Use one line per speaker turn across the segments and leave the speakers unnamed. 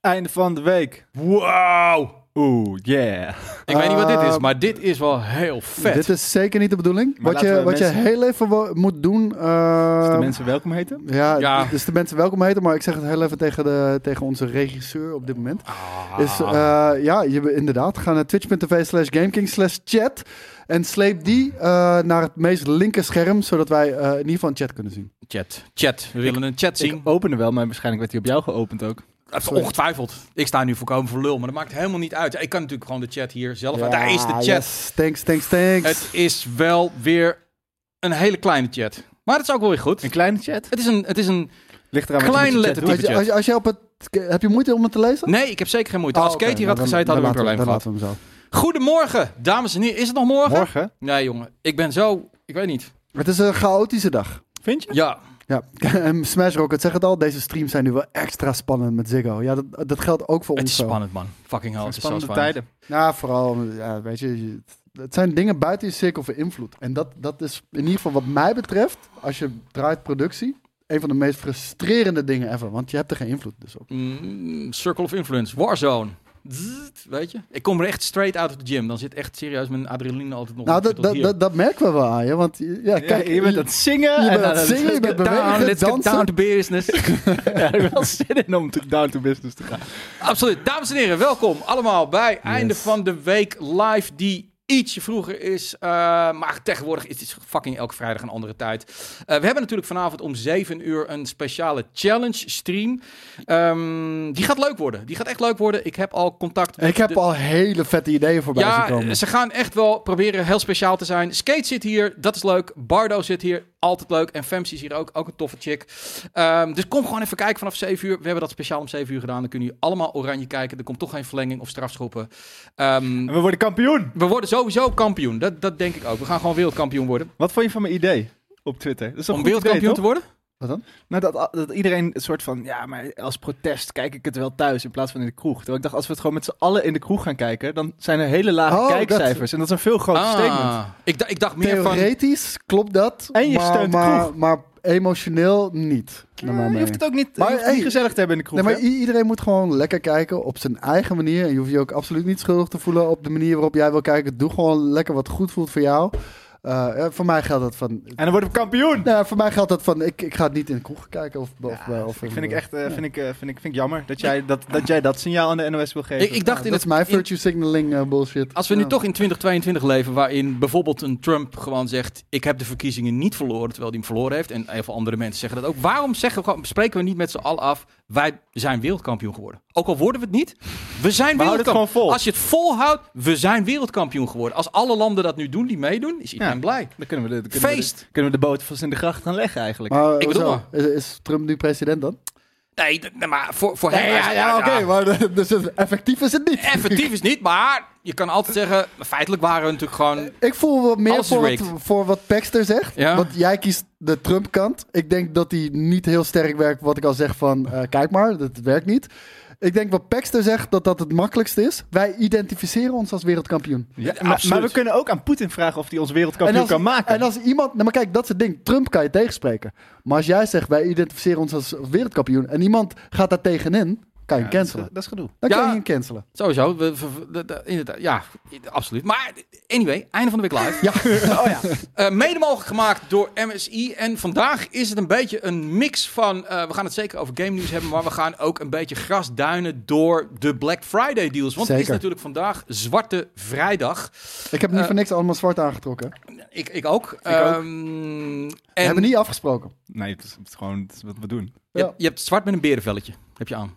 Einde van de week.
Wauw!
Oeh, yeah.
Ik weet niet wat dit is,
Eh,
maar dit is wel heel vet.
Dit is zeker niet de bedoeling.
Maar
wat
laten
je,
we
wat je
mensen-
heel even wo- moet doen. eh,
Als de mensen welkom heten.
Ja,
Ja.
dus de mensen welkom heten, maar ik zeg het heel even tegen, de, tegen onze regisseur op dit moment.
Ah.
Is, eh, ja, je, inderdaad. Ga naar twitch.tv slash gameking slash chat en sleep die eh, naar het meest linker scherm, zodat wij eh, in ieder geval een chat kunnen zien.
Chat, chat. We willen een chat zien.
Ik
oh,
opende wel, maar waarschijnlijk werd die op jou geopend ook.
Eh, Ongetwijfeld. Ik sta nu voorkomen voor lul, maar dat maakt helemaal niet uit. Ik kan natuurlijk gewoon de chat hier zelf. uit. Daar is de chat.
yes. Thanks, thanks, thanks.
Het is wel weer een hele kleine chat. Maar het is ook wel weer goed.
Een kleine chat.
Het is een, het is een...
Ligt eraan wat
Klein
je met je chat
lettertype.
doet.
als, je, als, je- als je op het... Heb je moeite om het te lezen?
Nee, ik heb zeker geen moeite.
Oh,
Als
oké,
Kate hier had
dan-
gezeten,
dan
hadden we een
laten
probleem
Dan
gehad.
laten we hem zo.
Goedemorgen, dames en heren. Is het nog morgen?
Morgen,
Nee, jongen. Ik ben zo... Ik weet niet.
Het is een chaotische dag.
vind je?
Ja.
Ja, en Smash Rocket zegt het al, deze streams zijn nu wel extra spannend met Ziggo. Ja, dat, dat geldt ook voor
Het
ons
is
zo.
spannend, man. Fucking hell. Het is zo
Spannende
spannend.
tijden.
Ja, vooral, ja, weet je, je- het zijn dingen buiten je cirkel van invloed. En dat, dat is in ieder geval wat mij betreft, als je draait productie, een van de meest frustrerende dingen ever. Want je hebt er geen invloed dus op.
Mm, Circle of Influence. Warzone. Zzzt, weet je? Ik kom er echt straight uit de gym. Dan zit echt serieus mijn adrenaline altijd nog...
nou,
tot
dat, dat,
hier.
dat, dat merken we wel aan je, want ja, kijk,
Ja, je bent aan het zingen.
je
en
bent
aan
aan het zingen, je bent
Down,
bewegen,
let's get
dansen.
down to business.
Ja, ik heb wel zin in om te- down to business te gaan.
Absoluut. Dames en heren, welkom allemaal bij Einde van de Week Live, die ietsje vroeger is. eh, maar tegenwoordig is het fucking elke vrijdag een andere tijd. Eh, we hebben natuurlijk vanavond om 7 uur een speciale challenge stream. Ehm, die gaat leuk worden. Die gaat echt leuk worden. Ik heb al contact met
ik heb
de-
al hele vette ideeën voorbij zien komen.
ja, eh, ze gaan echt wel proberen heel speciaal te zijn. Skate zit hier, dat is leuk. Bardo zit hier, altijd leuk. En Femsi is hier ook, ook een toffe chick. Ehm, dus kom gewoon even kijken vanaf 7 uur. We hebben dat speciaal om 7 uur gedaan. Dan kunnen jullie allemaal oranje kijken. Er komt toch geen verlenging of strafschoppen. Ehm,
En we worden kampioen.
we worden sowieso kampioen. Dat, dat denk ik ook. We gaan gewoon wereldkampioen worden.
Wat vond je van mijn idee op Twitter? Dat is een
Om
goed idee,
wereldkampioen
toch?
te worden?
Wat dan?
Nou, dat, dat iedereen een soort van, ja, maar als protest kijk ik het wel thuis in plaats van in de kroeg. Terwijl ik dacht, als we het gewoon met z'n allen in de kroeg gaan kijken, dan zijn er hele lage
Oh,
kijkcijfers. En dat is een veel groter
Ah,
statement.
ik, da- ik dacht meer van...
Theoretisch klopt dat.
En je
maar,
steunt de
maar,
kroeg.
maar emotioneel niet. naar mijn
Eh, je hoeft
mening.
het ook niet,
Maar,
je hoeft het niet
hey,
gezellig te hebben in de kroeg.
Nee, maar
hè?
i- iedereen moet gewoon lekker kijken op zijn eigen manier. En je hoeft je ook absoluut niet schuldig te voelen op de manier waarop jij wil kijken. Doe gewoon lekker wat goed voelt voor jou. Eh, eh, voor mij geldt dat van.
En dan worden we kampioen.
Nou, ja, voor mij geldt dat van. Ik, ik ga het niet in de kroeg kijken. Of, of, of, of-
Vind ik echt, eh, vind, ik, eh, vind, ik, vind ik jammer dat jij dat, dat jij dat signaal aan de NOS wil geven.
Ik, ik
Ja,
dacht in
dat
het,
is mijn
in-
virtue signaling eh, bullshit.
Als we nu
Ja.
toch in 2022 leven, waarin bijvoorbeeld een Trump gewoon zegt: Ik heb de verkiezingen niet verloren, terwijl hij hem verloren heeft. En heel veel andere mensen zeggen dat ook. Waarom zeggen we, gewoon- spreken we niet met z'n allen af: Wij zijn wereldkampioen geworden? Ook al worden we het niet, we zijn
We houden het gewoon
wereldkampioen.
vol.
Als je het volhoudt, we zijn wereldkampioen geworden. Als alle landen dat nu doen die meedoen, is iedereen
Ja.
blij.
dan kunnen we de, dan kunnen
Feest.
We de, kunnen we de boot vast in de gracht gaan leggen eigenlijk.
Maar,
Ik bedoel
hoezo? is, is Trump nu president dan?
Nee, d- nee, maar voor, voor hem.
Ja, ja, ja, oké. maar dus het- effectief is het niet.
Effectief is niet, maar je kan altijd zeggen: Feitelijk waren we natuurlijk gewoon.
Ik voel wat meer
Alles is
voor wat,
rigged.
voor wat Paxter zegt.
Ja.
Want jij kiest de Trump-kant. Ik denk dat hij niet heel sterk werkt. Wat ik al zeg van, eh, kijk maar, dat werkt niet. Ik denk wat Paxter zegt, dat dat het makkelijkste is. Wij identificeren ons als wereldkampioen.
Ja, maar- maar,
absoluut.
we kunnen ook aan Poetin vragen of hij ons wereldkampioen kan maken.
En als iemand... Nou, maar kijk, dat is het ding. Trump kan je tegenspreken. Maar als jij zegt, wij identificeren ons als wereldkampioen... en iemand gaat daar tegenin, kan je
Ja,
hem
dat, is,
cancelen.
dat is gedoe.
Dan
Ja.
kan je hem cancelen.
Sowieso, we, we- we- de- de- inderdaad, ja, i- absoluut. Maar anyway, einde van de week live.
Ja.
Oh ja.
Eh, mede mogelijk gemaakt door MSI. En vandaag is het een beetje een mix van. eh, we gaan het zeker over game nieuws hebben. Maar we gaan ook een beetje grasduinen door de Black Friday deals. Want het is
Zeker.
natuurlijk vandaag Zwarte Vrijdag.
Ik heb niet
Eh,
voor niks allemaal zwart aangetrokken.
Ik, ik ook.
ook.
Ehm,
We
en
hebben niet afgesproken.
Nee, het is, het is gewoon het is wat we doen.
je,
Ja.
hebt- je hebt zwart met een berenvelletje. Heb je aan.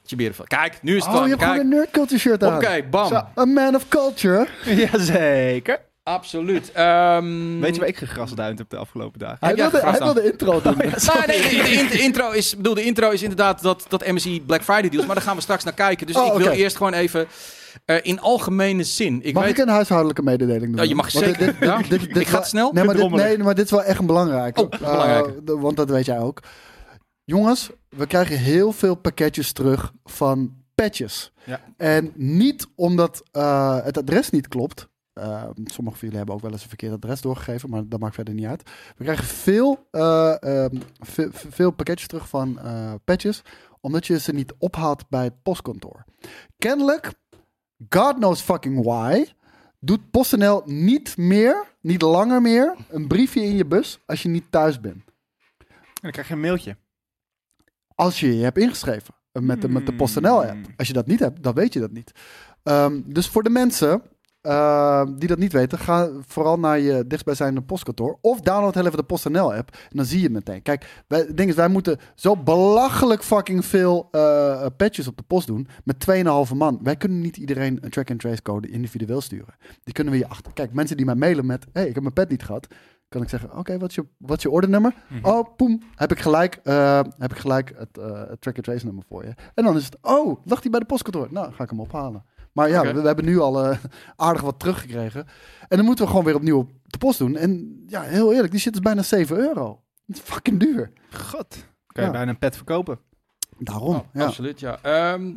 Met Je berenvelletje. Kijk, nu is het
Oh, je
klaar.
hebt gewoon een
Kijk.
nerdculture shirt aan.
Oké, bam.
Zo, A man of culture.
Jazeker.
Absoluut. Ehm,
Weet je waar ik gegrasduind heb de afgelopen dagen?
Hij
Heb jij
wil, de, hij
gevraagd
wil
aan?
de intro doen.
Nou, nee, de, de in- de intro is, ik bedoel, de intro is inderdaad dat, dat MSI Black Friday deals, maar daar gaan we straks naar kijken. Dus
Oh,
ik wil
oké.
eerst gewoon even eh, in algemene zin. Ik
Mag
weet,
ik een huishoudelijke mededeling doen?
Ja, je mag
Want
zeker. Ja. Ik
dit
ga het
wa-
snel.
Nee maar, dit,
Drommelig.
nee, maar dit is wel echt een belangrijke.
Oh, belangrijke.
Eh, de- want dat weet jij ook. Jongens, we krijgen heel veel pakketjes terug van patches.
Ja.
En niet omdat eh, het adres niet klopt. Eh, sommige van jullie hebben ook wel eens een verkeerd adres doorgegeven, maar dat maakt verder niet uit. We krijgen veel, eh, ehm, ve- ve- veel pakketjes terug van eh patches Omdat je ze niet ophaalt bij het postkantoor. Kennelijk, God knows fucking why, doet PostNL niet meer, niet langer meer, een briefje in je bus als je niet thuis bent.
dan krijg je een mailtje.
Als je je hebt ingeschreven eh, met de, met de PostNL-app.
Hmm.
Als je dat niet hebt, dan weet je dat niet. Ehm, dus voor de mensen eh, die dat niet weten, ga vooral naar je dichtstbijzijnde postkantoor. Of download heel even de PostNL-app en dan zie je het meteen. Kijk, wij, het ding is, wij moeten zo belachelijk fucking veel eh patches op de post doen met 2,5 man. Wij kunnen niet iedereen een track-and-trace code individueel sturen. Die kunnen we je achter. Kijk, mensen die mij mailen met, hey, ik heb mijn pet niet gehad. Kan ik zeggen, oké, wat, is je, wat is je ordernummer? Oh, poem, heb ik gelijk, eh, heb ik gelijk het, eh, het track-and-trace nummer voor je. En dan is het, oh, lag die bij de postkantoor? Nou, ga ik hem ophalen. Maar ja,
Oké.
we, we hebben nu al eh, aardig wat teruggekregen. En dan moeten we gewoon weer opnieuw op de post doen. En ja, heel eerlijk, die shit is bijna 7 euro. Het is fucking duur.
God. Kan je
Ja.
bijna een pet verkopen.
Daarom,
Oh,
ja.
Absoluut, ja. Ehm,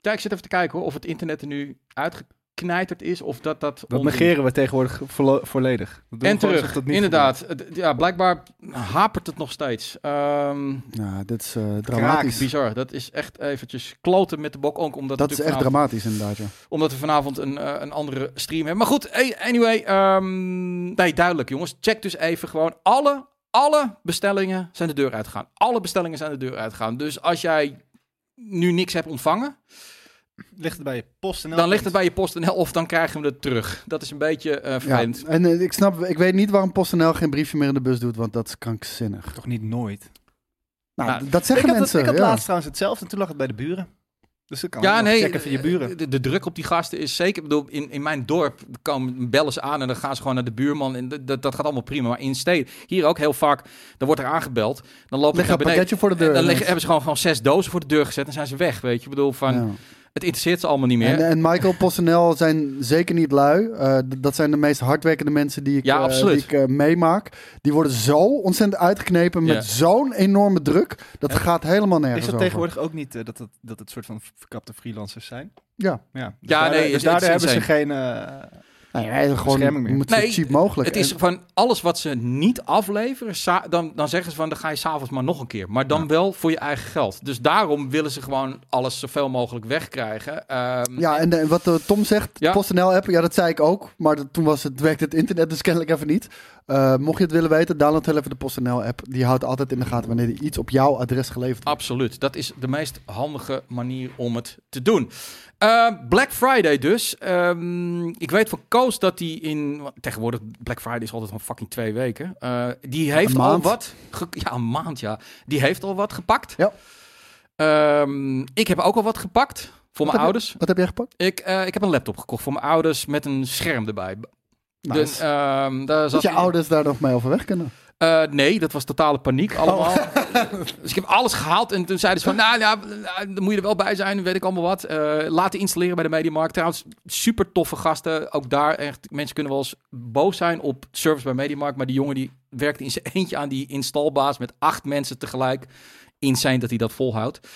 ja, ik zit even te kijken hoor, of het internet er nu uitgeknijterd is of dat dat...
Dat
onzin-
negeren we tegenwoordig vo- volledig. Dat doen we
En
gewoon
terug,
alsof dat niet
inderdaad. Het- Ja, blijkbaar hapert het nog steeds. Ehm,
Nou, dit is eh,
Kraak,
dramatisch.
bizar. Dat is echt eventjes kloten met de bok ook, omdat
Dat
natuurlijk
is echt
vanavond-
dramatisch inderdaad, ja.
Omdat we vanavond een, eh, een andere stream hebben. Maar goed, eh, anyway. ehm, nee, duidelijk jongens. Check dus even gewoon alle, alle bestellingen zijn de deur uitgegaan. Alle bestellingen zijn de deur uitgegaan. Dus als jij nu niks hebt ontvangen,
gebeurt. Ligt het bij je post en
dan ligt het bij je PostNL of dan krijgen we het terug. Dat is een beetje eh
ja.
vervelend.
En eh, ik snap, ik weet niet waarom PostNL geen briefje meer in de bus doet, want dat is krankzinnig.
Toch niet nooit.
Nou,
Nou,
d- dat zeggen
ik had,
mensen.
het, ik had
ja.
laatst trouwens hetzelfde en toen lag het bij de buren. Dus dat kan
Ja,
ook nog.
nee. eh,
Check even je
eh,
buren.
De, de druk op die gasten is zeker. Ik bedoel, in, in mijn dorp komen bellen ze aan en dan gaan ze gewoon naar de buurman. En dat- dat, dat gaat allemaal prima. Maar in steden, hier ook heel vaak, dan wordt er aangebeld. Dan lopen
Leg
ze naar
een
beneden.
pakketje voor de deur.
En dan liggen,
ineens.
hebben ze gewoon, gewoon zes dozen voor de deur gezet en zijn ze weg. Weet je, ik bedoel, van,
Ja.
het interesseert ze allemaal niet meer.
En, en Michael PostNL zijn zeker niet lui. Eh, d- dat zijn de meest hardwerkende mensen die ik,
Ja,
eh,
absoluut.
die ik eh, meemaak. Die worden zo ontzettend uitgeknepen met
Ja.
zo'n enorme druk. Dat
Ja.
gaat helemaal nergens
Is dat
over.
tegenwoordig ook niet eh, dat, dat, dat het soort van verkapte freelancers zijn?
Ja.
Ja, dus
Ja,
daardoor-
nee,
dus
het- het
daardoor
is
hebben ze geen... eh,
Nou ja, nee, gewoon
Bescherming
je
meer.
moet zo
Nee,
cheap mogelijk.
het is
En-
van alles wat ze niet afleveren, sa- dan, dan zeggen ze van dan ga je s'avonds maar nog een keer. Maar dan wel voor je eigen geld. Dus daarom willen ze gewoon alles zoveel mogelijk wegkrijgen. Ehm,
ja, en eh, wat eh, Tom zegt,
Ja.
PostNL-app, ja, dat zei ik ook. Maar dat- toen was het, werkte het internet dus kennelijk even niet. Eh, mocht je het willen weten, download heel even de PostNL-app. Die houdt altijd in de gaten wanneer er iets op jouw adres geleverd wordt.
Absoluut. Dat is de meest handige manier om het te doen. Eh, Black Friday dus. Ehm, ik weet van Koos dat hij in... want Tegenwoordig, Black Friday is altijd van fucking twee weken. Eh, die heeft
een
al
maand.
wat... ge- Ja, een maand, ja. Die heeft al wat gepakt.
Ja.
Ehm, ik heb ook al wat gepakt voor
heb
mijn
je-
ouders.
Wat heb jij gepakt?
Ik, eh, ik heb een laptop gekocht voor mijn ouders met een scherm erbij. Dus,
nice.
ehm, daar
Dat
zat
je ouders daar nog mee overweg kunnen.
eh, nee, dat was totale paniek
Oh.
allemaal. dus ik heb alles gehaald en toen zeiden ze van, nou ja, nou, dan moet je er wel bij zijn, weet ik allemaal wat. Eh, laten installeren bij de Mediamarkt. Trouwens, super toffe gasten. Ook daar echt, mensen kunnen wel eens boos zijn op service bij Mediamarkt, maar die jongen die werkte in zijn eentje aan die instalbaas met acht mensen tegelijk. Insane dat hij dat volhoudt.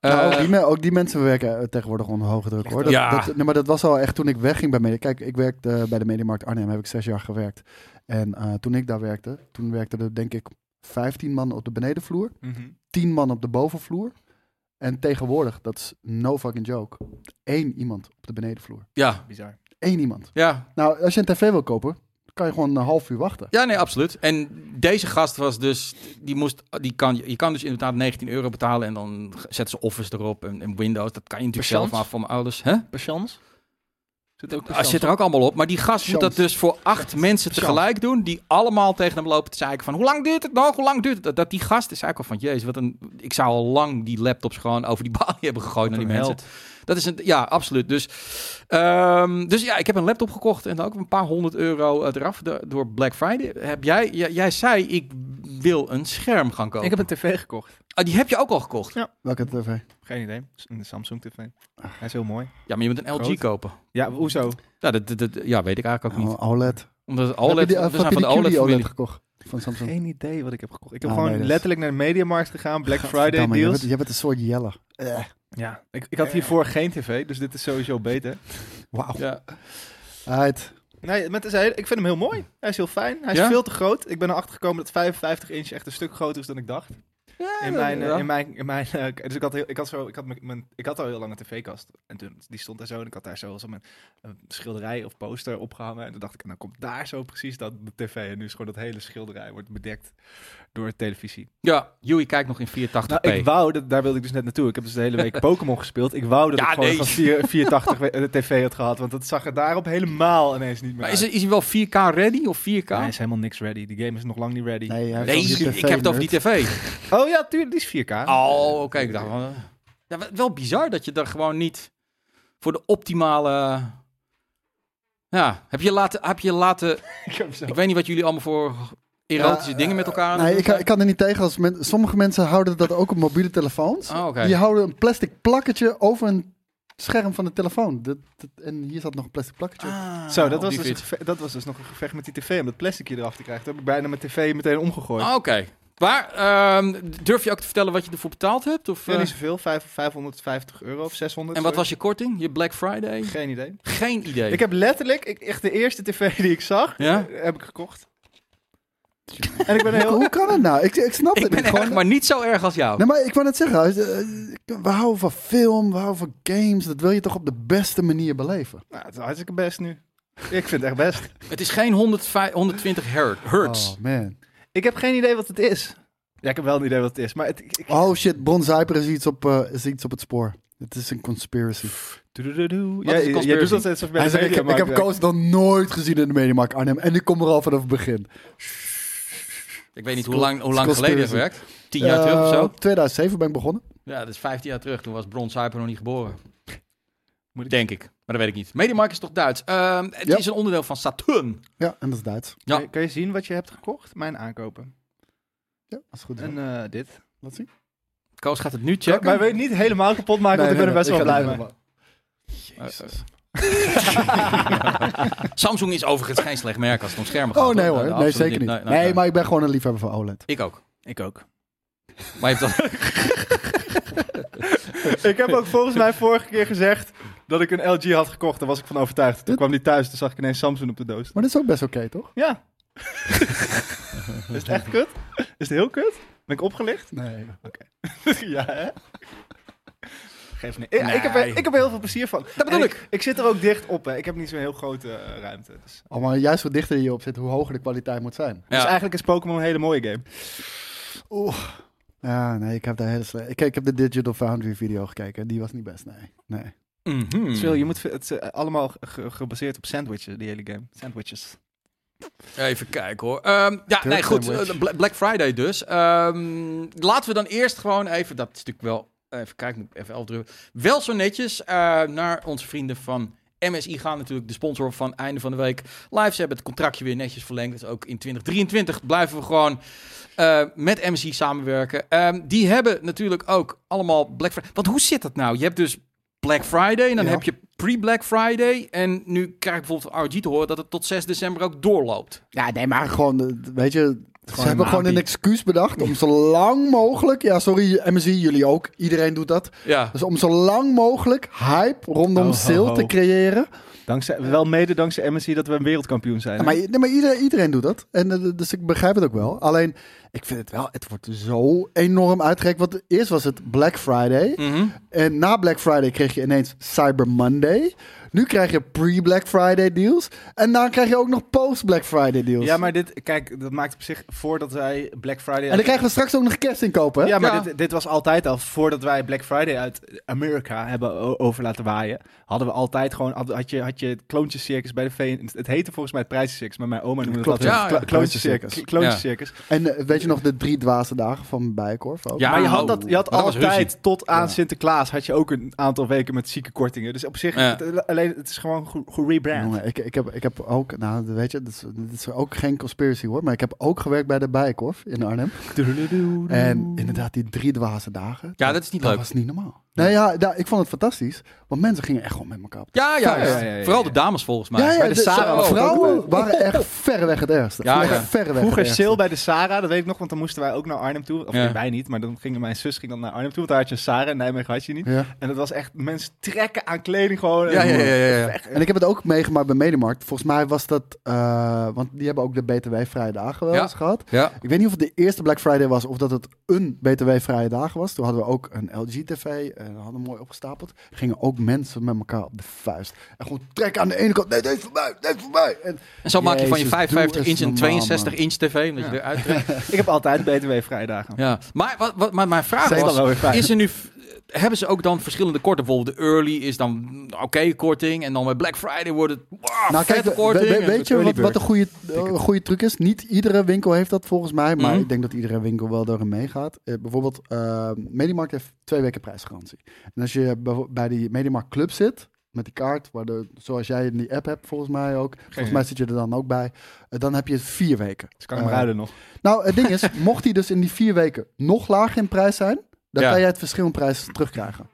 Nou, ook,
Eh,
die, me- ook die mensen werken eh, tegenwoordig onder hoge druk hoor. Dat,
Ja.
dat, nee, maar dat was al echt toen ik wegging bij Media. Kijk, ik werkte eh, bij de Mediamarkt Arnhem, heb ik zes jaar gewerkt. En eh, toen ik daar werkte, toen werkten er denk ik 15 man op de benedenvloer,
Mhm.
10 man op de bovenvloer. En tegenwoordig, dat is no fucking joke, één iemand op de benedenvloer.
ja,
Bizar.
Eén iemand.
ja,
Nou, als je een tv wil kopen, kan je gewoon een half uur wachten.
Ja, nee, absoluut. En deze gast was dus, die moest, die kan, je kan dus inderdaad 19 euro betalen en dan zetten ze Office erop en, en Windows. Dat kan je natuurlijk zelf,
Patiënt?
maar van mijn ouders, hè?
Patience? Zit ook
Ah, zit er ook allemaal op. Maar die gast moet dat
Chance.
dus voor acht mensen
Chance.
tegelijk doen, die allemaal tegen hem lopen te zeiken van, hoe lang duurt het nog? Hoe lang duurt het? Dat, dat die gast is eigenlijk al van, jezus, wat een, ik zou al lang die laptops gewoon over die balie hebben gegooid naar die mensen. Dat is een, ja, absoluut. Dus, ehm, dus ja, ik heb een laptop gekocht en dan ook een paar honderd euro eh, eraf do- door Black Friday. Heb jij, j- jij zei, ik wil een scherm gaan kopen.
Ik heb een tv gekocht.
Ah, die heb je ook al gekocht.
Welke tv?
Geen idee. Een Samsung tv. Hij is heel mooi.
Ja, maar je moet een LG
Groot.
kopen.
Ja, hoezo?
Ja, dat, dat, dat- ja, weet ik eigenlijk ook niet.
Oh, OLED.
Omdat het
heb je
OLED,
die, eh,
we
heb
zijn
je
van de
die
OLED
QD
familie.
gekocht van Samsung?
Geen idee wat ik heb gekocht. Ik heb
Ah,
gewoon
nee, dat is-
letterlijk naar de mediamarkt gegaan. Black Friday
Gadverdamme, je
deals.
bent- Je bent een soort jelle. Eh,
Ja, ik, ik had hiervoor geen tv, dus dit is sowieso beter.
Wauw.
Ja.
Uit.
Nee, maar het is heel- ik vind hem heel mooi. Hij is heel fijn. Hij is
Ja?
veel te groot. Ik ben erachter gekomen dat 55 inch echt een stuk groter is dan ik dacht. in mijn, eh, in mijn, in mijn eh, k- dus ik had, heel, ik had zo, ik had mijn- mijn, ik had al heel lang een tv-kast en toen die stond daar zo en ik had daar zo, zo mijn eh, schilderij of poster opgehangen en toen dacht ik, nou komt daar zo precies dat de tv en nu is gewoon dat hele schilderij wordt bedekt door de televisie.
Ja, Joey kijkt nog in 480p.
Nou, ik wou dat, daar wilde ik dus net naartoe. Ik heb dus de hele week Pokémon gespeeld. Ik wou dat
Ja,
ik gewoon
nee.
van 4, 480 we- de tv had gehad, want dat zag er daarop helemaal ineens niet meer.
maar
uit.
is, is hij wel 4K ready of 4K?
Hij is helemaal niks ready. Die game is nog lang niet ready.
Nee, hij is
nee,
wel die
ik heb het over die
TV
tv.
Oh ja, tuurlijk, die is 4K.
Oh, oké. Ik dacht van, eh. ja, wel- wel bizar dat je daar gewoon niet voor de optimale. Ja, heb je laten. Heb je laten
Ik heb zo-
ik weet niet wat jullie allemaal voor erotische
Ja,
dingen met elkaar. aan het
Nee,
doen
ik, ik
zijn.
kan er niet tegen. Als men- sommige mensen houden dat ook op mobiele telefoons.
Oh, oké.
Die houden een plastic plakketje over een scherm van de telefoon. Dat, dat- en hier zat nog een plastic plakketje. op.
Ah,
Zo, dat
op
was,
die
dus het
fiets.
geve- dat was dus nog een gevecht met die tv om dat plasticje eraf te krijgen. Toen heb ik bijna mijn tv meteen omgegooid.
Ah, Oké. Maar ehm, durf je ook te vertellen wat je ervoor betaald hebt? Of,
Ja,
eh,
niet zoveel, vijf- 550 euro of 600.
en wat was
sorry.
je korting? Je Black Friday?
Geen idee.
Geen idee.
Ik heb letterlijk, ik, echt de eerste tv die ik zag,
Ja?
eh, heb ik gekocht. en ik ben heel...
Hoe kan het nou? Ik, ik snap
Ik
het
ben
niet. Gewoon-
erg, maar niet zo erg als jou.
Nee, maar ik wou net zeggen, eh, we houden van film, we houden van games. Dat wil je toch op de beste manier beleven?
Nou, het is hartstikke best nu. Ik vind het echt best.
Het is geen 105 120 her- hertz.
Oh, man.
Ik heb geen idee wat het is. Ja, ik heb wel een idee wat het is, maar het... Ik, ik-
Oh shit, Bron Zuiper is iets op, eh, is iets op het spoor. Het is een conspiracy.
Doedoedoedoe.
is
Ja,
een
je- je
conspiracy?
doet dat steeds als bij
Hij
de
zei, ik, heb- ik
Mediamarkt
heb Koos nog nooit gezien in de Mediamarkt Arnhem. En ik kom er al vanaf het begin.
Ik weet niet hoe lang, hoe lang
Scott
geleden het
Spears.
werkt. Tien jaar terug of
Eh,
zo?
2007 ben ik begonnen.
Ja, dat is 15 jaar terug. Toen was Bron Suiper nog niet geboren.
Moet ik-
Denk ik. Maar dat weet ik niet. Mediamarkt is toch Duits? Ehm, het
Ja.
is een onderdeel van Saturn.
Ja, en dat is Duits.
Ja.
Kan je- Kan je zien wat je hebt gekocht? Mijn aankopen.
Ja, dat is goed.
En eh, dit.
Laat zien.
Koos gaat het nu
Maar
checken.
Maar wil je het niet helemaal kapot maken, want ik ben er best wel blij mee.
Jezus. Samsung is overigens geen slecht merk als het om schermen gaat.
Oh nee
Eh,
hoor, nee
absoluut
zeker niet.
Nee,
Nee,
nee, nee.
maar ik ben gewoon een liefhebber van OLED.
Ik ook.
Ik ook.
Maar je hebt dan...
Ik heb ook volgens mij vorige keer gezegd dat ik een LG had gekocht. Daar was ik van overtuigd. Toen kwam die thuis, toen zag ik ineens Samsung op de doos.
Maar dat is ook best oké, toch?
Ja. is het echt kut? Is het heel kut? Ben ik opgelicht?
Nee.
ja, hè? Geef niet. Ik, ik heb, er-
Nee.
ik heb er heel veel plezier van. Dat
bedoel
Ik, ik zit er ook dicht op, hè. Ik heb niet zo'n heel grote eh, ruimte. Dus.
Oh, maar juist hoe dichter je op zit, hoe hoger de kwaliteit moet zijn.
dus
ja.
eigenlijk is Pokémon een hele mooie game.
Oeh. Ja, nee, ik heb de hele slechte... Ik, ik heb de Digital Foundry video gekeken. Die was niet best, nee. nee.
Mhm.
Chill, je moet, het is eh, allemaal ge- ge- gebaseerd op sandwiches, die hele game. Sandwiches.
Even kijken hoor. Ehm, ja, nee, goed.
sandwich.
eh, Bla- Black Friday dus. Ehm, laten we dan eerst gewoon even, dat is natuurlijk wel, even kijken, moet ik even afdrukken. Wel zo netjes eh, naar onze vrienden van MSI gaan natuurlijk, de sponsor van einde van de week. Live, ze hebben het contractje weer netjes verlengd. Dus ook in 2023 blijven we gewoon eh, met MSI samenwerken. Ehm, die hebben natuurlijk ook allemaal Black Friday. Want hoe zit dat nou? Je hebt dus Black Friday en dan
Ja.
heb je pre-Black Friday. En nu krijg ik bijvoorbeeld van RG te horen dat het tot 6 december ook doorloopt.
Ja, nee, maar gewoon, eh, weet je... Ze
Gewoon
hebben
een
gewoon een
aanbied.
excuus bedacht om zo lang mogelijk... Ja, sorry, MSI, jullie ook. Iedereen doet dat.
Ja.
Dus om zo lang mogelijk hype rondom
Oh, Ho, ho,
sale
ho.
te creëren.
Dankzij, wel mede dankzij MSI dat we een wereldkampioen zijn. hè?
Ja, maar nee, maar iedereen, iedereen doet dat. En, eh, dus ik begrijp het ook wel. Alleen, ik vind het wel... Het wordt zo enorm uitgerekt. Want eerst was het Black Friday.
Hm.
Mhm.
En na Black Friday kreeg je ineens Cyber Monday. Nu krijg je pre-Black Friday deals. En dan krijg je ook nog post-Black Friday deals.
Ja, maar dit, kijk, dat maakt op zich voordat wij Black Friday.
En dan krijgen we straks ook nog kerstinkopen. hè?
Ja, maar
Ja.
Dit, dit was altijd al voordat wij Black Friday uit Amerika hebben o- over laten waaien. Hadden we altijd gewoon, had, had je, had je het kloontjescircus bij de VN. Het heette volgens mij het prijzencircus, maar mijn oma noemde het
Klopt,
altijd
ja.
het
Ja,
kla- kloontjescircus. Kloontjescircus.
En eh, weet je nog de drie dwaze dagen van Bijenkorf ook?
Ja.
Maar je had,
Oh,
dat, je had
dat was
altijd,
ruzie.
tot aan
Ja.
Sinterklaas, had je ook een aantal weken met zieke kortingen. Dus op zich,
Ja.
het, alleen, het is gewoon ge- gerebrand.
Jongen, ik, ik, heb, ik heb ook, nou weet je, dit is, dit is ook geen conspiracy hoor, maar ik heb ook gewerkt bij de Bijenkorf in Arnhem. En inderdaad, die drie dwaze dagen.
Ja, dat is niet
dat
leuk.
was niet normaal. Nee, ja, ja, ik vond het fantastisch. Want mensen gingen echt gewoon met elkaar. op.
Ja, ja, ja,
Ja, ja, ja,
Vooral
ja.
de dames volgens mij. Bij de,
de- oh.
Sarah ook.
vrouwen waren echt verreweg het ergste.
Ja,
Echt
ja.
verreweg
Vroeger
het ergste.
sale bij de Sarah, dat weet ik nog, want dan moesten wij ook naar Arnhem toe. Of
Ja.
nee, wij niet, maar dan ging mijn zus ging dan naar Arnhem toe, want daar had je een Sarah, in Nijmegen had je niet.
Ja.
En dat was echt, mensen trekken aan kleding gewoon.
Ja, ja, ja, ja, ja.
En ik heb het ook meegemaakt bij Mediamarkt. Volgens mij was dat... eh, want die hebben ook de BTW-vrije dagen wel
Ja.
eens gehad.
Ja.
Ik weet niet of het de eerste Black Friday was of dat het een BTW-vrije dag was. Toen hadden we ook een LG-TV en we hadden mooi opgestapeld. Gingen ook mensen met elkaar op de vuist. En gewoon trek aan de ene kant. Nee, dit is voor mij, dit is voor mij. En
En zo maak je van je
Jezus,
55
doe
inch
eens
een
normaal,
62 inch tv. Omdat je eruit trekt.
Ik heb altijd BTW-vrijdagen.
Ja. Maar wat, wat, maar mijn vraag
Zijn dan
was,
wel weer fijn.
is er nu, hebben ze ook dan verschillende korten? Bijvoorbeeld de early is dan mm, oké korting en dan bij Black Friday wordt het wow,
nou, kijk,
vette
we-
korting.
we-
en
weet je
early
wat,
bird.
wat een goede, een goede truc is? Niet iedere winkel heeft dat volgens mij, maar
Mhm.
ik denk dat iedere winkel wel daarin meegaat. Eh, bijvoorbeeld, eh Mediamarkt heeft twee weken prijsgarantie. En als je bijvo- bij die Mediamarkt Club zit, met die kaart, waar de, zoals jij in die app hebt volgens mij ook, volgens mij zit je er dan ook bij, eh, dan heb je vier weken.
Dus kan ik hem
Eh,
ruilen nog.
Nou, het ding is, mocht die dus in die vier weken nog lager in prijs zijn, dan
Ja.
kan jij het verschil in prijs terugkrijgen.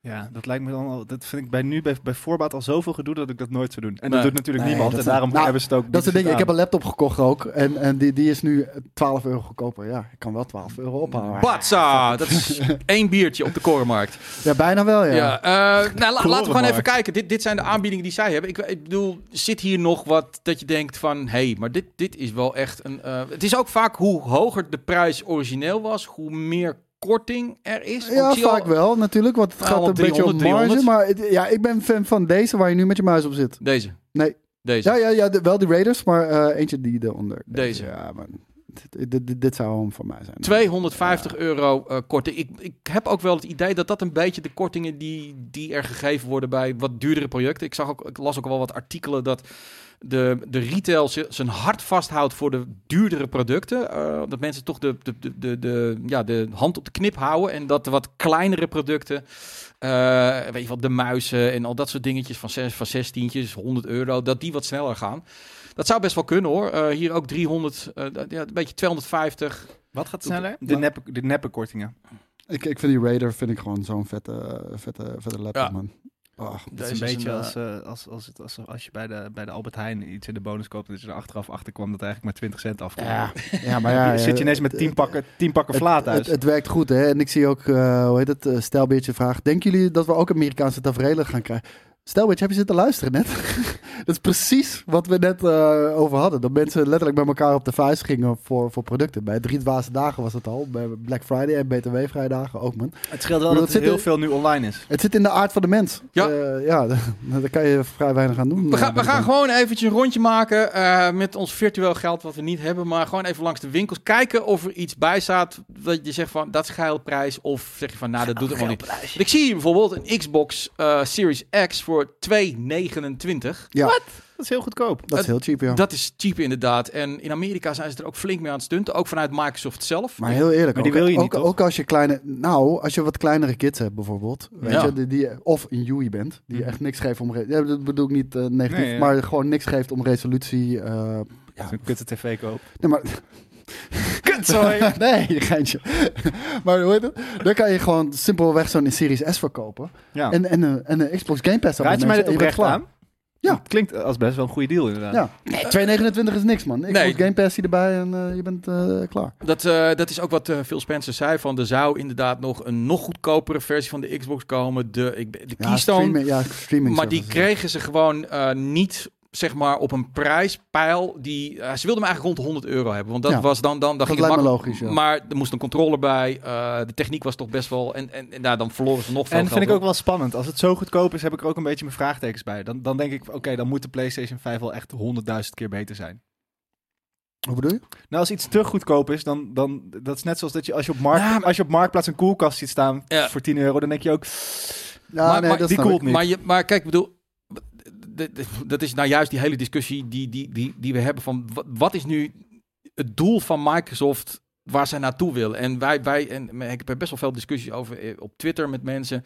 Ja, dat lijkt me dan al. Dat vind ik bij nu bij, bij voorbaat al zoveel gedoe dat ik dat nooit zou doen. En
Nee.
dat doet natuurlijk
Nee,
niemand.
dat
En
is-
daarom
nou,
hebben ze het ook.
Dat is het ding. Ik heb
al
een laptop gekocht ook. En, en die, die is nu 12 euro goedkoper. Ja, ik kan wel 12 euro ophalen.
Batsa, dat is één biertje op de korenmarkt.
Ja, bijna wel, ja.
Ja. eh, nou, la- laten we gewoon
Korenmarkt.
even kijken. Dit, dit zijn de aanbiedingen die zij hebben. Ik, ik bedoel, zit hier nog wat dat je denkt van... hé, hey, maar dit, dit is wel echt een... eh, het is ook vaak hoe hoger de prijs origineel was... hoe meer korting er is. Want
Ja,
ik zie al-
vaak wel natuurlijk, want het
Nou,
gaat een
want
beetje om
300,
marge.
300.
Maar het- ja, ik ben fan van deze waar je nu met je muis op zit.
Deze.
Nee.
Deze.
Ja, ja, ja de- wel die Raiders, maar eh, eentje die eronder.
Deze.
Ja, man. Dit, dit, dit- dit zou hem voor mij zijn.
250 euro eh, korting. Ik, ik heb ook wel het idee dat dat een beetje de kortingen die, die er gegeven worden bij wat duurdere projecten. Ik, zag ook, ik las ook wel wat artikelen dat de, de retail zi- zijn hart vasthoudt voor de duurdere producten. Eh, dat mensen toch de, de, de, de, de- ja, de hand op de knip houden. En dat de wat kleinere producten, eh, weet je wat, de muizen en al dat soort dingetjes van, zes, van 16, 100 euro, dat die wat sneller gaan. Dat zou best wel kunnen hoor. Eh, hier ook 300, eh, dat- ja, een beetje 250.
Wat gaat
sneller?
De neppe, de neppe kortingen.
Ik, ik vind die Raider vind ik gewoon zo'n vette, vette, vette laptop,
Ja.
man. Ah,
Dat is
Deze
een
is
beetje
een,
als, eh, als, als, het- als, als je bij de, bij de Albert Heijn iets in de bonus koopt. Dat je er achteraf achter kwam dat eigenlijk maar 20 cent afkwam.
ja. ja, maar ja.
zit je ineens
eh,
met 10
eh,
pakken, 10 pakken vlaat
het,
uit.
het, het werkt goed, hè? En ik zie ook, eh, hoe heet het, eh, Stijlbeertje vraagt... Denken jullie dat we ook Amerikaanse tafereelen gaan krijgen? Stijlbeertje, heb je zitten luisteren net? dat is precies wat we net eh, over hadden. Dat mensen letterlijk bij elkaar op de vuist gingen voor, voor producten. Bij Drie Dwaze Dagen was het al. Bij Black Friday en BTW-vrijdagen ook, man.
Het scheelt wel
dat
dat,
zit
er heel
er-
veel nu online is.
Het zit in de aard van de mens.
Ja.
Eh, ja, daar kan je vrij weinig aan doen.
We
eh,
gaan, we
ben ik
gaan
bang.
gewoon eventjes een rondje maken eh, met ons virtueel geld wat we niet hebben. Maar gewoon even langs de winkels kijken of er iets bij staat. Dat je zegt van dat is geilprijs. Of zeg je van nou dat doet het gewoon niet. Want Ik zie hier bijvoorbeeld een Xbox eh, Series X voor 2,29.
Ja,
Dat is heel goedkoop.
dat is heel cheap, ja.
Dat is cheap inderdaad. En in Amerika zijn ze er ook flink mee aan het stunten. Ook vanuit Microsoft zelf.
Maar heel eerlijk,
Maar die
ook,
wil je niet,
ook,
toch?
ook als je kleine, nou, als je wat kleinere kids hebt bijvoorbeeld, weet
Ja.
je, die, die, of een Yui bent, die
Mhm.
echt niks geeft om, re- ja, dat bedoel ik niet eh, negatief,
Nee, ja.
maar gewoon niks geeft om resolutie. eh,
Dat is een kutte tv koop.
nee, maar
Kut, sorry.
nee, geintje. maar hoe heet het? Dan kan je gewoon simpelweg zo'n Series S verkopen
Ja.
en, en, een, en een Xbox Game Pass.
Raad je mij dit
abonnement
oprecht
en je bent
aan?
Ja.
Het Klinkt als best wel een goede deal inderdaad.
klaar. Ja, 2,29 is niks man. Xbox
Nee.
Game Pass hier erbij en eh, je bent eh, klaar.
Dat, eh, dat is ook wat eh, Phil Spencer zei. Van er zou inderdaad nog een nog goedkopere versie van de Xbox komen. De, ik, de
Ja,
Keystone.
streaming, ja, streaming
Maar die
services.
kregen ze gewoon eh, niet zeg maar op een prijspijl die eh, ze wilden hem eigenlijk rond de 100 euro hebben want dat
Ja.
was dan dan
Dat
dacht ik
lijkt me
makkelijk.
logisch, ja.
maar er moest een controller bij eh, de techniek was toch best wel en en, en nou, dan verloren ze nog
En
veel geld
vind ik
hoor.
ook wel spannend. Als het zo goedkoop is, heb ik er ook een beetje mijn vraagtekens bij. Dan, dan denk ik, oké, dan moet de PlayStation 5 wel echt 100.000 keer beter zijn.
Hoe bedoel je?
Nou, als iets te goedkoop is, dan, dan dat is net zoals dat je als je op, markt,
Ja, Nou, maar-
als je op marktplaats een koelkast ziet staan
Ja.
voor 10 euro, dan denk je ook,
Ja,
Maar-
nee,
maar
dat
die
snap ik.
koelt niet.
Maar, je, maar kijk, ik bedoel. d- d- Dat is nou juist die hele discussie die, die, die, die we hebben van wa- wat is nu het doel van Microsoft waar zij naartoe willen. En wij, wij en ik heb er best wel veel discussies over eh, op Twitter met mensen.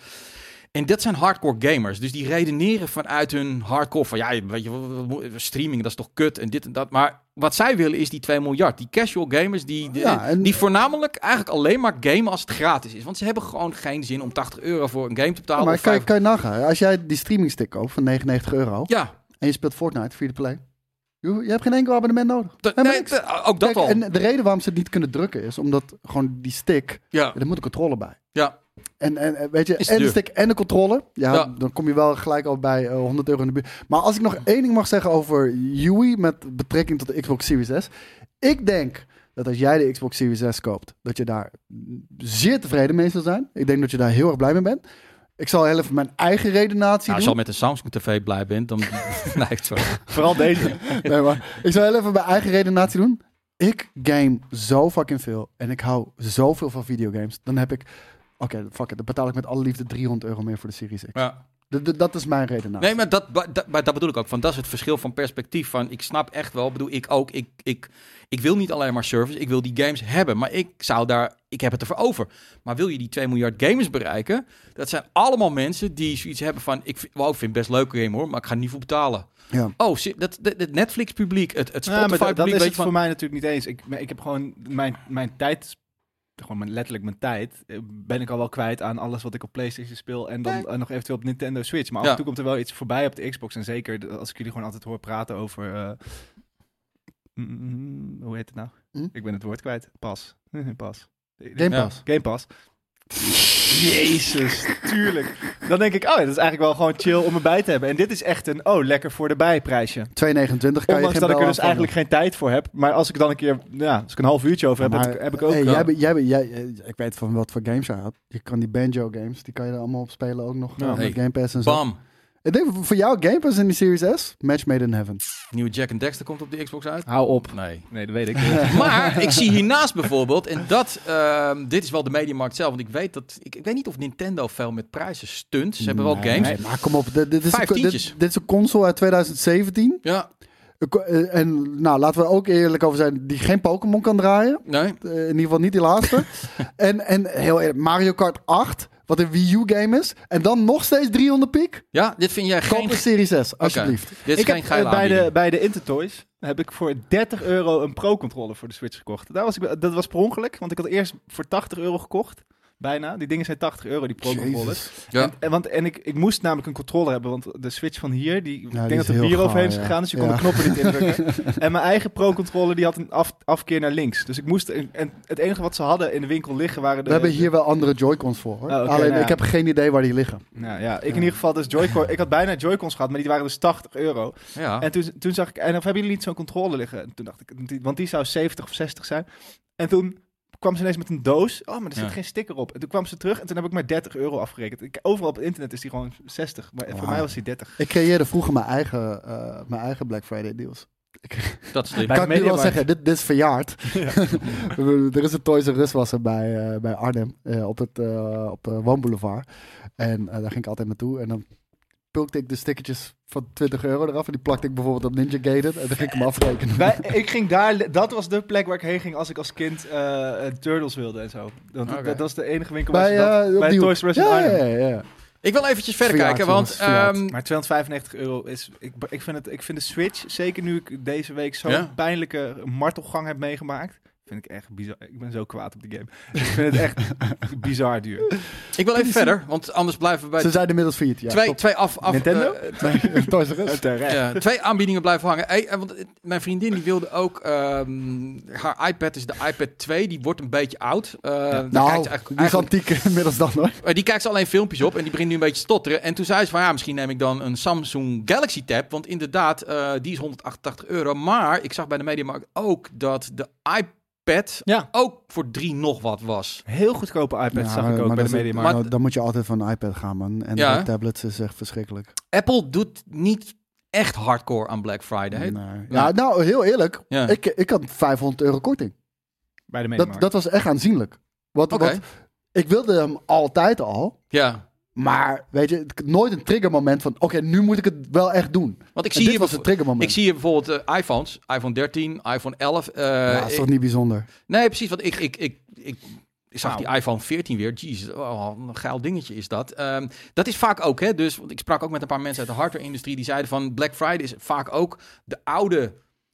En dat zijn hardcore gamers. Dus die redeneren vanuit hun hardcore van ja, weet je, wat- wat moet- streaming dat is toch kut en dit en dat. Maar wat zij willen is die 2 miljard. Die casual gamers die, de-
Ja, en-
die voornamelijk eigenlijk alleen maar gamen als het gratis is. Want ze hebben gewoon geen zin om 80 euro voor een game te betalen.
maar
of
kan je,
vijf-
kan je nagaan, als jij die streamingstick koopt van 99 euro
Ja,
en je speelt Fortnite, free to play. Je, je hebt geen enkel abonnement nodig.
dat-
Helemaal
nee,
niks.
dat- ook dat
Kijk,
al.
eh,
En de reden waarom ze het niet kunnen drukken is omdat gewoon die stick,
Ja,
er moet een controle bij.
ja.
En, en eh, weet je,
Is
en de
duur.
stick en de controle. Ja,
Ja.
dan kom je wel gelijk al bij eh, 100 euro in de buurt. Maar als ik nog één ding mag zeggen over Yui met betrekking tot de Xbox Series S. Ik denk dat als jij de Xbox Series S koopt, dat je daar zeer tevreden mee zal zijn. Ik denk dat je daar heel erg blij mee bent. Ik zal heel even mijn eigen redenatie
Nou, als je
doen.
al met een Samsung TV blij bent, dan... nee, sorry.
Vooral deze.
Nee, maar ik zal heel even mijn eigen redenatie doen. Ik game zo fucking veel. En ik hou zoveel van videogames. Dan heb ik... Oké, fuck it. Dan betaal ik met alle liefde 300 euro meer voor de Series X.
Ja.
D- d- dat is mijn redenatie.
Nee, maar dat, ba- dat, maar dat bedoel ik ook. Van, dat is het verschil van perspectief. Van, ik snap echt wel, bedoel ik ook. Ik, ik, ik wil niet alleen maar service, ik wil die games hebben. Maar ik zou daar, ik heb het ervoor over. Maar wil je die 2 miljard gamers bereiken? Dat zijn allemaal mensen die zoiets hebben van... Ik vind, wow, ik vind het best leuke game hoor, maar ik ga er niet voor betalen.
Ja.
Oh, zie- dat, dat, het Netflix publiek, het, het
Ja, Nou,
Spotify
maar dat, dat
publiek.
is
weet
het
je van,
voor mij natuurlijk niet eens. Ik, maar ik heb gewoon mijn, mijn tijd, gewoon mijn, letterlijk mijn tijd, eh, ben ik al wel kwijt aan alles wat ik op PlayStation speel en dan
Nee.
eh, nog eventueel op Nintendo Switch. Maar af
Ja.
en toe komt er wel iets voorbij op de Xbox. En zeker de- als ik jullie gewoon altijd hoor praten over. eh, mm, mm, hoe heet het nou?
Hm?
Ik ben het woord kwijt. Pas. Pas.
Game
Ja.
Pass.
Game Pass. Jezus, tuurlijk. Dan denk ik, oh, ja, dat is eigenlijk wel gewoon chill om erbij te hebben. En dit is echt een, oh, lekker voor de bijprijsje.
2,29 kan
Ondanks
je geen
dat ik
bel
er dus
aan
eigenlijk geen tijd voor heb. Maar als ik dan een keer, ja, als ik een half uurtje over heb,
Maar,
heb, ik, heb ik ook...
hey,
eh,
jij, bent- jij, bent- jij, eh, ik weet van wat voor games je had. Je kan die Banjo games, die kan je er allemaal op spelen ook nog. eh,
Ja.
Hey.
Met Game Pass en zo.
Bam,
Ik denk voor- voor jou Game Pass in die Series S, match made in heaven.
nieuwe Jack and Dexter komt op de Xbox uit.
Hou op.
Nee.
Nee, dat weet ik.
Maar ik zie hiernaast bijvoorbeeld, en dat, ehm, dit is wel de mediamarkt zelf, want ik weet dat, ik, ik weet niet of Nintendo veel met prijzen stunt. Ze hebben wel
Nee,
games.
nee, maar kom op, dit, dit is
Vijf
een, co- dit,
tientjes.
dit is een console uit 2017.
Ja,
Een co- eh, En nou, laten we er ook eerlijk over zijn, die geen Pokémon kan draaien.
nee.
Eh, in ieder geval niet die laatste. en, en heel eerlijk, Mario Kart 8, wat een Wii U game is. En dan nog steeds 300 piek.
Ja, dit vind jij
Koop
geen...
een Series S,
Oké.
alsjeblieft.
Dit is
ik heb
geen
eh,
geile
bij, de,
aanbieding.
bij de Intertoys heb ik voor 30 euro een Pro-controller voor de Switch gekocht. Daar was ik, wel- dat was per ongeluk, want ik had eerst voor 80 euro gekocht. Bijna. Die dingen zijn 80 euro, die Pro-controllers.
Jezus.
Ja.
En, en, want, en ik, ik moest namelijk een controller hebben, want de Switch van hier, die, ik
die
denk
is
dat er
heel
bier overheen is
gaar, ja.
gegaan, dus je kon
Ja.
de knoppen niet indrukken. en mijn eigen Pro-controller, die had een af, afkeer naar links. Dus ik moest, en, en het enige wat ze hadden in de winkel liggen, waren de...
We hebben hier wel andere Joy-Cons voor. hoor.
Oh, oké,
Alleen
nou ja.
ik heb geen idee waar die liggen.
Nou ja, ik in ieder geval dus Joy-Con. ik had bijna Joy-Cons gehad, maar die waren dus 80 euro.
Ah.
ja.
En toen, toen zag ik, en of hebben jullie niet zo'n controle liggen? En toen dacht ik, die- want die zou 70 of 60 zijn. En toen kwam ze ineens met een doos. Oh, maar er zit
Ja.
geen sticker op. En toen kwam ze terug en toen heb ik maar 30 euro afgerekend. Ik, overal op het internet is die gewoon 60, maar voor
Wauw.
mij was die 30.
Ik creëerde vroeger mijn eigen, eh, mijn eigen Black Friday deals.
dat is
Bij- de
slim.
kan ik nu wel
Mediamarkt.
zeggen, dit, dit is verjaard. er is een Toys R Us was er bij, eh, bij Arnhem eh, op, het, eh, op de Woonboulevard. En eh, daar ging ik altijd naartoe. En dan pulkte ik de stickertjes van 20 euro eraf. En die plakte ik bijvoorbeeld op Ninja Gated. En dan ging ik hem afrekenen.
Wij, ik ging daar, dat was de plek waar ik heen ging als ik als kind eh, eh, Turtles wilde en zo. Want dat-
Oké.
dat was de enige winkel waar
Bij,
ze dat...
eh, op
bij
die
Toys
hoek.
R Us in
ja,
Arnhem.
ja, ja, ja.
Ik wil eventjes verder
Verjaard,
kijken, want...
jongens, verjaard.
ehm,
Maar 295 euro is. Ik, ik, vind het, ik vind de Switch, zeker nu ik deze week zo'n
Ja.
pijnlijke martelgang heb meegemaakt. Vind ik echt bizar. Ik ben zo kwaad op de game. ik vind het echt bizar duur.
ik wil even verder, want anders blijven we bij...
Ze zijn inmiddels failliet. Ja,
twee,
klopt.
twee af... af
Nintendo? Oh,
eh,
Nee, Toys R Us.
Terecht.
Ja, twee aanbiedingen blijven hangen. Hey, eh, want eh, mijn vriendin die wilde ook... ehm, haar iPad is de iPad 2. Die wordt een beetje oud. Eh, daar kijkt ze
Nou,
eigenlijk-
die is
eigenlijk-
antiek inmiddels dan hoor.
Maar Eh, die kijkt ze alleen filmpjes op en die begint nu een beetje te stotteren. En toen zei ze van ja, misschien neem ik dan een Samsung Galaxy Tab. Want inderdaad, eh, die is 188 euro. Maar ik zag bij de Mediamarkt ook dat de iPad
Ja.
ook voor drie nog wat was.
Heel goedkope iPad
Ja,
zag ik
maar
ook bij
dat
de
is-
Mediamarkt.
Maar-
nou, dan moet je altijd van een iPad gaan, man. En
Ja,
de
hè?
tablets is echt verschrikkelijk.
Apple doet niet echt hardcore aan Black Friday.
Nee.
Ja.
Ja, nou, heel eerlijk.
Ja.
Ik, ik had 500 euro korting.
Bij de
Dat,
Mediamarkt.
dat was echt aanzienlijk. Wat,
Oké.
wat, ik wilde hem altijd al.
Ja,
Maar weet je, het- nooit een triggermoment van... Oké, nu moet ik het wel echt doen.
want ik
En
zie
dit
hier,
was het
bijvo-
triggermoment.
ik zie hier bijvoorbeeld eh, iPhones. iPhone 13, iPhone 11. eh,
ja, Nou, dat is
ik-
toch niet bijzonder?
Nee, precies. Want ik, ik, ik, ik, ik zag
Nou.
die iPhone 14 weer. Jeez, oh, een geil dingetje is dat. Ehm, dat is vaak ook, hè. Dus want ik sprak ook met een paar mensen uit de hardware-industrie. Die zeiden van Black Friday is vaak ook de oude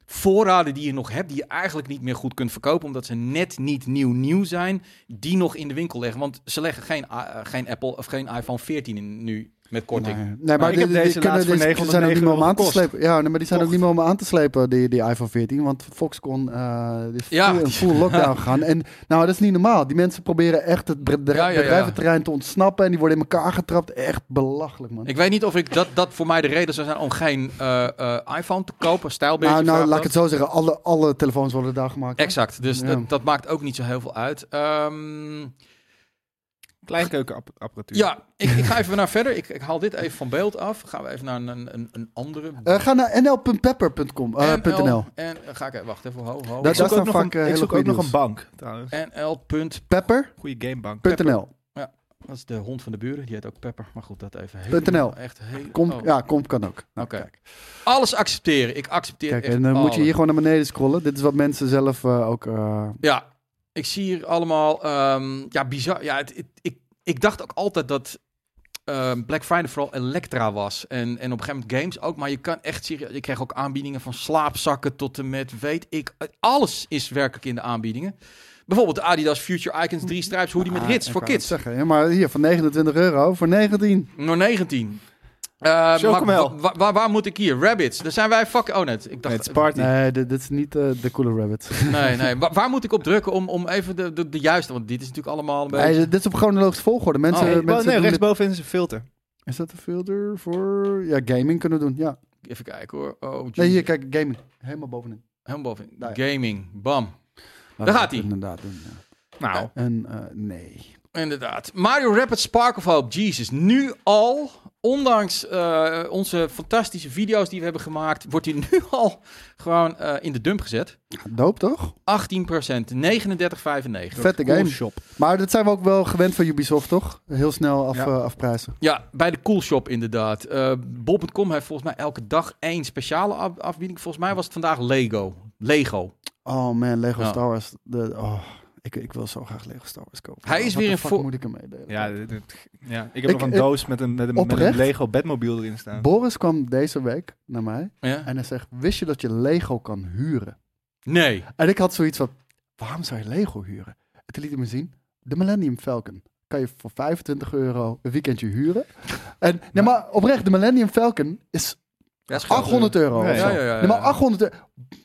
voorraden die je nog hebt, die je eigenlijk niet meer goed kunt verkopen, omdat ze net niet nieuw nieuw zijn, die nog in de winkel leggen. Want ze leggen geen, eh, geen Apple of geen iPhone 14 in, nu met korting.
Nee, nee, maar,
ik heb
die- die
deze
kunnen-
laatst voor
die zijn ook
909
niet meer om aan te
euro gekocht.
slepen. Ja, nee, maar die zijn ook
Kocht.
niet meer om aan te slepen, die, die iPhone 14. Want Foxconn eh, is
Ja.
full, in full lockdown gegaan. En nou, dat is niet normaal. Die mensen proberen echt het bedrijf-
Ja, ja, ja.
bedrijventerrein te ontsnappen. En die worden in elkaar getrapt. Echt belachelijk, man.
Ik weet niet of ik dat, dat voor mij de reden zou zijn om geen eh, eh, iPhone te kopen. Stijlbeeld.
nou, nou laat ik het zo zeggen. Alle, alle telefoons worden daar gemaakt.
Exact, dus
Ja.
dat, dat maakt ook niet zo heel veel uit. Ehm,
Kleinkeukenapparatuur.
ja, ik, ik ga even naar verder. Ik, ik haal dit even van beeld af. Gaan we even naar een, een, een andere.
Eh, ga naar nl.pepper.com. eh,
NL.
.nl.
En eh, ga ik even, wacht even, ho, ho.
Ik
Dat-
zoek
daar
ook,
staan
nog
vaak,
een,
eh,
ik
hele
zoek ook
goede
nog een
deals.
bank, trouwens.
NL. punt-
Pepper.nl.
Goede gamebank.
Dat is de hond van de buren, die heet ook Pepper. Maar goed, dat even.
Punt
helemaal-
NL.
Echt heel.
Kom,
oh,
Ja, kom kan ook. Nou,
Oké. oh.
kijk.
Alles accepteren. Ik accepteer
Kijk,
echt
en dan moet je
alles.
hier gewoon naar beneden scrollen. Dit is wat mensen zelf eh, ook... eh,
Ja, ik zie hier allemaal. ehm, ja, bizar. Ja, het, het- ik, ik dacht ook altijd dat ehm, Black Friday vooral Elektra was. En, en op een gegeven moment games ook. Maar je kan echt serieus. Je kreeg ook aanbiedingen van slaapzakken tot en met weet ik. Alles is werkelijk in de aanbiedingen. Bijvoorbeeld de Adidas Future Icons 3 Stripes hoodie met
ah,
rits
ik
voor
wou het
kids.
Zeggen, ja, maar hier, van 29 euro voor 19.
Nog 19. Eh,
Zo,
maar
kom wel.
wa- waar, waar moet ik hier? Rabbits. Daar zijn wij fuck. Oh, net. Ik dacht.
eh, Nee, het is party.
Nee, dit, dit is niet eh, de Cooler Rabbit.
nee, nee. Wa- waar moet ik op drukken om, om even de, de, de juiste? Want dit is natuurlijk allemaal een beetje.
Nee, dit is op chronologische volgorde. Mensen,
Oh,
Nee,
mensen
nee,
doen dit-
rechtsboven is een filter.
Is dat een filter voor... Ja, gaming kunnen we doen, ja.
Even kijken hoor. Oh,
Nee,
jeez.
hier, kijk, gaming. Helemaal bovenin.
Helemaal boven.
Nou
Gaming. Bam.
Laten we
gaat
dat
ie.
Inderdaad doen, ja.
Nou.
En eh, nee.
Inderdaad. Mario Rapid Spark of Hope. Jesus. Nu al, ondanks eh, onze fantastische video's die we hebben gemaakt, wordt hij nu al gewoon eh, in de dump gezet. 18%,
Doop toch?
39,95.
Vette
Cool
game.
shop.
Maar dat zijn we ook wel gewend van Ubisoft, toch? Heel snel af,
Ja.
eh, afprijzen.
Ja, bij de Coolshop inderdaad. Eh Bob.com heeft volgens mij elke dag één speciale af- afbieding. Volgens mij was het vandaag Lego. Lego.
Oh man, Lego
Ja.
Star Wars. De, oh, ik, ik wil zo graag Lego Star Wars kopen.
Hij is
Wat
weer
de
een
fuck
vo-
moet ik hem meedelen?
Ja, dit- dit- ja, ik heb
Ik-
nog een
ik-
doos met een, met, een, met
Oprecht?
een Lego bedmobiel erin staan.
Boris kwam deze week naar mij
Ja?
en hij zegt, wist je dat je Lego kan huren?
Nee.
En ik had zoiets van, waarom zou je Lego huren? En toen liet hij me zien, de Millennium Falcon. Kan je voor 25 euro een weekendje huren? En, nee, maar oprecht, de Millennium Falcon is
Dat is gewoon-
800 euro.
Nee,
of zo.
ja, ja, ja, ja.
Nee, maar 800 euro.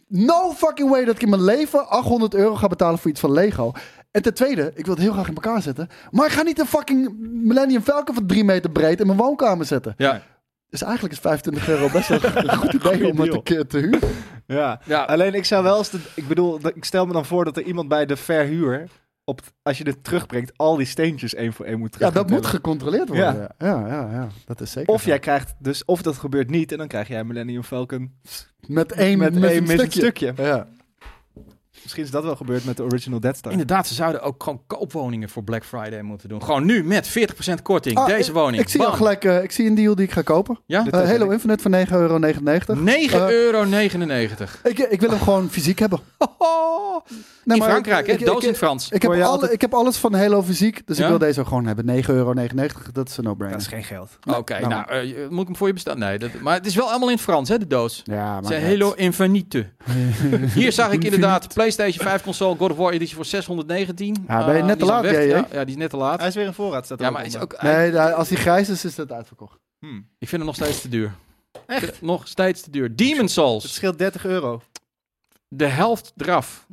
No fucking way dat ik in mijn leven 800 euro ga betalen voor iets van Lego. En ten tweede, ik wil het heel graag in elkaar zetten. Maar ik ga niet een fucking Millennium Falcon van 3 meter breed in mijn woonkamer zetten.
Ja.
Dus eigenlijk is 25 euro best wel een goed idee om het
deal.
een keer te huren.
Ja.
ja.
Alleen ik zou wel eens... de- ik bedoel, dat- ik stel me dan voor dat er iemand bij de verhuur... Op, het- als je dit terugbrengt, al die steentjes één voor één moet
Ja,
terug.
dat
gaan
moet
tellen.
gecontroleerd worden. Ja, ja, ja, dat is zeker.
Of jij krijgt dus... Of dat gebeurt niet en dan krijg jij Millennium Falcon
met één,
met,
met
één
een stukje.
Ja. Misschien is dat wel gebeurd met de original Dead Star.
Inderdaad, ze zouden ook gewoon koopwoningen voor Black Friday moeten doen. Gewoon nu met 40% korting.
Ah,
deze woning.
Ik zie
Bam.
al gelijk, eh, ik zie een deal die ik ga kopen.
Ja?
Dit
Eh,
is
Halo
ik.
Infinite voor 9,99 euro.
Mm.
Eh,
9,99
Ik, ik wil hem gewoon fysiek hebben.
euro.
Oh. Nee,
in
maar
Frankrijk,
ik-
hè?
ik-
doos
ik-
in het Frans.
Ik heb,
Hoor je
alle,
altijd-
ik heb alles van Halo fysiek, dus
Ja?
ik wil deze ook gewoon hebben. 9,99 euro, dat is een
Dat is
no-brainer.
geen geld.
Oké,
nou,
nou, eh, je- moet ik hem voor je bestellen? Nee, dat, maar het is wel allemaal in het Frans, hè, de doos.
Ja, maar
Het zijn
dat-
Halo Infinite. Hier zag ik inderdaad PlayStation 5 console God of War editie voor 619.
Ja, ben je
Eh,
net
die
te
is al
laat,
weg.
JJ?
Ja, ja, die is net te laat.
Hij is weer in voorraad, staat er
Ja,
ook
maar is
onder.
ook,
Nee, daar- als die grijs is, is dat uitverkocht.
Hmm.
ik vind hem nog steeds te duur. Echt? Nog steeds te duur. Demon
Het
Souls,
scheelt 30 euro.
de helft eraf.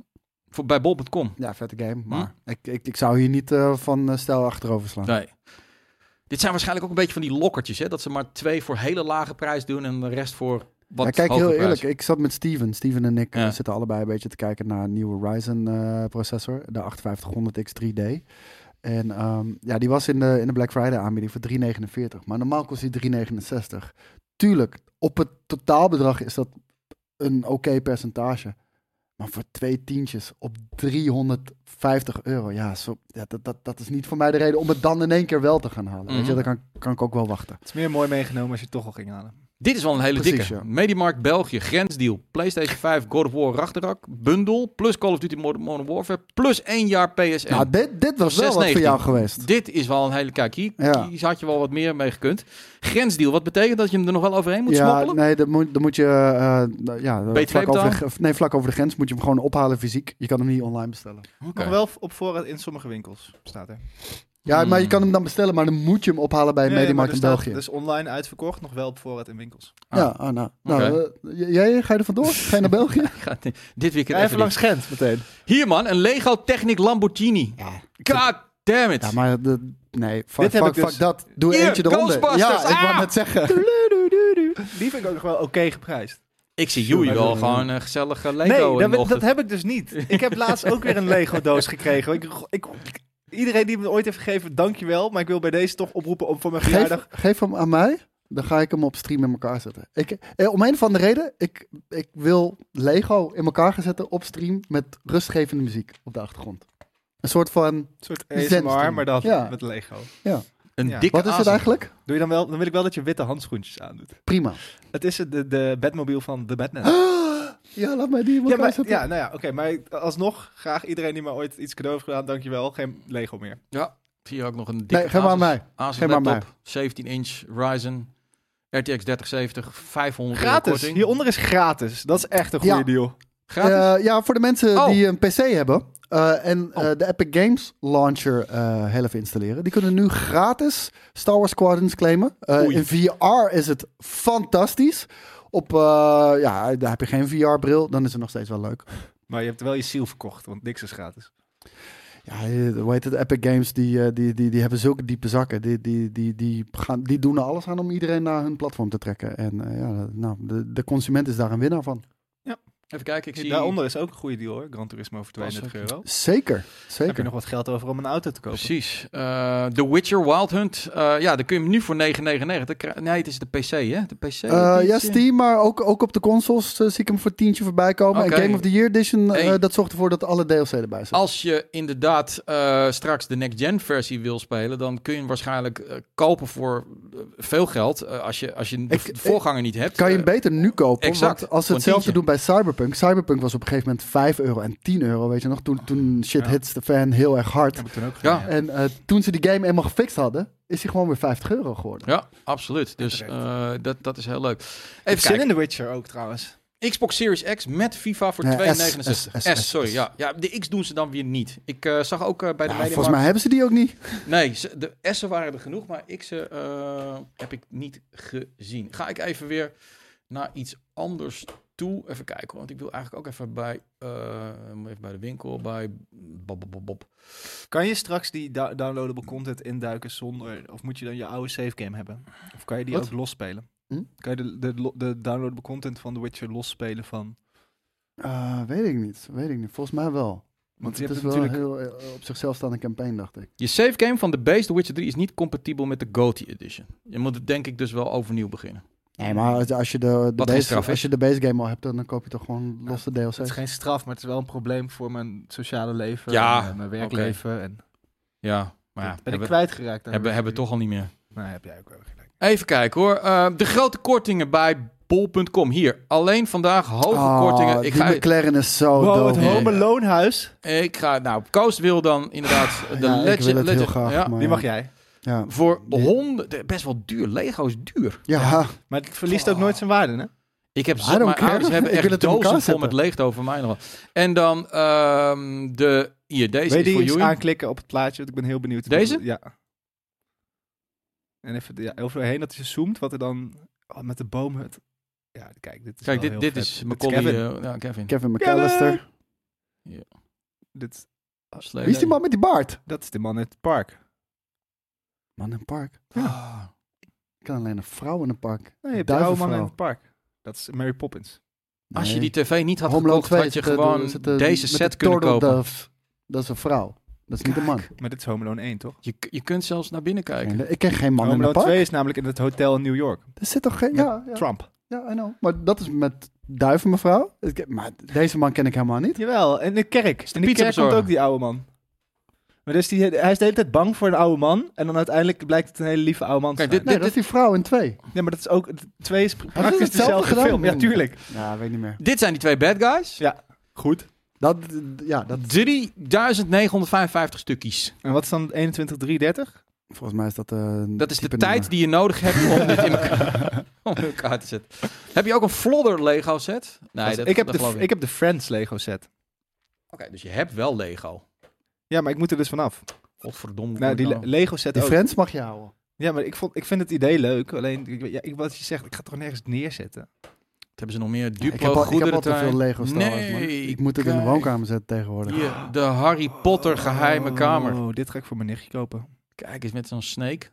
Voor, bij bol.com.
Ja, vette game, maar
Hm?
ik, ik, ik zou hier niet eh, van eh, stijl achterover slaan.
Nee. Dit zijn waarschijnlijk ook een beetje van die lokkertjes, hè? Dat ze maar twee voor hele lage prijs doen en de rest voor wat
ja, kijk,
hogere
heel
prijs.
eerlijk, ik zat met Steven. Steven en ik eh,
Ja.
zitten allebei een beetje te kijken naar een nieuwe Ryzen eh, processor, de 5800X3D. En ehm, ja, die was in de, in de Black Friday aanbieding voor 3,49. Maar normaal kost die 3,69. Tuurlijk, op het totaalbedrag is dat een oké percentage. Maar voor twee tientjes op 350 euro, ja, zo, ja dat, dat, dat is niet voor mij de reden om het dan in één keer wel te gaan halen. Weet
Mhm.
je, daar kan, kan ik ook wel wachten.
Het is meer mooi meegenomen als je het toch al ging halen.
Dit is wel een hele
Precies,
dikke.
ja.
Mediamarkt België, grensdeal. PlayStation 5, God of War, Ragnarok, bundle. Plus Call of Duty Modern Modern Warfare. Plus één jaar PSN.
Nou, dit, dit was wel wat voor
6,19.
jou geweest.
Dit is wel een hele... Kijk, hier,
Ja.
hier had je wel wat meer mee gekund. Grensdeal, wat betekent dat je hem er nog wel overheen moet
ja,
smokkelen?
nee, dan moet, dan moet je eh, eh, ja,
B2
vlak, over de,
betalen?
gr- nee, vlak over de grens moet je hem gewoon ophalen fysiek. Je kan hem niet online bestellen.
Oké.
Nog wel op voorraad in sommige winkels staat er.
Ja,
Hmm.
maar je kan hem dan bestellen, maar dan moet je hem ophalen bij een
Nee, maar
Mediamarkt
er
in
staat
België.
Dus online uitverkocht, nog wel op voorraad in winkels.
Ah.
Ja, ah, nou. nou
Oké.
eh, j- jij, ga je er vandoor? Ga je naar België?
Ik ga het- Dit weekend
Ja,
even,
even langs Gent meteen.
niet. Hier man, een Lego Technic Lamborghini. God damn it.
Ja, maar de, nee, fuck,
Dit heb
fuck,
ik dus-
fuck dat. Doe
Hier,
eentje eronder.
Ghostbusters,
Ja, ik
ah!
wou net zeggen.
Die vind ik ook nog wel oké geprijsd.
Ik zie Joey
maar
wel
dat-
gewoon een gezellige Lego
nee,
in de
dat, ben-
ochtend.
dat heb ik dus niet. Ik heb laatst ook weer een Lego-doos gekregen. Ik, ik, iedereen die me ooit heeft gegeven, dankjewel. Maar ik wil bij deze toch oproepen om voor mijn
Geef,
verjaardag...
geef hem aan mij, dan ga ik hem op stream in elkaar zetten. Ik, eh, om een of andere reden, ik, ik wil Lego in elkaar gaan zetten op stream met rustgevende muziek op de achtergrond. Een soort van,
Een soort
Zen
ASMR, maar dan
Ja.
met Lego.
Een
Ja.
dikke
wat is het
aas.
eigenlijk?
Doe je dan, wel, dan wil ik wel dat je witte handschoentjes aandoet.
Prima.
Het is de, de Batmobile van The Batman.
Ah, Ja, laat mij die in elkaar
Ja, maar,
zetten.
ja, nou ja, oké. maar alsnog, graag iedereen die mij ooit iets cadeau heeft gedaan, dankjewel. Geen Lego meer.
Ik zie hier ook nog een dikke
nee, geef maar aan
Asus-
mij.
Asus
Geef maar
laptop, 17 inch Ryzen, RTX 3070, 500 euro
Gratis.
korting.
Hieronder is gratis. Dat is echt een goede
Ja.
deal.
Gratis?
Eh, ja, voor de mensen
Oh.
die een PC hebben eh, en eh,
Oh.
de Epic Games Launcher eh, heel even installeren. Die kunnen nu gratis Star Wars Squadrons claimen. Eh,
Oei.
in VR is het fantastisch. Op, eh, ja, daar heb je geen VR-bril, dan is het nog steeds wel leuk.
Maar je hebt wel je ziel verkocht, want niks is gratis.
Ja, eh, hoe heet het? Epic Games, die, eh, die, die, die hebben zulke diepe zakken. Die, die, die, die, gaan, die doen er alles aan om iedereen naar hun platform te trekken. En eh, ja, nou, de, de consument is daar een winnaar van.
Even kijken, ik zie...
Daaronder is ook een goede deal hoor. Gran Turismo voor 32
Klasse.
euro.
Zeker,
Heb je
zeker.
nog wat geld over om een auto te kopen?
Precies. Eh, The Witcher Wild Hunt. eh, ja, dan kun je hem nu voor 9,99. krijg- Nee, het is de PC, hè? De PC.
Eh, ja,
editie.
Steam, maar ook, ook op de consoles eh, zie ik hem voor tientje voorbij komen.
Oké.
En Game of the Year Edition, eh,
Hey.
dat zorgt ervoor dat alle DLC erbij zit.
Als je inderdaad eh, straks de next-gen versie wil spelen, dan kun je hem waarschijnlijk eh, kopen voor eh, veel geld. eh, als, je, als je de
Ik-
v- voorganger niet hebt.
kan je hem
Eh,
beter nu kopen?
exact,
want als ze
voor een tientje.
hetzelfde doen bij Cyberpunk. Cyberpunk was op een gegeven moment 5 euro en 10 euro, weet je nog? Toen, toen shit
Ja.
hits de fan heel erg hard.
Heb ik toen ook
Ja.
gedaan. ja.
En eh, toen ze die game eenmaal gefixt hadden, is hij gewoon weer 50 euro geworden.
Ja, absoluut. Dus
Terecht.
eh, dat, dat is heel leuk.
Ik
Even
zin
kijken.
in The Witcher ook trouwens.
Xbox Series X met FIFA voor
Ja,
2,69. S,
S, S, S,
sorry.
S.
Ja. ja, de X doen ze dan weer niet. Ik eh, zag ook eh, bij de
Nou,
Mediamarkt-
volgens mij hebben ze die ook niet.
Nee, ze- de S'en waren er genoeg, maar X'en eh, heb ik niet gezien. Ga ik even weer naar iets anders toe. Even kijken, hoor, want ik wil eigenlijk ook even bij, eh, even bij de winkel, bij Bob, Bob, Bob, Bob.
Kan je straks die da- downloadable content induiken zonder... Of moet je dan je oude savegame hebben? Of kan je die
Wat?
ook losspelen?
Hm?
Kan je de, de, lo- de downloadable content van The Witcher losspelen van...
Eh, weet ik niet, weet ik niet. Volgens mij wel. Want
je
het is
hebt
wel
natuurlijk-
heel eh, op zichzelf staande campaign, dacht ik.
Je save game van The Base, The Witcher 3, is niet compatibel met de GOTY Edition. Je moet het denk ik dus wel overnieuw beginnen.
Nee, maar als- als je de, de,
Wat geen
base,
straf is.
als je de base game al hebt, dan dan koop je toch gewoon losse DLC.
Het is geen straf, maar het is wel een probleem voor mijn sociale leven.
Ja,
en, eh, mijn werkleven. En
Ja, maar ja,
dat ben ik
hebben,
kwijtgeraakt. aan
hebben,
Witcher
hebben we
drie.
toch al niet meer.
Nee, heb jij ook wel gelijk.
Even kijken hoor. Eh, de grote kortingen bij bol.com. Hier, alleen vandaag hoge
Ah,
kortingen. Ik
die
ga,
McLaren is zo
wow,
dood.
het
nee.
Home Alone huis.
ik ga... Nou, Koos wil dan inderdaad de
Ah, ja, ik
Legend...
wil het heel
Legend-
graag,
ja,
maar
Die mag
ja.
jij.
Ja,
Voor
Die-
honden... Best wel duur. Lego is duur.
ja.
Maar het
Oh.
verliest ook nooit zijn waarde, hè?
Ik heb
I
zo,
don't
mijn
care.
ouders hebben
Ik wil
echt
het in elkaar
dozen vol
zetten.
met leegte over mij nog wel. En dan ehm, de... Hier, deze
Weet je
is voor
die eens
jullie.
aanklikken op het plaatje? Want ik ben heel benieuwd.
Deze?
Ja. En even ja, overheen dat je zoomt, wat er dan oh, met de boomhut. Ja, kijk, dit is
Kijk,
wel
dit,
Oh, heel
dit
vet.
is
Dit
Macaulay...
Kevin.
eh, ja, Kevin.
Kevin McAllister.
Dit,
Slay.
Wie is die man met die baard?
dat is de man uit het park.
Man in een park.
Ah.
Ik kan alleen een vrouw in een park.
Nee, je hebt de oude man in
Duivenvrouw.
het park. Dat is Mary Poppins.
Als je
Nee.
die tv niet had
Home Alone
gekocht,
2
had je
zit, eh,
gewoon
door- zit, eh,
deze
met
set
de
kunnen
Turtle
kopen.
Dove. Dat is een vrouw. Dat is niet een man.
Maar dit is Home Alone 1, toch?
Je, je kunt zelfs naar binnen kijken.
Nee, Ik ken geen man in
Home
een
Alone
park.
2 is namelijk in het hotel in New York.
Er zit toch geen... Ja, ja,
Trump.
ja, I know. Maar dat is met duiven, mevrouw. Ik- Maar deze man ken ik helemaal niet.
Jawel, in de kerk. In de kerk komt
pizzabezorger.
ook die oude man. Maar dus die, hij is de hele tijd bang voor een oude man. En dan uiteindelijk blijkt het een hele lieve oude man te
Kijk,
zijn.
dit-
Nee, dat is die vrouw in twee.
Nee, maar dat is ook... Twee is
Hebben ze
praktisch
hetzelfde
dezelfde
gedaan?
film. Ja, tuurlijk.
Ja, weet niet meer.
Dit zijn die twee bad guys.
Ja. Goed.
Dat, ja, dat,
3955 stukjes.
En wat is dan 21.330?
volgens mij is dat... eh, een
Dat is de
type
tijd
nummer.
die je nodig hebt om dit in
eh.
elkaar, om in elkaar te zetten. Heb je ook een Flodder Lego set? Nee, dat,
ik, heb
dat
de,
geloof
ik heb de Friends Lego set.
Oké, dus je hebt wel Lego.
Ja, maar ik moet er dus vanaf.
Godverdomme. hoe
Nou, die
dan?
Le- Lego set
Die
ook.
Friends mag je houden.
Ja, maar ik, vond, ik vind het idee leuk. Alleen, ik, ja, ik, wat je zegt, ik ga het toch nergens neerzetten.
Wat hebben ze nog meer?
ik
Duplo,
heb al, ik heb
goederen
al te veel
tuin.
Lego Star Wars, man.
Nee,
Ik moet het in de
kijk.
woonkamer zetten tegenwoordig.
Hier, de Harry Potter geheime kamer.
Oh, dit ga ik voor mijn nichtje kopen.
Kijk eens met zo'n snake.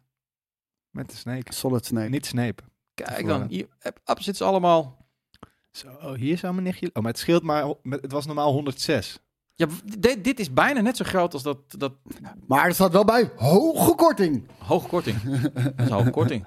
Met de Snake.
Solid Snake.
Niet Snape.
Kijk
Tevoren.
dan, hier heb- up zitten ze allemaal.
Zo, oh, hier zou mijn nichtje... Oh, maar het scheelt maar... ho- met- Het was normaal 106.
Ja, w- dit, dit is bijna net zo groot als dat, dat
Maar er staat wel bij hoge korting.
hoge korting. dat is een hoge korting.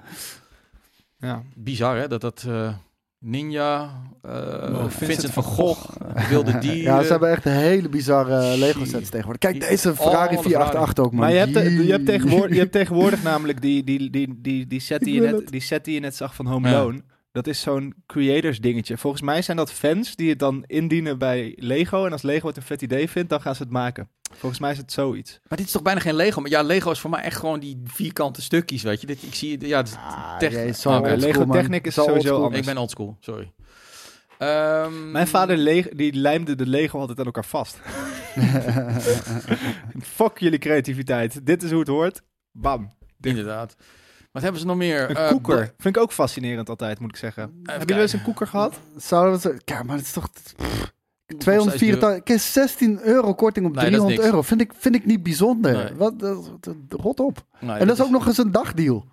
Ja.
Bizar hè, dat dat eh, Ninja, eh
Vincent
Vincent, van Gogh, wilde die. eh,
Ja, ze hebben echt hele bizarre eh, Lego
Shit.
sets tegenwoordig. Kijk, deze Ferrari
Oh, de
488 ook, man.
Maar je hebt, te- je, hebt tegenwoordig, je
Jee.
hebt tegenwoordig namelijk die, die, die, die, die, set die, je
Ik wil
net, die set die je net zag van Home
Ja.
Alone. Dat is zo'n creators dingetje. Volgens mij zijn dat fans die het dan indienen bij Lego. En als Lego het een vet idee vindt, dan gaan ze het maken. Volgens mij is het zoiets.
Maar dit is toch bijna geen Lego? Maar ja, Lego is voor mij echt gewoon die vierkante stukjes, weet je. Dit, ik zie, ja, dit-
Ah,
Tech-
jee, zo
Oké,
oldschool,
Lego
man.
Technic is
Zo
sowieso
oldschool.
anders.
ik ben oldschool, sorry. Ehm,
Mm.
Mijn vader le- die lijmde de Lego altijd aan elkaar vast. Fuck jullie creativiteit. Dit is hoe het hoort. Bam.
Inderdaad. Wat hebben ze nog meer?
Een
Eh,
koeker.
bla-
Vind ik ook fascinerend altijd, moet ik zeggen. Hebben
Even
jullie wel eens een koeker gehad?
Zouden we het... Kijk, maar het is toch... pff,
duur.
284... Ik heb 16 euro korting op
Nee, dat is
300
niks.
euro. Vind ik, vind ik niet bijzonder.
Nee.
Wat, dat- dat- rot op.
Nee,
en dat is ook nog eens een dagdeal.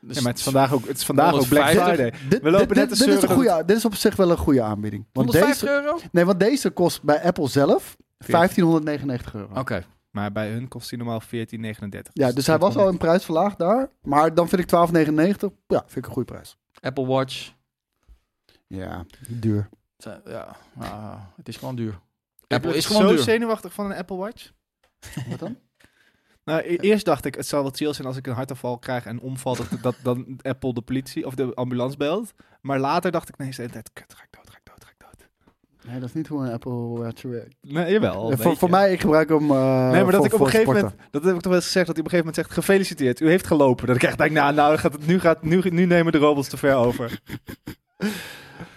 dus-
Ja, maar het is vandaag ook, het is vandaag ook Black
150.
Friday.
Dit,
We lopen
dit,
net
dit,
te
dit is een
zeuren
goede, dit is op zich wel een goede aanbieding. Want
150
deze,
euro? Oké.
nee, want deze kost bij Apple zelf 1599 euro.
Maar bij hun kost hij normaal 14,39.
Ja, dus hij was al in prijs verlaagd daar. Maar dan vind ik 12,99. Ja, vind ik een goede prijs.
Apple Watch.
Ja, duur.
Het, eh, Ja, ah, het is gewoon duur.
Ik
Apple
word
is gewoon
zo
duur.
zenuwachtig van een Apple Watch.
Wat dan?
Nou, e-
Eh.
eerst dacht ik, het zou wel chill zijn als ik een hartaanval krijg en omval, dat, dat dan Apple de politie of de ambulance belt. Maar later dacht ik, nee, is de hele tijd, kut, ga ik dood, ga ik dood, ga ik dood.
Nee, dat is niet hoe een Apple Watch werkt.
Nee, jawel. een
voor,
beetje.
voor mij, ik gebruik hem eh,
Nee, maar dat
voor-
ik op een
voor
gegeven
sporten.
moment, dat heb ik toch wel eens gezegd, dat hij op een gegeven moment zegt, gefeliciteerd, u heeft gelopen. Dat ik echt denk, nou, nou gaat het, nu, gaat, nu, nu nemen de robots te ver over.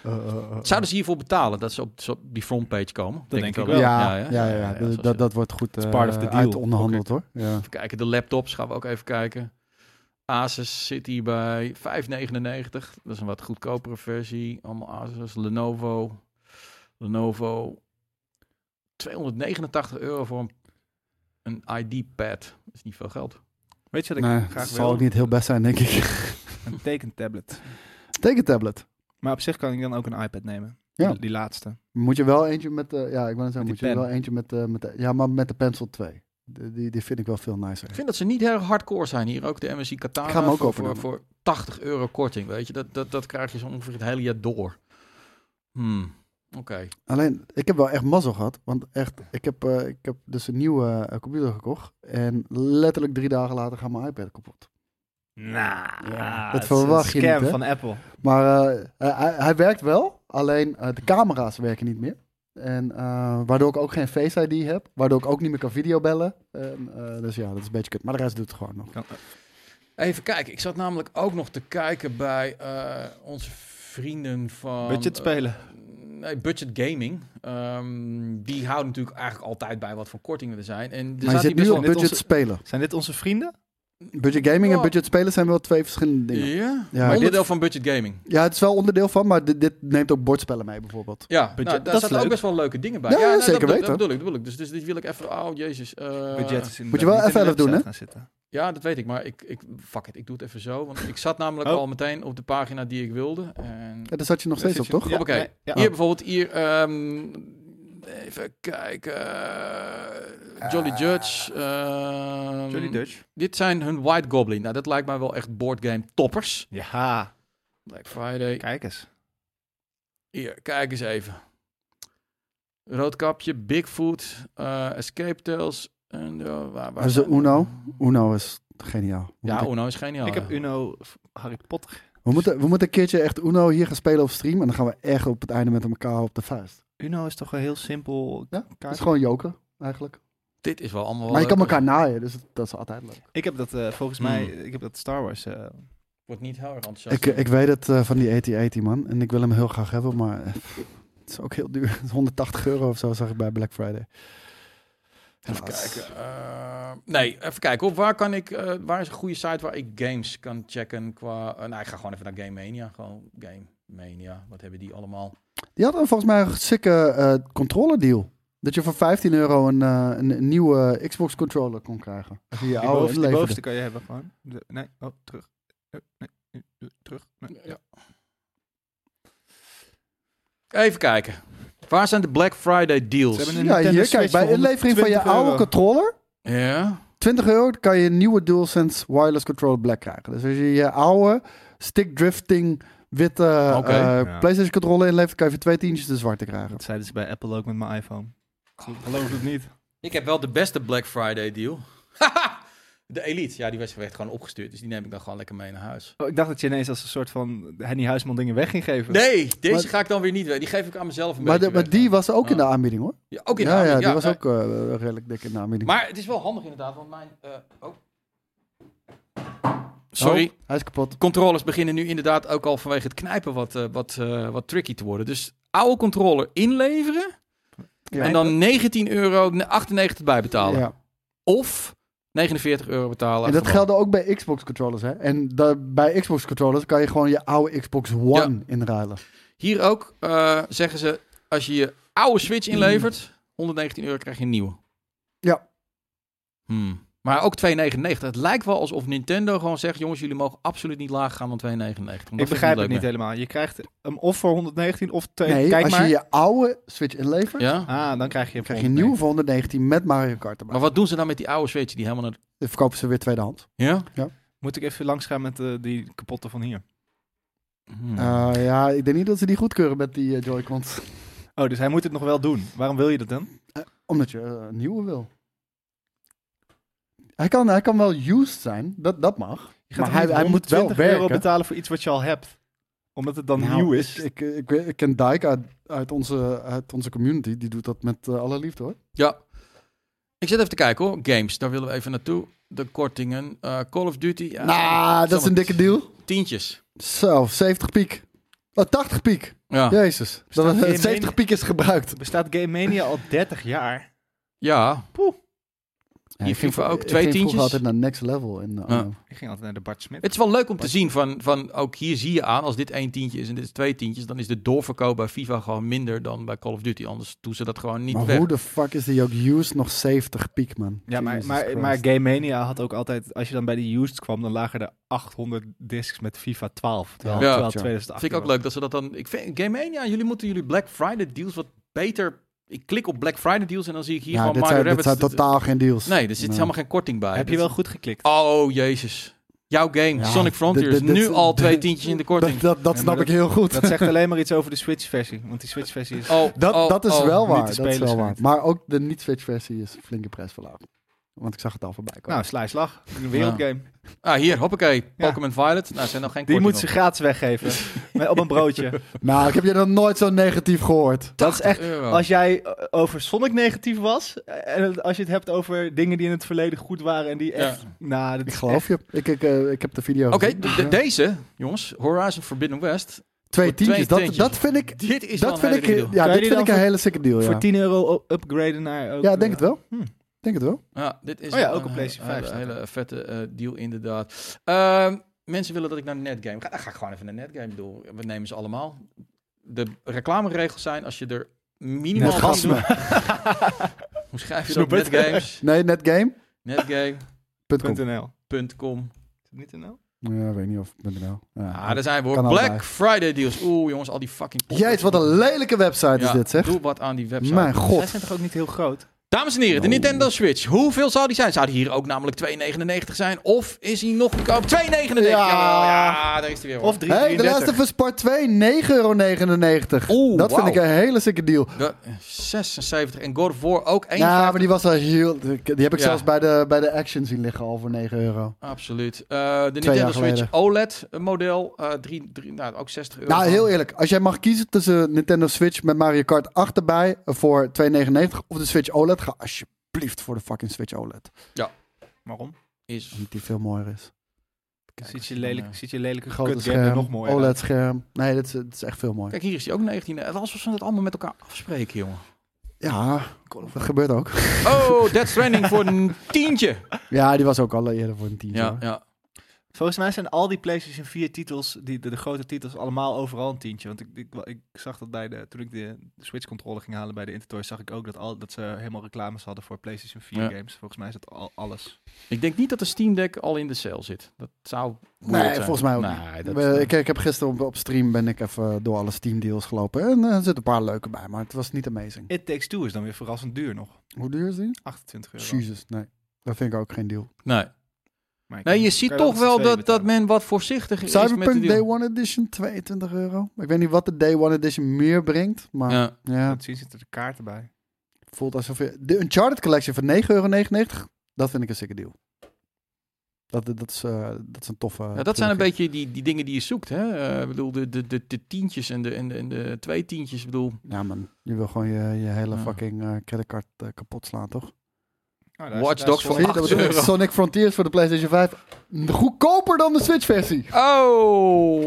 Eh, eh, eh.
Zouden ze hiervoor betalen dat ze op, zo op die frontpage komen? Dat
denk ik
Ja,
wel.
ja, ja, ja,
zoals
dat,
je-
dat wordt goed
is
eh
part of the deal.
uit onderhandeld hoor. Ja.
Even kijken, de laptops gaan we ook even kijken. Asus zit hierbij 5,99. Dat is een wat goedkopere versie. Allemaal Asus, Lenovo. Lenovo. 289 euro voor een, een ID-pad. Dat is niet veel geld.
Weet je wat ik
Nee, dat
graag
zal
wil?
ook niet heel best zijn, denk ik.
Een tekentablet.
Tekentablet.
Maar op zich kan ik dan ook een iPad nemen.
Ja.
Die laatste.
Moet je wel eentje met de... Ja, ik wou net zeggen,
die
moet je
pen.
wel eentje met de, met de... Ja, maar met de Pencil 2. De- die, die vind ik wel veel nicer.
Ik vind dat ze niet heel hardcore zijn hier. Ook de MSI Katana
Ik ga hem ook
voor, voor,
overdoen.
voor 80 euro korting. Weet je, dat, dat, dat krijg je zo ongeveer het hele jaar door. Hmm, Oké.
Alleen, ik heb wel echt mazzel gehad. Want echt, ik heb, eh, ik heb dus een nieuwe eh, computer gekocht. En letterlijk drie dagen later gaat mijn iPad kapot.
Nou,
Ja, dat
het is
verwacht je
een scam
niet, hè?
van Apple.
Maar eh, hij- hij, hij werkt wel. Alleen eh, de camera's werken niet meer. En eh, waardoor ik ook geen Face ID heb. Waardoor ik ook niet meer kan videobellen. En, eh, dus ja, dat is een beetje kut. Maar de rest doet het gewoon
Dus
nog.
Even kijken, ik zat namelijk ook nog te kijken bij eh, onze vrienden van...
Budget spelen.
eh, nee, Budget Gaming. Ehm, die houden natuurlijk eigenlijk altijd bij wat voor kortingen er zijn. En er
maar je
zaten
zit
hier
nu
best
op
wel...
net
budget
onze-
spelen.
Zijn dit onze vrienden?
Budget gaming
Ja.
en budget spelen zijn wel twee verschillende dingen. Ja,
Ja,
Ja.
maar
Maar
onderdeel van Budget Gaming.
het is wel onderdeel van, maar dit, dit neemt ook bordspellen mee bijvoorbeeld.
Ja, nou,
Budget- dat
daar
is
zaten ook
leuk.
best wel leuke dingen bij.
Ja, ja,
nou,
zeker
dat, dat-
weten.
Dat bedoel ik, dat bedoel ik. Dus, dus dit wil ik even... Oh, jezus. eh,
Budget is
Moet je wel
inderdaad niet in de
F11 doen,
website
hè?
gaan zitten.
Ja, dat weet ik, maar ik, ik... Fuck it, ik doe het even zo. Want ik zat namelijk
Oh.
al meteen op de pagina die ik wilde. En
Ja, daar zat je nog
Daar
steeds op,
zit je-
toch?
Ja,
Hoppakee.
nee, ja.
Hier bijvoorbeeld, hier, ehm, even kijken, eh, Jolly
Ah.
Judge. ehm,
Jolly Dutch.
Dit zijn hun White Goblin. Nou, dat lijkt mij wel echt boardgame toppers.
Ja,
Black Friday.
kijk eens.
Hier, kijk eens even. Roodkapje, Bigfoot, eh, Escape Tales, En, eh, waar, waar
Maar ze
zijn we?
Uno? Uno is geniaal. We,
Ja, oh.
moeten,
Uno is geniaal.
Ik heb
ja.
Uno v- Harry Potter.
we, moeten, we moeten een keertje echt Uno hier gaan spelen op stream. En dan gaan we echt op het einde met elkaar op de vuist.
Uno is toch een heel simpel
Ja, Het is
kaart.
gewoon joker, eigenlijk.
Oh, Dit is wel allemaal... wel
Maar je kan
leuk.
elkaar naaien, dus dat is altijd leuk.
Ik heb dat eh, volgens
Hmm.
mij, ik heb dat Star Wars. eh,
Wordt niet heel erg enthousiast.
Ik, ik weet het eh, van die 8080 man. En ik wil hem heel graag hebben, maar eh, het is ook heel duur. Het is 180 euro of zo, zag ik bij Black Friday.
Even
Helaas.
kijken. eh, nee, even kijken. Op waar kan ik? eh, waar is een goede site waar ik games kan checken qua? eh, nou, ik ga gewoon even naar Game Mania. Gewoon Game Mania. Wat hebben die allemaal?
Die hadden volgens mij een sikke eh controller deal. Dat je voor 15 euro een, eh, een, een nieuwe Xbox controller kon krijgen. Als je je
die,
oude
bovenste, die
inleverde.
bovenste kan je hebben gewoon. De- nee, oh, terug. Eh, Nee, eh, eh, terug. Nee.
Even kijken. Waar zijn de Black Friday deals?
Ze hebben een
Ja,
Nintendo
hier, kijk,
Switch
bij
voor
inlevering van je
120
oude
euro.
controller,
Ja.
20 euro, dan kan je een nieuwe DualSense wireless controller black krijgen. Dus als je je oude stick drifting witte
Oké.
eh,
Ja.
PlayStation controller inlevert, kan je voor twee tientjes de zwarte krijgen.
Dat zeiden ze bij Apple ook met mijn iPhone. Ik Geloof het niet.
Ik heb wel de beste Black Friday deal. de Elite. Ja, die werd gewoon opgestuurd. Dus die neem ik dan gewoon lekker mee naar huis.
Oh, ik dacht dat je ineens als een soort van Henny Huisman dingen weg ging geven.
Nee, deze
Maar-
ga ik dan weer niet weg. Die geef ik aan mezelf een
Maar, de-
beetje
maar
weg.
die was ook in de
Ah.
aanbieding hoor.
Ja, ook in de
ja, ja,
aanbieding,
die was
nee.
ook eh, redelijk dik in de aanbieding.
Maar het is wel handig inderdaad, want mijn... eh, oh. Sorry.
Oh, hij is kapot.
Controllers beginnen nu inderdaad ook al vanwege het knijpen wat, eh, wat, eh, wat tricky te worden. Dus oude controller inleveren
Ja.
en dan 19 euro 98 bijbetalen.
Ja.
Of 49 euro betalen.
En dat
Gewoon.
geldde ook bij Xbox controllers hè. En da- bij Xbox controllers kan je gewoon je oude Xbox One inruilen.
Hier ook eh, zeggen ze, als je je oude Switch inlevert, 119 euro krijg je een nieuwe.
Ja.
Hmm. Maar ook 2,99. Het lijkt wel alsof Nintendo gewoon zegt... jongens, jullie mogen absoluut niet laag gaan dan 2,99. Want dat vind
Ik begrijp het
leuk
niet
meer.
helemaal. Je krijgt hem of voor 119 of twee.
Nee,
Kijk
als
maar.
je je oude Switch inlevert,
Ja?
Ah, dan krijg je hem
krijg je
voor
een
119.
nieuwe voor 119 met Mario Kart erbij.
Maar wat doen ze dan met die oude Switch die helemaal naar...
Dan verkopen ze weer tweedehands.
Ja?
Moet ik even langs gaan met eh, die kapotte van hier.
Hmm.
Eh, ja, ik denk niet dat ze die goedkeuren met die eh, Joy-Cons.
Oh, dus hij moet het nog wel doen. Waarom wil je dat dan?
Omdat je eh, een nieuwe wil. Hij kan, hij kan wel used zijn, dat, dat mag.
Je gaat
Maar
toch
hij-
niet
hij moet wel
120 euro
werken?
betalen voor iets wat je al hebt. Omdat het dan
Nou,
nieuw is.
Ik, ik, ik, ik ken Dijk uit, uit, onze, uit onze community, die doet dat met eh, alle liefde hoor.
Ja. Ik zit even te kijken hoor. Games, daar willen we even naartoe. De kortingen. Eh, Call of Duty. Ja,
nou, dat is een dikke deal.
Tientjes.
Zo, 70 piek. Oh, 80 piek.
Ja. Ja.
Jezus.
Staat
Dat,
hier in
70
mening-
piek is gebruikt.
Bestaat Game Mania al 30 jaar?
Hier
ik
ging voor
vro-
ook
ik
twee
ging
tientjes. Ah,
vroeger altijd naar next level. In, eh,
Ja.
Arnhem.
Ik ging altijd naar de Bart Smit.
Het is wel leuk om te zien van, van... Ook hier zie je aan, als dit één tientje is en dit is twee tientjes... dan is de doorverkoop bij FIFA gewoon minder dan bij Call of Duty. Anders doen ze dat gewoon niet
maar
weg.
hoe de fuck is die ook used nog 70 piek, man?
Ja, maar,
Jesus
maar,
Christ.
maar Game Mania had ook altijd... Als je dan bij de used kwam, dan lagen er 800 discs met FIFA 12. Terwijl,
Ja.
terwijl
Ja.
het 2018
Vind ik ook
was.
leuk dat ze dat dan... Ik vind, Game Mania, jullie moeten jullie Black Friday deals wat beter... Ik klik op Black Friday deals en dan zie ik hier
ja,
gewoon
dit
Mario
zijn, dit
Rabbit.
zijn totaal geen deals.
Nee, er zit
Nee.
helemaal geen korting bij.
Heb je
Dit-
wel goed geklikt?
Oh, jezus. Jouw game,
Ja,
Sonic Frontiers,
dit- dit-
nu
dit-
al
dit-
twee tientjes in de korting.
Dat, dat, dat
Ja,
snap
maar
ik heel goed.
Dat zegt alleen maar iets over de Switch-versie. Want die Switch-versie is...
oh,
Dat,
oh,
dat is
oh.
wel
niet
waar.
te
Dat is
spelen
wel waar.
schijnt.
Maar ook de niet-Switch versie is flinke prijsverlaging. Want ik zag het al voorbij komen.
Nou, sla je slag. Een wereldgame.
Ah, hier, hoppakee.
Ja.
Pokémon Violet. Nou, zijn nog geen
Die
korting
moeten ze gratis weggeven. Met- op een broodje.
Nou, ik heb je nog nooit zo negatief gehoord.
Dat is echt...
euro.
Als jij eh, over Sonic negatief was... eh, En als je het hebt over dingen die in het verleden goed waren... En die
Ja.
echt... Nou, dat
Ik
is
geloof je. Ik, ik, eh, ik heb de video
Oké,
gezien.
de- de- deze, jongens. Horizon Forbidden West.
Twee
twee
tientjes. Dat,
tientjes.
dat vind ik...
Dit is
Dat
wel
vind
een
ik,
hele deal.
ja,
Kan je
dit
die
vind ik
dan
een hele sikke deal,
Voor
ja.
10 euro u- upgraden naar... Ook,
Ja, denk het wel.
Hmm.
Denk het wel.
Ja, dit is
Oh ja,
wel
ook op
een
PlayStation
hele,
5 staat
hele vette eh, deal inderdaad. Ehm, mensen willen dat ik naar Netgame ga. Dan ga ik gewoon even naar Netgame door. We nemen ze allemaal. De reclameregels zijn als je er minimaal...
Net gasme.
eh,
Hoe schrijf je dat?
Snoep het.
Netgames.
Nee, netgame.com.
Netgame.com.
.nl. Is het niet .nl?
Ja, weet niet of... .nl. Ja.
Ah, daar zijn we hoor.
Kan
Black
allebei.
Friday deals. Oeh, jongens, al die fucking...
Jezus, wat een lelijke website is
Ja,
dit, zeg.
Doe wat aan die website.
Mijn god. Nou.
Zij zijn toch ook niet heel groot?
Dames en heren, de
No.
Nintendo Switch. Hoeveel zou die zijn? Zou die hier ook namelijk 2,99 zijn? Of is hij nog goedkoop? 2,99! Ja.
Ja.
ja, daar is hij weer. hoor.
Of 3,33.
Hey, de Last of Us Part 2, 9,99 euro.
Oeh,
dat
wauw.
vind ik een hele sikke deal.
De- eh, 76. En God of War ook 1,50.
Ja, maar die was al heel... Die heb ik
Ja.
zelfs bij de, bij de Action zien liggen al voor 9 euro.
Absoluut. Eh, de Nintendo
jaar
Switch E
geleden.
OLED-model. drie, drie, nou, ook 60 euro.
Nou, heel eerlijk. Als jij mag kiezen tussen Nintendo Switch met Mario Kart 8 erbij voor 2,99 of de Switch OLED, ga alsjeblieft voor de fucking Switch OLED.
Waarom?
Is...
Omdat die veel mooier is.
Kijk,
Ziet je,
dan,
lelijk,
eh,
ziet je lelijke
Grote
kutgame er
scherm, Oh,
nog mooier uit?
OLED-scherm. Nee, dat is, dat is echt veel mooier.
Kijk, hier is hij ook 19. Het alsof ze het allemaal met elkaar afspreken, jongen.
Ja, dat gebeurt ook.
Oh, Dead Stranding voor een tientje.
Ja, die was ook al eerder voor een tientje.
Ja,
hoor.
ja.
Volgens mij zijn al die PlayStation 4 titels, die, de, de grote titels, allemaal overal een tientje. Want ik, ik, ik zag dat bij de, toen ik de Switch controller ging halen bij de Intertoys, zag ik ook dat, al, dat ze helemaal reclames hadden voor PlayStation 4
Ja.
games. Volgens mij is dat al, alles.
Ik denk niet dat de Steam Deck al in de sale zit. Dat zou moeilijk
Nee,
zijn.
volgens mij ook
Nee, dat, eh,
We- ik, ik heb gisteren op, op stream ben ik even door alle Steam deals gelopen. En eh, er zitten een paar leuke bij, maar het was niet amazing.
It Takes Two is dan weer verrassend duur nog.
Hoe duur is die?
28 euro.
Jezus, nee. Dat vind ik ook geen deal.
nee.
Maar ik
nee,
kan-
je ziet
kan
toch
met z'n
wel
tweeën
dat, dat
betalen.
men wat voorzichtig is met de
Cyberpunk
deal.
Day One Edition, 22 euro. Ik weet niet wat de Day One Edition meer brengt, maar ja.
Ja.
Dat zien zitten de kaarten bij.
voelt alsof je... De Uncharted Collection van 9,99 euro, dat vind ik een sikke deal. Dat, dat, is, eh, dat is een toffe...
Ja, dat zijn een beetje die, die dingen die je zoekt. Hè? Eh, ik bedoel, de, de, de, de tientjes en de, en de, en de twee tientjes. Ik bedoel,
Ja man, je wil gewoon je, je hele
Ja.
fucking eh, creditcard eh, kapot slaan, toch?
Oh, daar is-
Watch
daar is
Dogs voor
Zie je,
Sonic-
dat
8
bedoel ik.
euro.
Sonic Frontiers voor de PlayStation 5. Goedkoper dan de Switch versie.
Oh, arme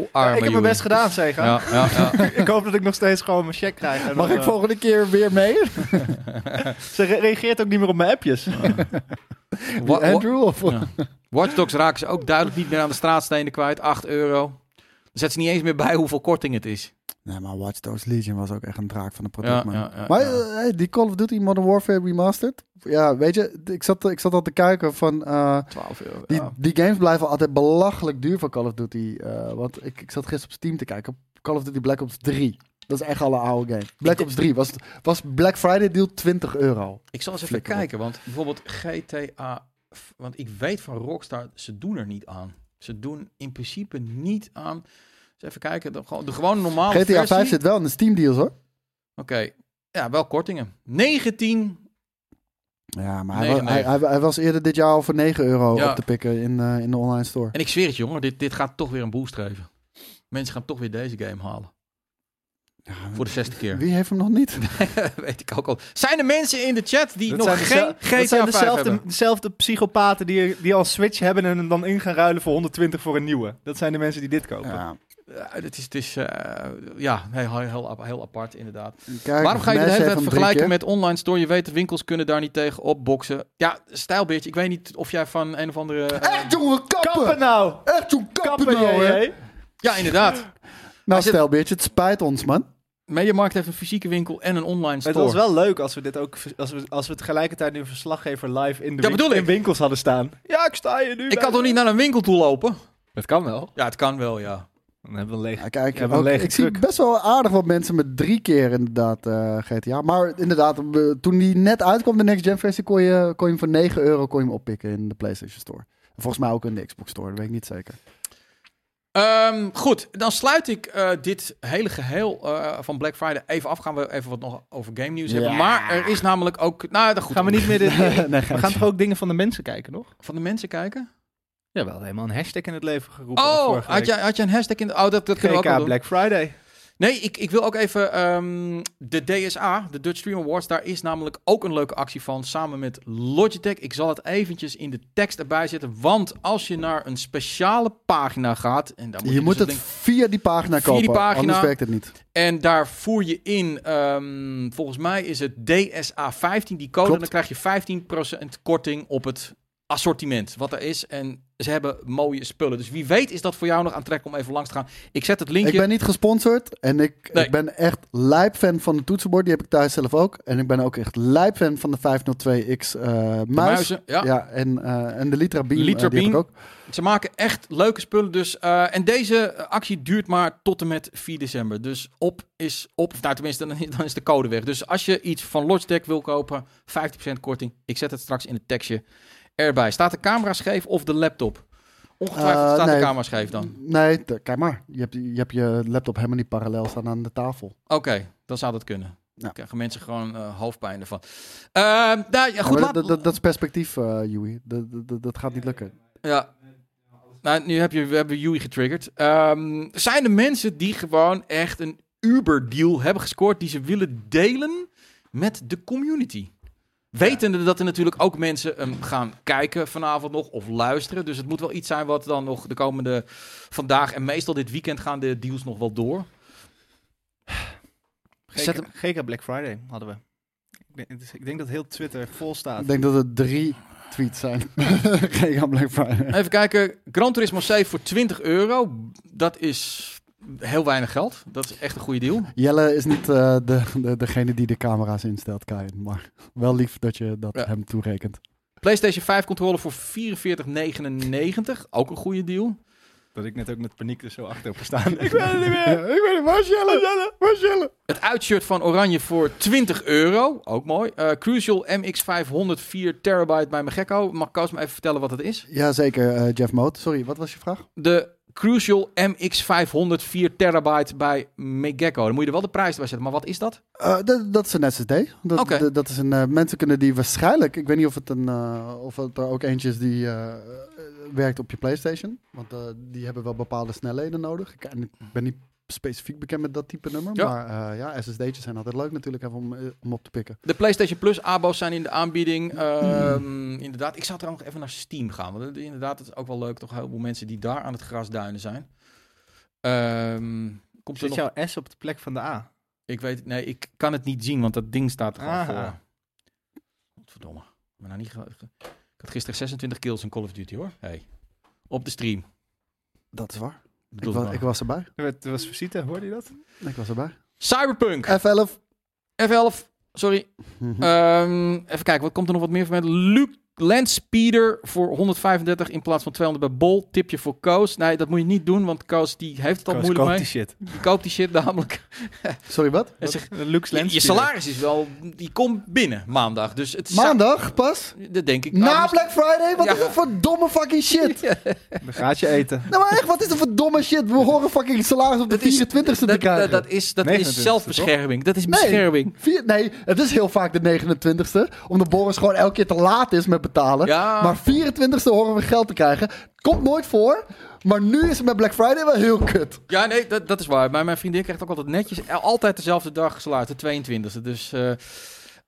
Ja, ik heb mijn
Joey.
best gedaan, Sega.
Ja, ja, ja.
ik hoop dat ik nog steeds gewoon mijn check krijg. En
Mag
dan,
ik
eh,
volgende keer weer mee?
Ze re- reageert ook niet meer op mijn appjes.
Wa- wa-
Andrew? Of...
Ja. Watch Dogs raken ze ook duidelijk niet meer aan de straatstenen kwijt. 8 euro. Dan zet ze niet eens meer bij hoeveel korting het is.
Nee, maar Watch Dogs Legion was ook echt een draak van de product,
Ja,
man.
ja, ja,
Maar
ja.
eh, hey, die Call of Duty Modern Warfare Remastered. Ja, weet je, d- ik zat, ik zat al te kijken van... eh,
12 euro.
die,
ja.
die games blijven altijd belachelijk duur van Call of Duty. eh, want ik, ik zat gisteren op Steam te kijken. Call of Duty Black Ops 3. Dat is echt al een oude game. Black Ops 3 was, was Black Friday deal 20 euro.
Ik zal eens even
Flikker op.
kijken, want bijvoorbeeld GTA. f- Want ik weet van Rockstar, ze doen er niet aan. Ze doen in principe niet aan. Dus even kijken, de, gewoon- de gewone normale
GTA 5
Oh, versie.
zit wel in de Steam deals hoor.
Oké, ja, wel kortingen. 19.
Ja, maar hij,
9,99.
wa- hij, hij, hij was eerder dit jaar al voor 9 euro
Ja.
op te pikken in, eh, in de online store.
En ik zweer het, jongen, dit, dit gaat toch weer een boost geven. Mensen gaan toch weer deze game halen. Voor de zesde keer.
Wie heeft hem nog niet?
weet ik ook al. Zijn er mensen in de chat die
Dat
nog
zijn dezel-
geen GTA
dat zijn
5
dezelfde,
hebben?
dezelfde psychopaten die, die al Switch hebben en hem dan in gaan ruilen voor 120 voor een nieuwe. Dat zijn de mensen die dit kopen.
Ja,
Ja, het is, het is eh, ja, heel, heel, ap- heel apart inderdaad.
kijk,
Waarom ga je
Smash
dit hele
heeft
tijd
hem drie
vergelijken
keer.
met online store? Je weet, de winkels kunnen daar niet tegen opboksen. Ja, stijlbeertje. Ik weet niet of jij van een of andere... eh,
Echt jongen, kappen!
Kappen nou!
Echt jongen, kappen,
Kappen
nou,
jij,
hè?
hè?
ja, inderdaad.
Nou,
Als het-
stel, beertje, het spijt ons, man.
Mediamarkt heeft een fysieke winkel en een online
Het
store.
was wel leuk als we dit ook, als we, als we tegelijkertijd nu een verslaggever live in de
Ja,
winkel-
bedoel ik.
in winkels hadden staan. Ja, ik sta hier nu.
Ik kan toch niet naar een winkel toe lopen?
Dat kan wel.
Ja, het kan wel, ja.
Dan hebben we een leeg.
Ja, kijk,
Ja, wel
ook-
een lege
ik zie
truck.
best wel aardig wat mensen met drie keer inderdaad eh, GTA. Maar inderdaad, we- toen die net uitkwam, de next gen versie, kon je, kon je hem voor 9 euro kon je hem oppikken in de PlayStation Store. Volgens mij ook in de Xbox Store, dat weet ik niet zeker.
Ehm, goed, dan sluit ik eh, dit hele geheel eh, van Black Friday even af. Gaan we even wat nog over game nieuws hebben.
Ja.
Maar er is namelijk ook... Nou, dan goed.
Gaan we niet meer dit...
nee,
We gaan toch ook dingen van de mensen kijken, nog?
Van de mensen kijken?
Ja, wel helemaal een hashtag in het leven geroepen.
Oh,
vorige
had
week.
jij, had jij een hashtag in de... Oh, dat, dat kunnen we ook wel
GK
doen.
Black Friday.
Nee, ik, ik wil ook even ehm, de DSA, de Dutch Stream Awards, daar is namelijk ook een leuke actie van samen met Logitech. Ik zal het eventjes in de tekst erbij zetten, want als je naar een speciale pagina gaat en daar moet
Je
dus
moet
een
het via die pagina
Via die
kopen,
pagina.
anders werkt het niet.
en daar voer je in, ehm, volgens mij is het DSA 15, die code.
Klopt.
En dan krijg je 15% korting op het assortiment wat er is. En ze hebben mooie spullen. Dus wie weet is dat voor jou nog aantrekkelijk om even langs te gaan. Ik zet het linkje.
Ik ben niet gesponsord en ik,
Nee.
ik ben echt lijp fan van het toetsenbord. Die heb ik thuis zelf ook. En ik ben ook echt lijp fan van de 502X eh muis.
muizen, ja.
ja. en, eh, en de Litra Beam, eh,
Litra
die heb
Beam.
ik ook.
Ze maken echt leuke spullen. Dus, eh, en deze actie duurt maar tot en met 4 december. Dus op is op. Of nou, tenminste, dan, dan is de code weg. Dus als je iets van Logitech wil kopen, 15% korting. Ik zet het straks in het tekstje erbij. Staat de camera scheef of de laptop? Ongetwijfeld
Eh,
staat
nee.
de camera scheef dan.
Nee, t- kijk maar. Je hebt, je hebt je laptop helemaal niet parallel staan aan de tafel.
Oké, dan zou dat kunnen.
Ja.
Dan krijgen mensen gewoon eh, hoofdpijn ervan. Eh, nou, ja, goed,
Maar
laat,
dat, dat, dat is perspectief, eh Joey. Dat, dat- dat, dat gaat niet lukken.
Ja. Nou, nu heb je, we hebben Yui getriggerd. Ehm, zijn er mensen die gewoon echt een Uber-deal hebben gescoord... die ze willen delen met de community? Wetende dat er natuurlijk ook mensen ehm, gaan kijken vanavond nog of luisteren. Dus het moet wel iets zijn wat dan nog de komende vandaag... en meestal dit weekend gaan de deals nog wel door. Zet hem-
GK Black Friday hadden we. Ik denk, dus ik denk dat heel Twitter vol staat.
Ik denk dat het drie tweets zijn. Geen aan Black Friday.
Even kijken. Gran Turismo 7 voor 20 euro. Dat is heel weinig geld. Dat is echt een goede deal.
Jelle is niet eh, de, de, degene die de camera's instelt, Kain. Maar wel lief dat je dat
Ja.
hem toerekent.
PlayStation 5 controller voor 44,99. Ook een goede deal.
Dat ik net ook met paniek er zo achter heb gestaan. ik
Ik weet het, waar is Jelle? Jelle, waar is Jelle?
Het uitshirt van Oranje voor 20 euro. Ook mooi. Eh, Crucial MX500 4 terabyte bij mijn gekko. Mag Koos me even vertellen wat het is?
Jazeker, eh, Jeff Moot. Sorry, wat was je vraag?
De Crucial MX500 4 terabyte bij Megekko. Dan moet je er wel de prijs bij zetten. Maar wat is dat?
Eh, dat, dat is een SSD. Dat,
Oké.
dat- dat is een, eh, mensen kunnen die waarschijnlijk... Ik weet niet of het, een, eh, of het er ook eentje is die eh, eh, werkt op je PlayStation. Want eh, die hebben wel bepaalde snelheden nodig. Ik, en ik ben niet specifiek bekend met dat type nummer.
Ja.
Maar eh, ja, SSD'tjes zijn altijd leuk natuurlijk even om, eh, om op te pikken.
De PlayStation Plus abo's zijn in de aanbieding. Ehm, Inderdaad. Ik zou trouwens even naar Steam gaan. Want het- inderdaad, het is ook wel leuk. Toch een heleboel mensen die daar aan het grasduinen zijn. Ehm, komt
Zit
er nog...
jouw S op de plek van de A?
Ik weet het, nee, ik kan het niet zien, want dat ding staat er gewoon
Aha.
voor. Godverdomme. Ik ben nou niet ge- ge- Ik had gisteren 26 kills in Call of Duty, hoor. Hey. Op de stream.
Dat is waar. Ik,
Bedoel
wa-
ik maar.
ik was erbij.
Er werd- er was visite, hoorde je dat?
Ik was erbij.
Cyberpunk.
F11.
F11. Sorry.
Mhm.
Ehm, even kijken, wat komt er nog wat meer van met Luke Landspeeder voor 135 in plaats van 200 bij Bol. Tipje voor Koos. Nee, dat moet je niet doen, want Koos die heeft het al
Koos,
moeilijk
koop
mee.
die shit.
Die koopt die shit namelijk.
Sorry, wat?
En zegt,
Lux
je,
Lens.
je salaris is wel... Die komt binnen maandag. Dus het is...
Maandag pas?
Dat denk ik. ah,
Na Black Friday? Wat
Ja.
is dat voor domme fucking shit?
Dan gaat je eten.
Nou maar echt, wat is dat voor domme shit? We horen fucking salaris op de
Dat is-
24 e te
Dat, dat,
krijgen.
dat is, dat
29e,
is zelfbescherming. Dat is
Nee.
bescherming.
Vier- nee, het is heel vaak de 29ste. Omdat Boris gewoon elke keer te laat is met betalen.
Ja.
Maar 24ste horen we geld te krijgen. Komt nooit voor. Maar nu is het met Black Friday wel heel kut.
Ja, nee, dat, dat is waar. Maar mijn vriendin krijgt ook altijd netjes. Altijd dezelfde dag salaris, de 22e. Dus. eh,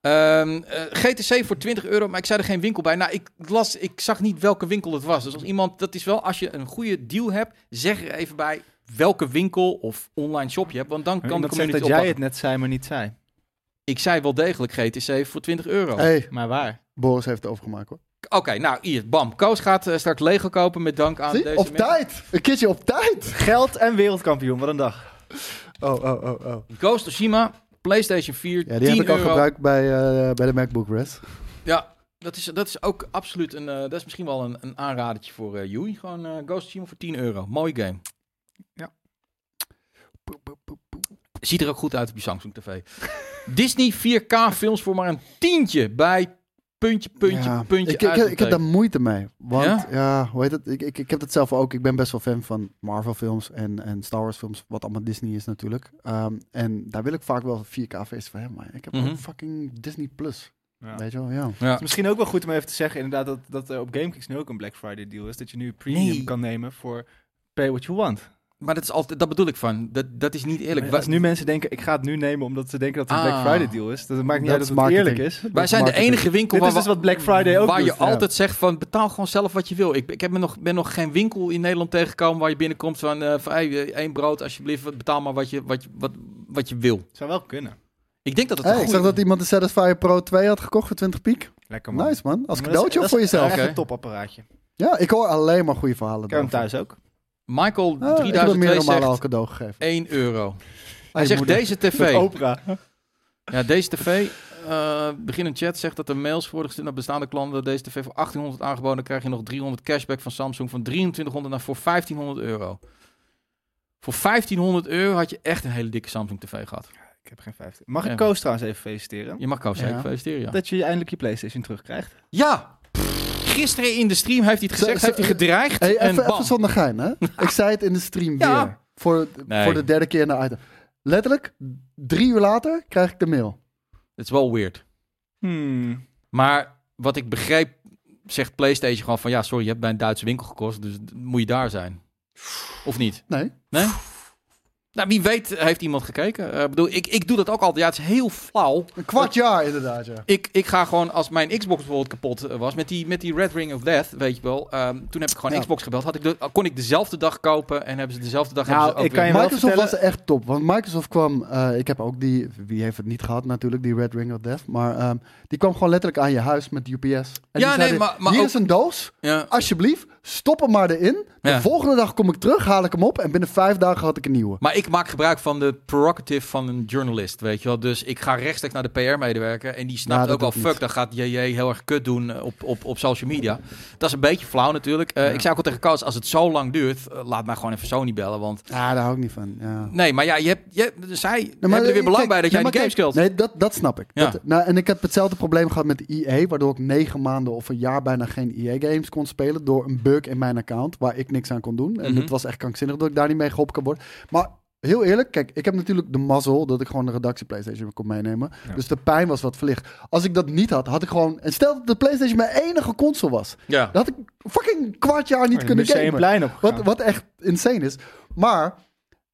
ehm, eh, GTC voor 20 euro, maar ik zei er geen winkel bij. Nou, ik, las, ik zag niet welke winkel het was. Dus als iemand, dat is wel als je een goede deal hebt, zeg er even bij welke winkel of online shop je hebt. Want dan
dat
kan de
zegt
community
dat
oppakken.
jij het net zei, maar niet zei.
Ik zei wel degelijk GTC voor 20 euro.
Hé, hey,
Maar waar?
Boris heeft het overgemaakt hoor.
Oké, nou hier, bam. Koos gaat eh, straks Lego kopen met dank aan
Zie,
deze
op
mensen.
tijd. Een keertje op tijd.
Geld en wereldkampioen, wat een dag.
Oh, oh, oh, oh.
Ghost Toshima, PlayStation 4,
Ja,
10
die heb ik al
euro.
gebruikt bij, eh, bij de MacBook Res.
Ja, dat is, dat is ook absoluut een... eh, dat is misschien wel een, een aanradertje voor eh Yui. Gewoon eh, Ghost Toshima voor 10 euro. Mooi game.
Ja.
Ziet er ook goed uit op je Samsung TV. Disney 4K films voor maar een tientje bij puntje, puntje,
Ja,
puntje.
Ik, ik, ik heb
uitroepteken.
daar moeite mee. Want
Ja?
ja, hoe heet het? Ik, ik, ik heb dat zelf ook. Ik ben best wel fan van Marvel films en, en Star Wars films. Wat allemaal Disney is natuurlijk. Ehm, en daar wil ik vaak wel 4K feest van hebben. Maar ik heb
Mhm.
ook fucking Disney Plus.
Ja.
Weet je wel, ja.
Ja.
Het is misschien ook wel goed om even te zeggen inderdaad dat, dat er op GameKings nu ook een Black Friday deal is. Dat je nu premium
Nee.
kan nemen voor pay what you want.
Maar dat, is altijd, dat bedoel ik van. Dat, dat is niet eerlijk.
Als nu mensen denken, ik ga het nu nemen omdat ze denken dat het een
Ah.
Black Friday deal is. Dat maakt niet
Dat
uit
is
dat het eerlijk
marketing.
is. Dit
Wij zijn de
marketing.
enige winkel waar
is
we
dus wat Black Friday ook
waar je
doet.
ja.
altijd zegt van betaal gewoon zelf wat je wil. Ik, ik heb me nog, ben nog geen winkel in Nederland tegengekomen waar je binnenkomt van, eh van hey, eh, één brood alsjeblieft, betaal maar wat je, wat, je- wat, wat je wil.
Zou wel kunnen.
Ik denk dat het
Hey,
een
ik
goeie-
zag dat iemand de Satisfyer Pro 2 had gekocht voor 20 piek.
We Lekker man.
Nice
Maar
man, als
dat is- dat
cadeautje of
is
voor jezelf.
echt
Oké.
een topapparaatje. Ik
Ja, ik hoor alleen maar goede verhalen.
heb hem
daarover.
thuis ook.
Michael
Ah, ik heb hem
3002
meerdere malen al
zegt
cadeau gegeven.
1 euro.
Aan
Hij
je
zegt
moeder.
deze
Met
tv.
Oprah.
Ja, deze tv. eh begin een chat zegt dat de mails worden gestuurd naar bestaande klanten. Deze tv voor 1800 aangeboden. Dan krijg je nog 300 cashback van Samsung. Van 2300 naar voor 1500 euro. Voor 1500 euro had je echt een hele dikke Samsung tv gehad.
Ik heb geen 15. Mag
Ja.
ik Koos trouwens even feliciteren?
Je mag Koos zeker
Ja.
feliciteren, ja.
Dat je eindelijk je PlayStation terugkrijgt.
Ja! Gisteren in de stream heeft hij het gezegd,
Zo- eh,
heeft hij gedreigd.
Hey,
en
even,
bam.
even zonder gein, hè? ik zei het in de stream
Ja.
weer. Voor,
Nee.
voor de derde keer in de item. Letterlijk, drie uur later krijg ik de mail.
Het is wel weird.
Hmm.
Maar wat ik begreep, zegt PlayStation gewoon van... Ja, sorry, je hebt bij een Duitse winkel gekost, dus d- moet je daar zijn. Of niet?
Nee.
Nee? Nou, wie weet heeft iemand gekeken. Eh, Ik bedoel, ik, ik doe dat ook altijd. Ja, het is heel flauw.
Een kwart jaar inderdaad, ja.
Ik, ik ga gewoon, als mijn Xbox bijvoorbeeld kapot eh, was, met die, met die Red Ring of Death, weet je wel. ehm, toen heb ik gewoon
Ja.
Xbox gebeld. Had ik de- kon ik dezelfde dag kopen en hebben ze dezelfde dag...
Nou,
hebben ze ook
ik kan
weer-
je wel
Microsoft was
vertellen-
echt top. Want Microsoft kwam, eh, ik heb ook die, wie heeft het niet gehad natuurlijk, die Red Ring of Death. Maar ehm, die kwam gewoon letterlijk aan je huis met UPS. En die
nee,
zeiden,
maar- maar
hier
ook-
is een doos,
Ja.
alsjeblieft, stop hem maar erin. De
Ja.
volgende dag kom ik terug, haal ik hem op en binnen vijf dagen had ik een nieuwe.
Maar ik maak gebruik van de prerogative van een journalist, weet je wel. Dus ik ga rechtstreeks naar de PR-medewerker en die snapt
Nou, dat
ook al,
ook niet.
fuck, dan gaat JJ heel erg kut doen eh, op, op, op social media. Dat is een beetje flauw natuurlijk. Eh, Ik zei ook al tegen Koos, als het zo lang duurt, eh, laat mij gewoon even Sony bellen, want...
Ja, Ah, daar hou ik niet van. Ja.
Nee, maar ja, je hebt, je, hebt- zij
Nee, Nou, maar
hebben er weer belang
kijk,
bij dat jij
nee,
die
maar
games
kijk,
speelt.
Nee, dat, dat snap ik.
Ja.
Dat, nou, en ik heb hetzelfde probleem gehad met EA, waardoor ik negen maanden of een jaar bijna geen EA-games kon spelen door een bug in mijn account, waar ik niks aan kon doen. En
Mhm.
het was echt krankzinnig dat ik daar niet mee geholpen kan worden. Maar heel eerlijk, kijk, ik heb natuurlijk de mazzel dat ik gewoon de redactie PlayStation kon meenemen.
Ja.
Dus de pijn was wat verlicht. Als ik dat niet had, had ik gewoon... En stel dat de PlayStation mijn enige console was.
Ja.
Dan had ik fucking een kwart jaar
Oh,
niet kunnen gamen.
plein op.
Wat, wat echt insane is. Maar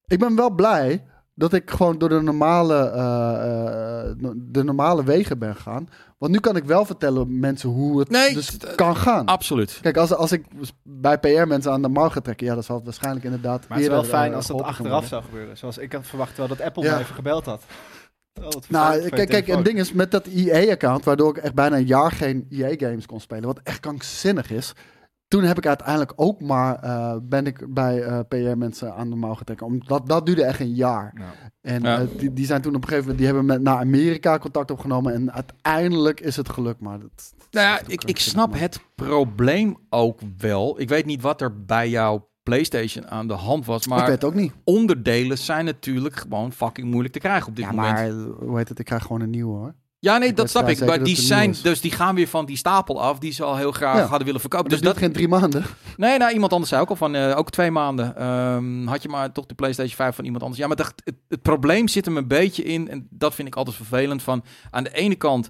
ik ben wel blij dat ik gewoon door de normale, eh, eh, no- de normale wegen ben gegaan. Want nu kan ik wel vertellen mensen hoe het
Nee,
dus
d-
kan gaan.
Absoluut.
Kijk, als, als ik bij PR mensen aan de mouw ga trekken, ja, dat zal waarschijnlijk inderdaad.
Maar het is wel
eerder, eh,
fijn als dat
geholpen
achteraf
kan
zou gebeuren. Zoals ik had verwacht wel dat Apple
Ja.
mij even gebeld had. Oh, wat
worden.
vervelend
Nou,
voor
kijk,
je
kijk,
telefoon.
een ding is met dat EA-account, waardoor ik echt bijna een jaar geen EA-games kon spelen, wat echt krankzinnig is. Toen heb ik uiteindelijk ook maar, eh, ben ik bij PR-mensen aan de mouw getrokken. Omdat dat duurde echt een jaar.
Nou,
En
Ja.
eh, die, die zijn toen op een gegeven moment, die hebben met, naar Amerika contact opgenomen. En uiteindelijk is het gelukt, maar dat...
Nou ja,
dat is
ik,
ook
ik
een
snap
man.
het probleem ook wel. Ik weet niet wat er bij jouw PlayStation aan de hand was,
ik weet
maar
het ook niet.
onderdelen zijn natuurlijk gewoon fucking moeilijk te krijgen op dit
Ja,
moment.
maar eh, hoe heet het? Ik krijg gewoon een nieuwe hoor.
ja, nee,
ik
dat
weet
snap
vrij
ik.
zeker
Maar die
dat het nieuw
zijn,
is.
dus die gaan weer van die stapel af, die ze al heel graag
Ja.
hadden willen verkopen.
Dus
Dus dat,
dat geen drie maanden.
Nee, nou, iemand anders zei ook al van, eh, ook twee maanden ehm, had je maar toch de PlayStation 5 van iemand anders. Ja, maar dacht, het, het probleem zit hem een beetje in, en dat vind ik altijd vervelend, van aan de ene kant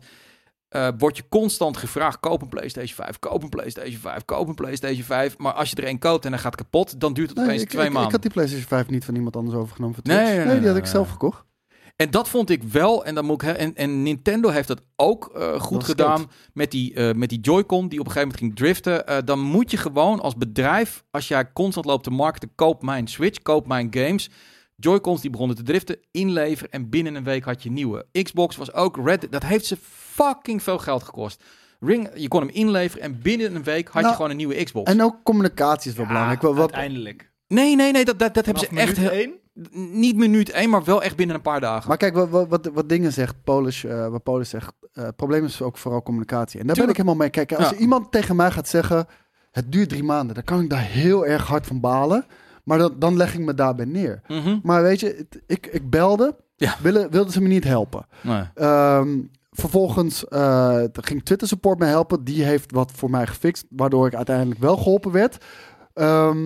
eh word je constant gevraagd, koop een PlayStation 5, koop een PlayStation 5, koop een PlayStation 5. Maar als je er één koopt en hij gaat kapot, dan duurt het opeens
ik,
twee
ik, ik
maanden.
had die PlayStation 5 niet van iemand anders overgenomen voor
Nee,
Twitch. Nee,
nee, nee,
die had
nee,
ik zelf
nee.
gekocht.
En dat vond ik wel, en, dan moet ik, he- en, en Nintendo heeft dat ook eh, goed
scheelt.
gedaan met die, eh, met die Joy-Con die op een gegeven moment ging driften. Eh, dan moet je gewoon als bedrijf, als jij constant loopt te markten, koop mijn Switch, koop mijn games. Joy-Cons die begonnen te driften, inleveren en binnen een week had je nieuwe. Xbox was ook Red, dat heeft ze fucking veel geld gekost. Ring, je kon hem inleveren en binnen een week had
Nou,
je gewoon een nieuwe Xbox.
En ook communicatie is wel
ja,
belangrijk. Wel- Wat,
uiteindelijk.
Nee, nee, nee, dat, dat, dat hebben ze
Vanaf
echt...
minuut
heel-
één?
Niet minuut één, maar wel echt binnen een paar dagen.
maar kijk, wat, wat, wat, wat dingen zegt, Polish, eh, wat Polish zegt, eh, het probleem is ook vooral communicatie. En daar
Tuurlijk.
ben ik helemaal mee. Kijk, als
Ja.
iemand tegen mij gaat zeggen, het duurt drie maanden, dan kan ik daar heel erg hard van balen. Maar dat, dan leg ik me daarbij neer.
Mhm.
Maar weet je, het- ik, ik belde.
Ja.
Willen, wilden ze me niet helpen.
Nee.
Ehm, vervolgens eh, er ging Twitter Support me helpen. Die heeft wat voor mij gefixt, waardoor ik uiteindelijk wel geholpen werd. Ehm,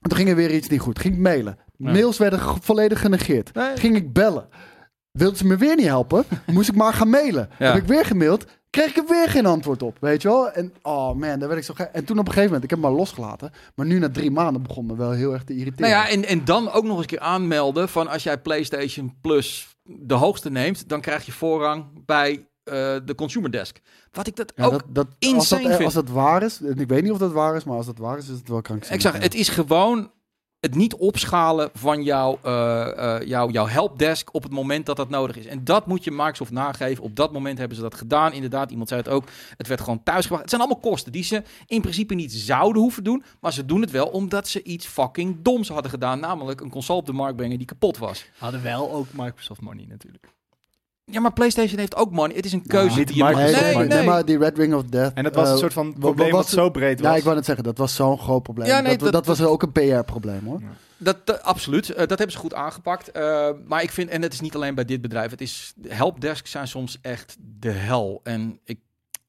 toen ging er weer iets niet goed. Ging ik mailen.
Ja.
Mails werden ge- volledig genegeerd.
Nee.
Ging ik bellen. Wilden ze me weer niet helpen, moest ik maar gaan mailen.
Ja.
Heb ik weer gemaild, kreeg ik er weer geen antwoord op, weet je wel? En oh man, daar werd ik zo gek. En toen op een gegeven moment, ik heb hem maar losgelaten. Maar nu na drie maanden begon me wel heel erg te irriteren.
Nou ja, en, en dan ook nog eens een keer aanmelden van als jij PlayStation Plus de hoogste neemt, dan krijg je voorrang bij eh, de consumer desk. Wat ik dat
Ja,
ook.
dat, dat,
insane
als dat,
vind.
als dat waar is, en ik weet niet of dat waar is, maar als dat waar is, is het wel krankzinnig.
ik zag,
Ja.
het is gewoon het niet opschalen van jouw, eh, eh, jouw, jouw helpdesk op het moment dat dat nodig is. En dat moet je Microsoft nageven. Op dat moment hebben ze dat gedaan. Inderdaad, iemand zei het ook. Het werd gewoon thuisgebracht. Het zijn allemaal kosten die ze in principe niet zouden hoeven doen. Maar ze doen het wel omdat ze iets fucking doms hadden gedaan. Namelijk een console op de markt brengen die kapot was.
Hadden wel ook Microsoft money natuurlijk.
Ja, maar PlayStation heeft ook money. Het is een keuze
niet
die je mag-
Microsoft
Nee,
money.
nee.
maar die Red Ring of Death.
En dat was
eh,
een soort van probleem
was
wat zo breed was.
Ja, ik wou net zeggen, dat was zo'n groot probleem.
Ja, nee,
dat, dat,
dat-
was ook een PR-probleem hoor.
Dat, dat- absoluut, Eh, dat hebben ze goed aangepakt. Eh, maar ik vind, en het is niet alleen bij dit bedrijf, het is, helpdesks zijn soms echt de hel. En ik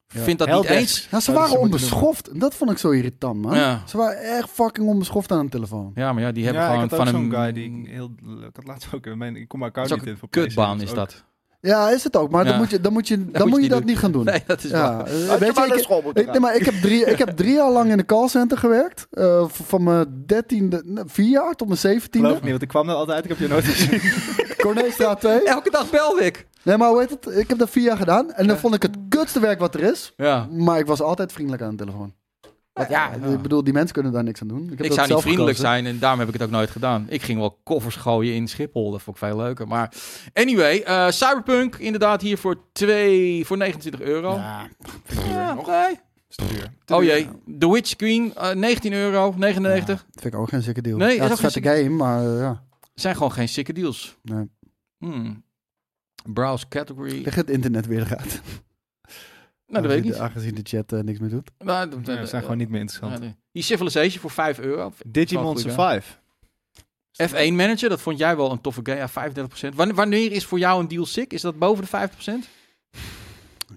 Ja.
vind dat
Helpdesk.
niet eens...
Ja, Nou, ze
Ja, dat
waren
zou je
onbeschoft. En dat vond ik zo irritant, man.
Ja.
Ze waren echt fucking onbeschoft aan de telefoon.
ja, maar ja, die hebben
ja,
gewoon
ik had ook
van
zo'n
een...
guy die ik heel... Ik had laatst ook... Mijn, ik kom mijn account niet
Dat is ook
in
een
voor
kutbaan
PlayStation,
is
ook-
dat.
Ja, is het ook. Maar
Ja.
dan moet je, dan moet je, dan moet je
niet
dat
doen.
niet gaan doen.
Nee, dat is waar.
ja. eh, weet je, ik-
school moeten
Ik, nee, maar ik, heb drie, ik heb drie jaar lang in de callcenter gewerkt. Eh, v- van mijn dertiende, nee, vier jaar tot mijn
Geloof
zeventiende.
ik niet, want ik kwam er altijd. Ik heb je nooit gezien.
Corneelstraat 2.
Elke dag bel ik.
Nee, maar hoe heet het? Ik heb dat vier jaar gedaan. En dan vond ik het kutste werk wat er is.
Ja.
Maar ik was altijd vriendelijk aan de telefoon.
Ah, Ja,
Ik bedoel, die mensen kunnen daar niks aan doen. Ik, heb
Ik
dat
zou niet
zelf
vriendelijk
gekozen.
zijn en daarom heb ik het ook nooit gedaan. Ik ging wel koffers gooien in Schiphol. Dat vond ik veel leuker. Maar anyway, eh, Cyberpunk inderdaad hier voor, twee, voor 29 euro.
Ja,
Ja, nee.
Stuur.
Oh jee, The Witch Queen, eh, 19 euro, 99.
Ja, dat vind ik ook geen zikke deal.
Nee, is
ja, het is
ook
een vette game, maar eh, ja.
Zijn gewoon geen sikke deals.
Nee.
Hmm. Browse category.
Leg het internet weer eruit.
Nou, dat weet ik niet.
Aangezien de chat eh, niks meer doet.
Nou, dat-
Ja,
dat-
we zijn gewoon niet meer
Ja,
interessant.
nee. Die Civilization voor 5 euro.
Digimon
Zou goed
Survive.
F1 Manager, dat vond jij wel een toffe game. Ja, 35%. Wanneer, wanneer is voor jou een deal sick? Is dat boven de 5%?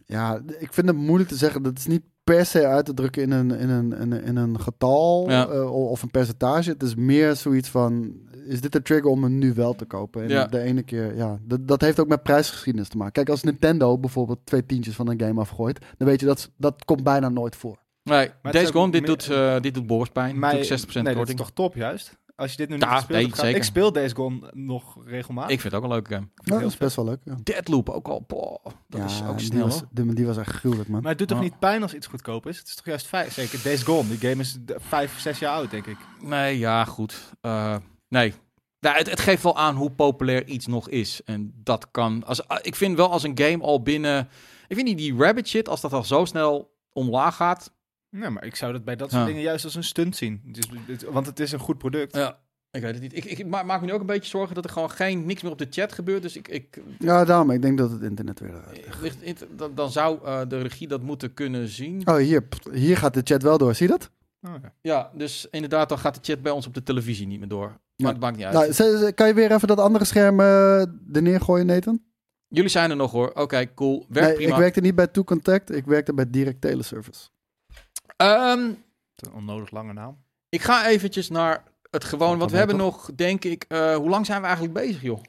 Ja, d- ik vind het moeilijk te zeggen. Dat is niet per se uit te drukken in een, in een, in een, in een getal
Ja.
eh, o- of een percentage. Het is meer zoiets van, is dit de trigger om hem nu wel te kopen? En
Ja.
de ene keer, ja. Dat, dat heeft ook met prijsgeschiedenis te maken. Kijk, als Nintendo bijvoorbeeld twee tientjes van een game afgooit, dan weet je, dat, dat komt bijna nooit voor.
Nee,
het
Days
is ook
Gone, dit
meer-
doet, eh dit doet Boris pijn.
Mij-
Natuurlijk 60%
nee, dat is
korting.
toch top juist? Als je dit nu niet
Ja,
gespeeld
nee,
hebt, ga-
zeker.
Ik speel Days Gone nog regelmatig.
Ik vind het ook een leuke game.
Ja, dat
heel
is best wel leuk. Ja.
Deadloop ook al. boah, dat
Ja,
is ook
die
snel.
was,
hoor.
die, die was echt gruwelijk, man.
Maar het doet toch
Ja.
niet pijn als iets goedkoop is? Het is toch juist vijf, zeker Days Gone. Die game is d- vijf, zes jaar oud, denk ik.
Nee, ja, goed. Eh, nee. Ja, het, het geeft wel aan hoe populair iets nog is. En dat kan. Als, ah, ik vind wel als een game al binnen. Ik vind die, die rabbit shit, als dat al zo snel omlaag gaat.
Nee, maar ik zou dat bij dat soort
Ja.
dingen juist als een stunt zien. Dus, het- want het is een goed product.
Ja, ik weet het niet. Ik, ik ma- maak me nu ook een beetje zorgen dat er gewoon geen, niks meer op de chat gebeurt. Dus ik, ik,
Ja, daarom. Ik denk dat het internet weer... eh, eruit-
ik- ligt- int- dan, dan zou eh, de regie dat moeten kunnen zien.
Oh, hier, pst, hier gaat de chat wel door. Zie je dat?
Oh, ja.
Ja, dus inderdaad, dan gaat de chat bij ons op de televisie niet meer door. Maar
Ja.
het maakt niet uit.
Nou, ze- ze- kan je weer even dat andere scherm eh er neergooien, Nathan?
Jullie zijn er nog hoor. Oké, cool. Werkt
Nee,
prima.
Ik werkte niet bij Two Contact, ik werkte bij Direct Teleservice.
Ehm,
Het is Een onnodig lange naam.
Ik ga eventjes naar het gewoon.
Valt
Want we
wel mee,
hebben nog, denk ik, eh, hoe lang zijn we eigenlijk bezig, joh?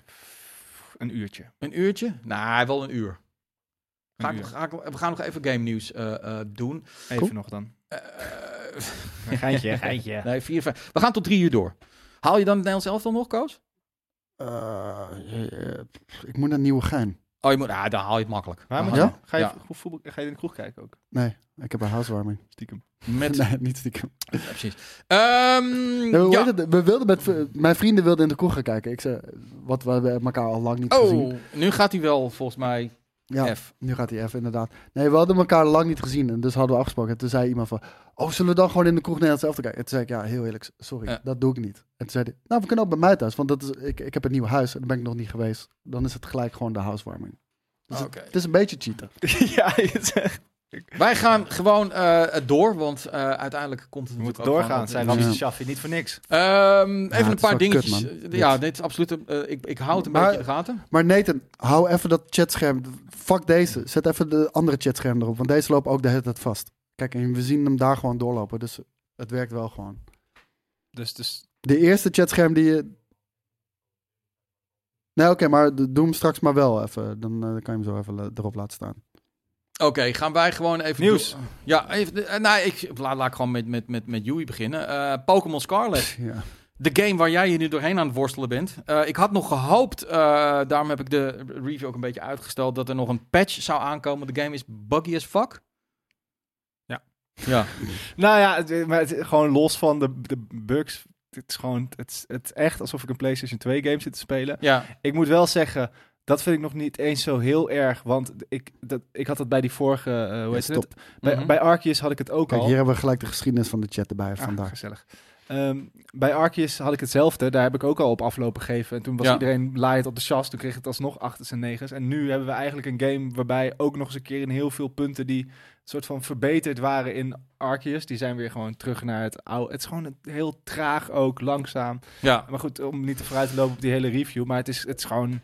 Een uurtje.
Een uurtje? Nou, wel een uur. Ga
Een
ik,
uur.
ga ik- we gaan nog even game nieuws eh, eh, doen.
Even
Cool.
nog dan.
Eh,
Een geintje, een geintje.
nee, vier, vijf. We gaan tot drie uur door. Haal je dan het Nederlands elftal nog, Koos?
Eh, eh, ik moet naar Nieuwe Gein.
Oh, je moet, ah, dan haal je het makkelijk.
Waar
Dan
moet
haal
je-
Ja?
Ga, je,
Ja.
vo- voetbal, ga je in de kroeg kijken ook?
Nee, ik heb een housewarming.
Stiekem.
je- Met,
Nee, niet stiekem.
ja, precies. Ehm,
Nee, hoe
ja.
heet het? We wilden met, v- mijn vrienden wilden in de kroeg gaan kijken. Ik zei, wat we hebben elkaar al lang niet gezien.
Oh, nu gaat hij wel volgens mij
Ja,
F.
nu gaat hij F, inderdaad. Nee, we hadden elkaar lang niet gezien. En dus hadden we afgesproken. En toen zei iemand van, oh, zullen we dan gewoon in de kroeg Nederlands zelf kijken? En toen zei ik, ja, heel eerlijk, sorry,
Ja.
dat doe ik niet. En toen zei hij, nou, we kunnen ook bij mij thuis. Want dat is, ik, ik heb een nieuw huis en daar ben ik nog niet geweest. Dan is het gelijk gewoon de housewarming. Dus
Oké.
het, het is een beetje cheaten.
ja, je zegt.
Wij gaan gewoon eh, door, want eh, uiteindelijk komt het
We moeten
natuurlijk ook
doorgaan,
gewoon-
zijn
Ja.
Ramses Shaffi niet voor niks.
Ehm,
Ja,
even
het
een
is
paar
wel
dingetjes.
kut, man.
ja,
Dit.
dit is absoluut. een- eh, ik, ik hou het een
Maar-
beetje in de gaten.
Maar Nathan, hou even dat chatscherm. Fuck deze. Zet even de andere chatscherm erop. Want deze lopen ook de hele tijd vast. Kijk, en we zien hem daar gewoon doorlopen. Dus het werkt wel gewoon.
Dus, dus
De eerste chatscherm die je... Nee, oké, maar d- doe hem straks maar wel even. Dan eh, kan je hem zo even la- erop laten staan.
Oké, gaan wij gewoon even.
Nieuws.
door- Ja, even, eh, nou, ik, laat, laat ik gewoon met, met, met, met Yui beginnen. Eh, Pokémon Scarlet.
Ja.
De game waar jij je nu doorheen aan het worstelen bent. Eh, ik had nog gehoopt, eh, daarom heb ik de review ook een beetje uitgesteld, dat er nog een patch zou aankomen. De game is buggy as fuck.
Ja.
Ja.
nou ja, het- maar het- gewoon los van de, de bugs. het is gewoon, het, is- het is echt alsof ik een PlayStation 2 game zit te spelen.
Ja,
Ik moet wel zeggen, dat vind ik nog niet eens zo heel erg, want ik, dat, ik had het bij die vorige, eh, hoe
Ja,
heet het?
stop.
Bij,
Mhm.
bij Arceus had ik het ook
Kijk,
al.
hier hebben we gelijk de geschiedenis van de chat erbij
Ah,
vandaag.
gezellig. Ehm, bij Arceus had ik hetzelfde. Daar heb ik ook al op aflopen gegeven. En toen was
Ja.
iedereen laaiend op de chas. Toen kreeg het alsnog 8's en 9's. En nu hebben we eigenlijk een game waarbij ook nog eens een keer in heel veel punten die soort van verbeterd waren in Arceus. Die zijn weer gewoon terug naar het oude. Het is gewoon een- heel traag ook, langzaam.
ja.
Maar goed, om niet te vooruit te lopen op die hele review. Maar het is, het is gewoon...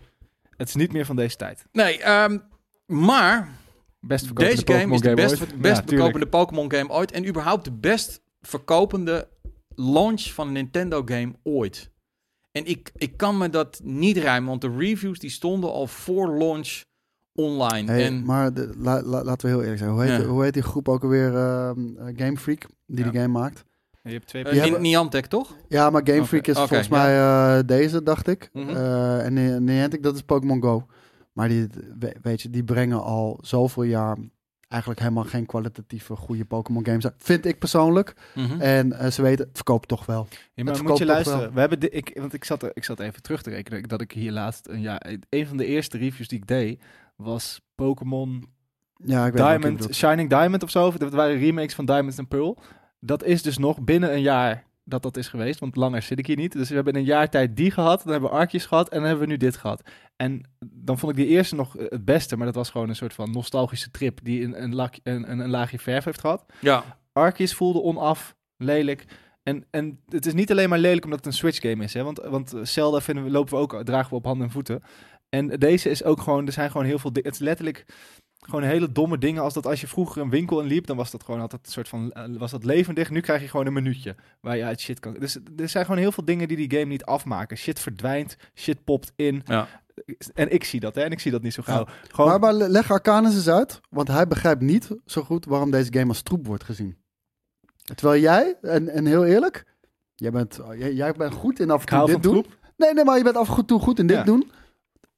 Het is niet meer van deze tijd.
Nee, ehm, maar
Best verkopende
deze game is de
Pokémon ooit.
best, best
Ja, tuurlijk.
verkopende Pokémon game ooit. En überhaupt de best verkopende launch van een Nintendo game ooit. En ik, ik kan me dat niet rijmen, want de reviews die stonden al voor launch online.
Hey,
en,
Maar de- la- la- laten we heel eerlijk zijn. Hoe heet,
Ja.
hoe heet die groep ook alweer? ehm, eh, Game Freak, die
Ja.
de game maakt.
Je hebt twee
eh,
die
Ni-
hebben-
Niantic, toch?
Ja, maar Game
Oké,
Freak is
oké,
volgens
ja.
mij eh, deze, dacht ik.
Mhm.
Eh, en Ni- Niantic, dat is Pokémon Go. Maar die, we- weet je, die brengen al zoveel jaar eigenlijk helemaal geen kwalitatieve goede Pokémon games uit. Vind ik persoonlijk.
Mhm.
En eh, ze weten, het verkoopt toch wel.
Ja, maar
Het
moet je
verkoopt toch
luisteren. We hebben de, ik, want ik zat, er- ik zat even terug te rekenen ik- dat ik hier laatst een jaar. Een van de eerste reviews die ik deed was Pokémon
Ja, ik weet wat je
Diamond,
bedoelt.
Shining Diamond of zo. Dat waren remakes van Diamond en Pearl. Dat is dus nog binnen een jaar dat dat is geweest, want langer zit ik hier niet. Dus we hebben in een jaar tijd die gehad, dan hebben we Arkjes gehad en dan hebben we nu dit gehad. En dan vond ik die eerste nog eh, het beste, maar dat was gewoon een soort van nostalgische trip die een, een, lak, een, een, een laagje verf heeft gehad.
Ja,
Arceus voelde onaf, lelijk. En, en het is niet alleen maar lelijk omdat het een Switch game is. Hè? Want, want eh, Zelda vinden we, lopen we ook, dragen we op handen en voeten. En deze is ook gewoon, er zijn gewoon heel veel di- Het is letterlijk gewoon hele domme dingen. Als dat als je vroeger een winkel inliep, dan was dat gewoon altijd een soort van, eh, was dat levendig. Nu krijg je gewoon een minuutje waar je uit shit kan. Dus er zijn gewoon heel veel dingen die die game niet afmaken. Shit verdwijnt, shit popt in.
Ja.
En ik zie dat, hè. En ik zie dat niet zo gauw.
Ja.
Gewoon,
Maar, maar le- leg Arcanus eens uit, want hij begrijpt niet zo goed waarom deze game als troep wordt gezien. Terwijl jij, en, en heel eerlijk, jij bent, eh, jij, jij bent goed in af en
ik
toe
hou
dit
van
doen.
troep.
Nee, nee, maar je bent af en toe goed in dit
Ja.
doen.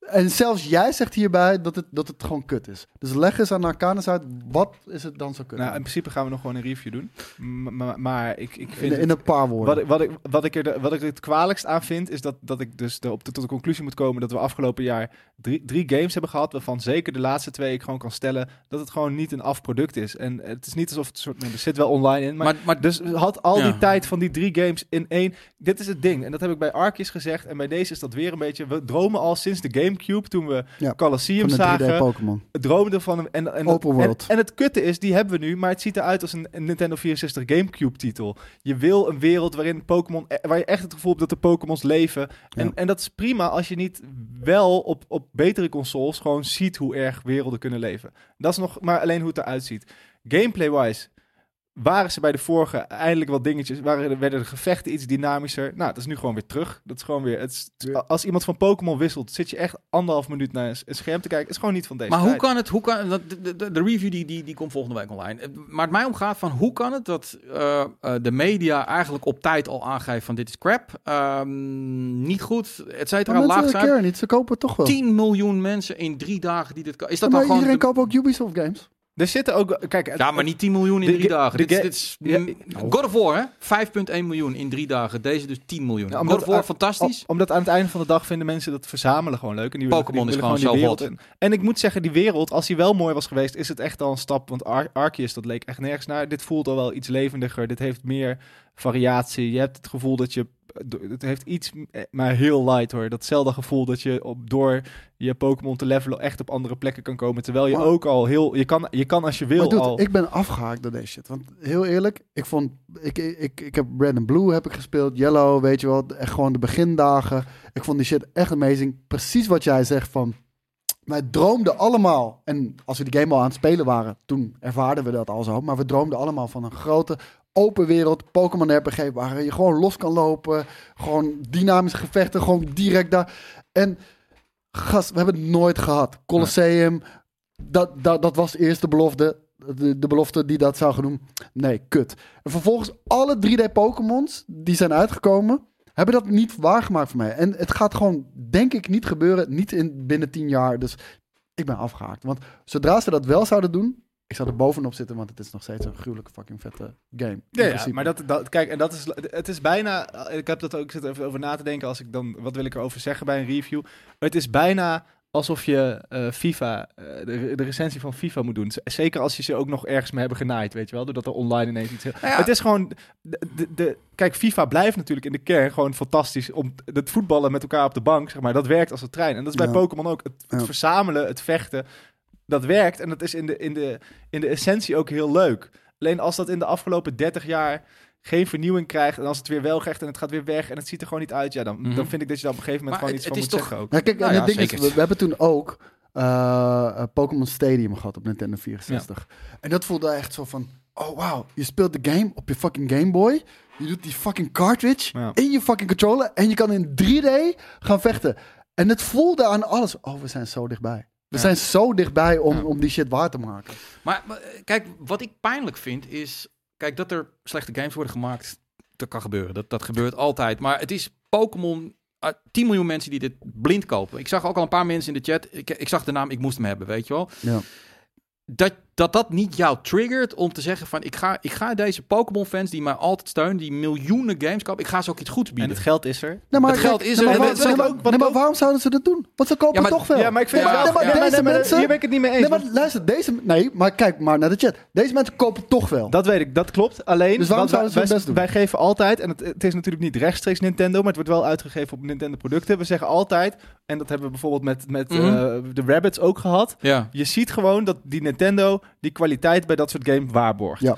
En zelfs jij zegt hierbij dat het, dat het gewoon kut is. Dus leg eens aan Arcanus uit, wat is het dan zo kut?
Nou, in
aan?
principe gaan we nog gewoon een review doen. M- maar, maar ik, ik vind
in, in een paar woorden.
Wat ik, wat, ik, wat, ik er, de- wat ik er het kwalijkst aan vind, is dat, dat ik dus de, op de, tot de conclusie moet komen dat we afgelopen jaar drie, drie games hebben gehad, waarvan zeker de laatste twee ik gewoon kan stellen dat het gewoon niet een afproduct is. En het is niet alsof het soort, nee, er zit wel online in, maar,
maar, maar
dus had al
Ja.
die tijd van die drie games in één. Dit is het ding. En dat heb ik bij Arkis gezegd. En bij deze is dat weer een beetje. We dromen al sinds de Gamecube. Toen we
Ja,
Colosseum
van de 3D
zagen.
Pokémon.
Droomden van hem. En, en,
Open
en-
world.
En, het kutte is, die hebben we nu. Maar het ziet eruit als een, een Nintendo 64 Gamecube titel. Je wil een wereld waarin Pokémon. eh, Waar je echt het gevoel hebt dat de Pokémons leven. En,
Ja.
en dat is prima als je niet wel op, op betere consoles gewoon ziet hoe erg werelden kunnen leven. Dat is nog maar alleen hoe het eruit ziet. Gameplay-wise waren ze bij de vorige eindelijk wat dingetjes. Waren, er- werden de gevechten iets dynamischer. Nou, dat is nu gewoon weer terug. Dat is gewoon weer. Het is-
Ja.
Als iemand van Pokémon wisselt, zit je echt anderhalf minuut naar een s- een scherm te kijken. is gewoon niet van deze
Maar hoe
tijd.
kan het, hoe kan, dat- de, de, de review die, die, die komt volgende week online. Eh, Maar het mij om gaat van hoe kan het dat eh, eh, de media eigenlijk op tijd al aangeeft van dit is crap, ehm, niet goed, et cetera,
Maar
laag
mensen
zijn.
care niet, ze kopen het toch wel.
10 miljoen mensen in drie dagen die dit kan. Is dat
Ja, maar
dan gewoon...
iedereen
de-
koopt ook Ubisoft games.
Er zitten ook. Kijk, het-
ja, maar niet 10 miljoen in
De
drie
ga-
dagen.
de
Dit, is-
ga-
dit is,
Ja,
mm, God of War, hè? 5,1 miljoen in drie dagen. Deze dus 10 miljoen.
Ja,
God
omdat-
of War,
eh,
fantastisch.
Om- omdat aan het einde van de dag vinden mensen dat verzamelen gewoon leuk. En die willen-
Pokémon
die
is
willen
gewoon
die
zo
wereld. in. En ik moet zeggen, die wereld, als die wel mooi was geweest, is het echt al een stap. Want Ar Arceus, dat leek echt nergens naar. Dit voelt al wel iets levendiger. Dit heeft meer variatie. Je hebt het gevoel dat je... Het heeft iets, eh, maar heel light hoor. Datzelfde gevoel dat je op, door je Pokémon te levelen echt op andere plekken kan komen. Terwijl je
Maar-
ook al heel... Je kan, je kan als je wil
Maar dude,
al...
ik ben afgehaakt door deze shit. Want heel eerlijk, ik vond... Ik, ik, ik, ik heb Red and Blue heb ik gespeeld. Yellow, weet je wel. Echt gewoon de begindagen. Ik vond die shit echt amazing. Precies wat jij zegt van... Wij droomden allemaal... En als we die game al aan het spelen waren... Toen ervaarden we dat al zo. Maar we droomden allemaal van een grote... Open wereld, Pokémon RPG, waar je gewoon los kan lopen. Gewoon dynamische gevechten, gewoon direct daar. En gast, we hebben het nooit gehad. Colosseum, dat, dat, dat was de eerste belofte. De, de belofte die dat zou gaan doen. Nee, kut. En vervolgens alle 3D-Pokémons die zijn uitgekomen... hebben dat niet waargemaakt voor mij. En het gaat gewoon, denk ik, niet gebeuren. Niet in, binnen 10 jaar. Dus ik ben afgehaakt. Want zodra ze dat wel zouden doen... Ik zou er bovenop zitten, want het is nog steeds een gruwelijke fucking vette game. In
Ja, ja
principe.
maar dat, dat, kijk, en dat is, het is bijna, ik heb dat ook, ik zit er even over na te denken als ik dan, wat wil ik erover zeggen bij een review. Het is bijna alsof je eh, FIFA, eh, de, de recensie van FIFA moet doen. Z- Zeker als je ze ook nog ergens mee hebben genaaid, weet je wel, doordat er online ineens iets... heel-
Nou ja,
Het is gewoon, de, de, de- kijk, FIFA blijft natuurlijk in de kern gewoon fantastisch om t- het voetballen met elkaar op de bank, zeg maar, dat werkt als een trein. En dat is bij
Ja.
Pokémon ook, het, het
Ja.
verzamelen, het vechten, dat werkt en dat is in de, in, de, in de essentie ook heel leuk. Alleen als dat in de afgelopen 30 jaar geen vernieuwing krijgt en als het weer wel krijgt en het gaat weer weg en het ziet er gewoon niet uit, ja, dan,
Mhm.
dan vind ik dat je daar op een gegeven moment
Maar
gewoon
het-
iets
het
van moet
is
zeggen ook.
Ja, kijk,
Nou
en
ja,
het ding is,
zeker.
we, we hebben toen ook eh, eh, Pokémon Stadium gehad op Nintendo 64. En dat voelde echt zo van, oh wow, je speelt de game op je fucking Game Boy. Je doet die fucking cartridge
Ja.
in je fucking controller en je kan in 3D gaan vechten. En het voelde aan alles, oh we zijn zo dichtbij. We
Ja.
zijn zo dichtbij om,
Ja.
om die shit waar te maken.
Maar maar, eh, kijk, wat ik pijnlijk vind is... Kijk, dat er slechte games worden gemaakt, dat kan gebeuren. Dat, dat gebeurt altijd. Maar het is Pokémon... eh, 10 miljoen mensen die dit blind kopen. Ik zag ook al een paar mensen in de chat. Ik, ik zag de naam, ik moest hem hebben, weet je wel.
Ja.
Dat, dat dat niet jou triggert om te zeggen van... ik ga, ik ga deze Pokémon-fans die mij altijd steunen... die miljoenen games kopen, ik ga ze ook iets goeds
En
bieden.
het geld is er.
Nee, Nou, maar,
Het geld
kijk,
is
nee,
er.
maar
En het-
waar- nee, maar-
ook- wat
nee, maar
ook-
waarom zouden ze dat doen? Want ze kopen
Ja, maar-
toch wel.
Ja, maar ik vind
Ja,
wel-
nee, maar
ja,
deze
nee, maar
mensen-
Hier ben ik het niet mee eens.
Nee, maar luister, deze... Nee, maar kijk maar naar de chat. Deze mensen kopen toch wel.
Dat weet ik, dat klopt. Alleen,
Dus waarom
wat wij-
zouden ze hun
wij-
best doen?
Wij geven altijd, en het, het is natuurlijk niet rechtstreeks Nintendo, maar het wordt wel uitgegeven op Nintendo-producten. We zeggen altijd, en dat hebben we bijvoorbeeld met, met
Mhm.
eh, de Rabbits ook gehad.
Ja.
Je ziet gewoon dat die Nintendo die kwaliteit bij dat soort games waarborgt.
Ja.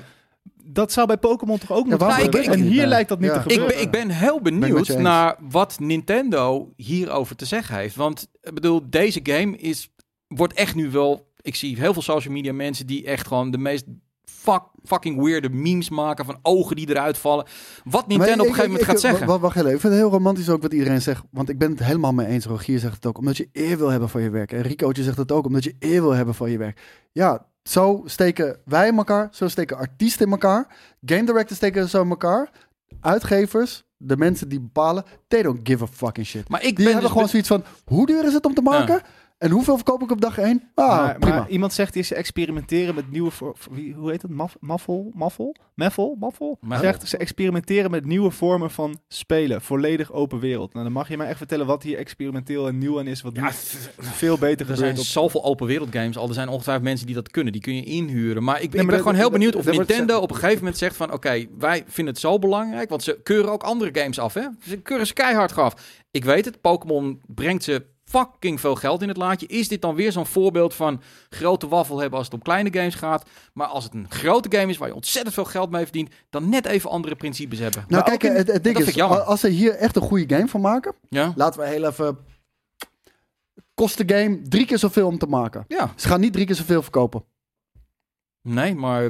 Dat zou bij Pokémon toch ook moeten
waarom
gebeuren?
denk ik
en
niet,
hier
nee.
lijkt dat niet
Ja.
te
Ik
Ik
gebeuren.
ben, ik ben heel
Ben
benieuwd
ik met je eens.
naar wat Nintendo hierover te zeggen heeft. Want ik bedoel, deze game is, wordt echt nu wel. Ik zie heel veel social media mensen die echt gewoon de meest fuck, fucking weirde memes maken van ogen die eruit vallen. Wat Nintendo
Maar
op een
ik-
gegeven moment
ik-
gaat
ik-
zeggen.
wa- Wacht heel even. Ik vind het heel romantisch ook wat iedereen zegt. Want ik ben het helemaal mee eens. Rogier zegt het ook. Omdat je eer wil hebben van je werk. En Ricootje zegt het ook. Omdat je eer wil hebben van je werk. Ja, zo steken wij in elkaar. Zo steken artiesten in elkaar. Game directors steken zo in elkaar. Uitgevers. De mensen die bepalen. They don't give a fucking shit.
maar ik
Die
ben
hebben
dus
gewoon
be-
zoiets van... Hoe duur is het om te maken? En hoeveel verkoop ik op dag 1? Ah,
maar,
prima.
maar iemand zegt hier ze experimenteren met nieuwe voor, voor- wie, hoe heet dat? Maf, maffel, maffel, meffel, maffel.
Maffel.
Zegt ze experimenteren met nieuwe vormen van spelen, volledig open wereld. Nou, dan mag je mij echt vertellen wat hier experimenteel en nieuw aan is, wat
Ja,
niet
f-
veel beter
er
gebeurt
zijn
op.
zoveel open wereld games al. Er zijn ongetwijfeld mensen die dat kunnen. Die kun je inhuren. Maar ik, ik
maar
ben
dat-
gewoon heel
dat-
benieuwd of
dat wordt-
Nintendo op een gegeven moment zegt van... oké, wij vinden het zo belangrijk. Want ze keuren ook andere games af, hè? Ze keuren ze keihard af. Ik weet het, Pokémon brengt ze fucking veel geld in het laadje. Is dit dan weer zo'n voorbeeld van grote waffel hebben als het om kleine games gaat? Maar als het een grote game is waar je ontzettend veel geld mee verdient... dan net even andere principes hebben.
nou
maar ook
kijk, het, het ding
dat vind
is...
ik jammer.
Als ze hier echt een goede game van maken...
Ja?
Laten we heel even. Kost de game drie keer zoveel om te maken.
Ja.
Ze gaan niet drie keer zoveel verkopen.
Nee, maar...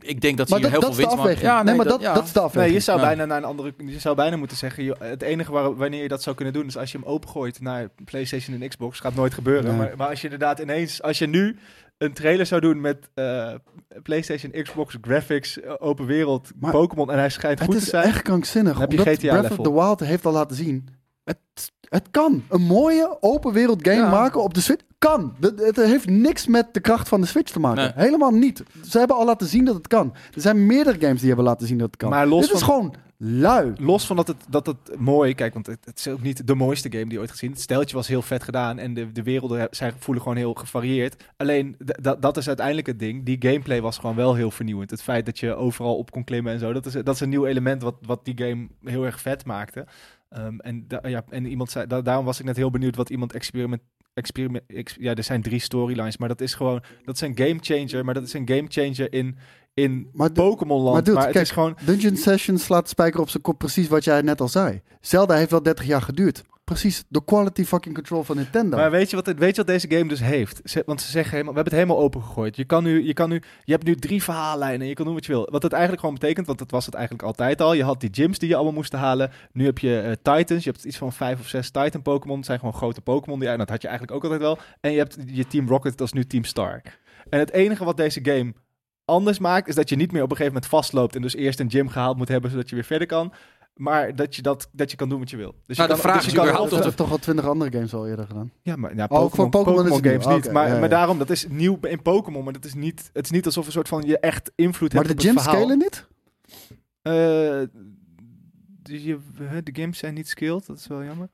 Ik denk dat ze
Maar
hier
dat,
heel
dat is
veel
de
winst maken.
afweging. nee, maar dat,
ja.
dat is de afweging.
Nee, je zou
Ja.
bijna naar een andere. Je zou bijna moeten zeggen. joh, Het enige waar, wanneer je dat zou kunnen doen, is als je hem opengooit naar PlayStation en Xbox. Gaat nooit gebeuren.
Nee.
Maar, maar als je inderdaad ineens, als je nu een trailer zou doen met eh, PlayStation, Xbox, graphics, eh, open wereld,
Maar
Pokémon en hij schijnt
het
goed te
is
zijn.
echt krankzinnig.
Dan heb je
omdat
GTA
Breath of
level.
the Wild heeft al laten zien. Het, het kan. Een mooie open wereld game
Ja.
maken op de Switch. Kan. Dat- Het heeft niks met de kracht van de Switch te maken.
Nee.
Helemaal niet. Ze hebben al laten zien dat het kan. Er zijn meerdere games die hebben laten zien dat het kan.
Maar los
Dit is
van-
gewoon lui.
Los van dat het, dat het mooi, kijk, want het, het is ook niet de mooiste game die je ooit gezien. Het steltje was heel vet gedaan en de, de werelden he- zijn, voelen gewoon heel gevarieerd. Alleen d- dat- dat is uiteindelijk het ding. Die gameplay was gewoon wel heel vernieuwend. Het feit dat je overal op kon klimmen en zo, dat is, dat is een nieuw element wat, wat die game heel erg vet maakte. Ehm, en, da- ja, en iemand zei, da- daarom was ik net heel benieuwd wat iemand experiment. Experiment, ex- ja, er zijn drie storylines, maar dat is gewoon, dat is een game changer, maar dat is een game changer in, in
Maar de-
Pokémon-land.
maar
Maar,
dude,
het
kijk,
is gewoon,
Dungeon Sessions slaat de spijker op zijn kop, precies wat jij net al zei. Zelda heeft wel 30 jaar geduurd. Precies de quality fucking control van Nintendo.
Maar weet je, wat, het- weet je wat deze game dus heeft? Ze- want ze zeggen helemaal, we hebben het helemaal opengegooid. Je, kan nu, je, kan nu, je hebt nu drie verhaallijnen, je kan doen wat je wil. Wat het eigenlijk gewoon betekent, want dat was het eigenlijk altijd al. Je had die gyms die je allemaal moest halen. Nu heb je eh, Titans, je hebt iets van vijf of zes Titan Pokémon. Het zijn gewoon grote Pokémon, die, en dat had je eigenlijk ook altijd wel. En je hebt je Team Rocket, dat is nu Team Star. En het enige wat deze game anders maakt, is dat je niet meer op een gegeven moment vastloopt en dus eerst een gym gehaald moet hebben, zodat je weer verder kan. Maar dat je, dat, dat je kan doen wat je wil. Dus
Nou,
je
de
kan,
vraag
dus
is
je kan
überhaupt
Dat
ook-
of
hebben toch al twintig andere games al eerder gedaan.
Ja, maar ja,
Oh,
Pokémon,
voor Pokémon
Pokémon
is het nieuw.
games
Oh,
niet.
oké.
Maar,
Ja, ja.
maar daarom, dat is nieuw in Pokémon. Maar dat is niet, het is niet alsof een soort van je echt invloed
Maar
hebt
de
op
gyms
het verhaal.
scalen niet?
Eh, de, je, hè, de games zijn niet skilled, dat is wel jammer.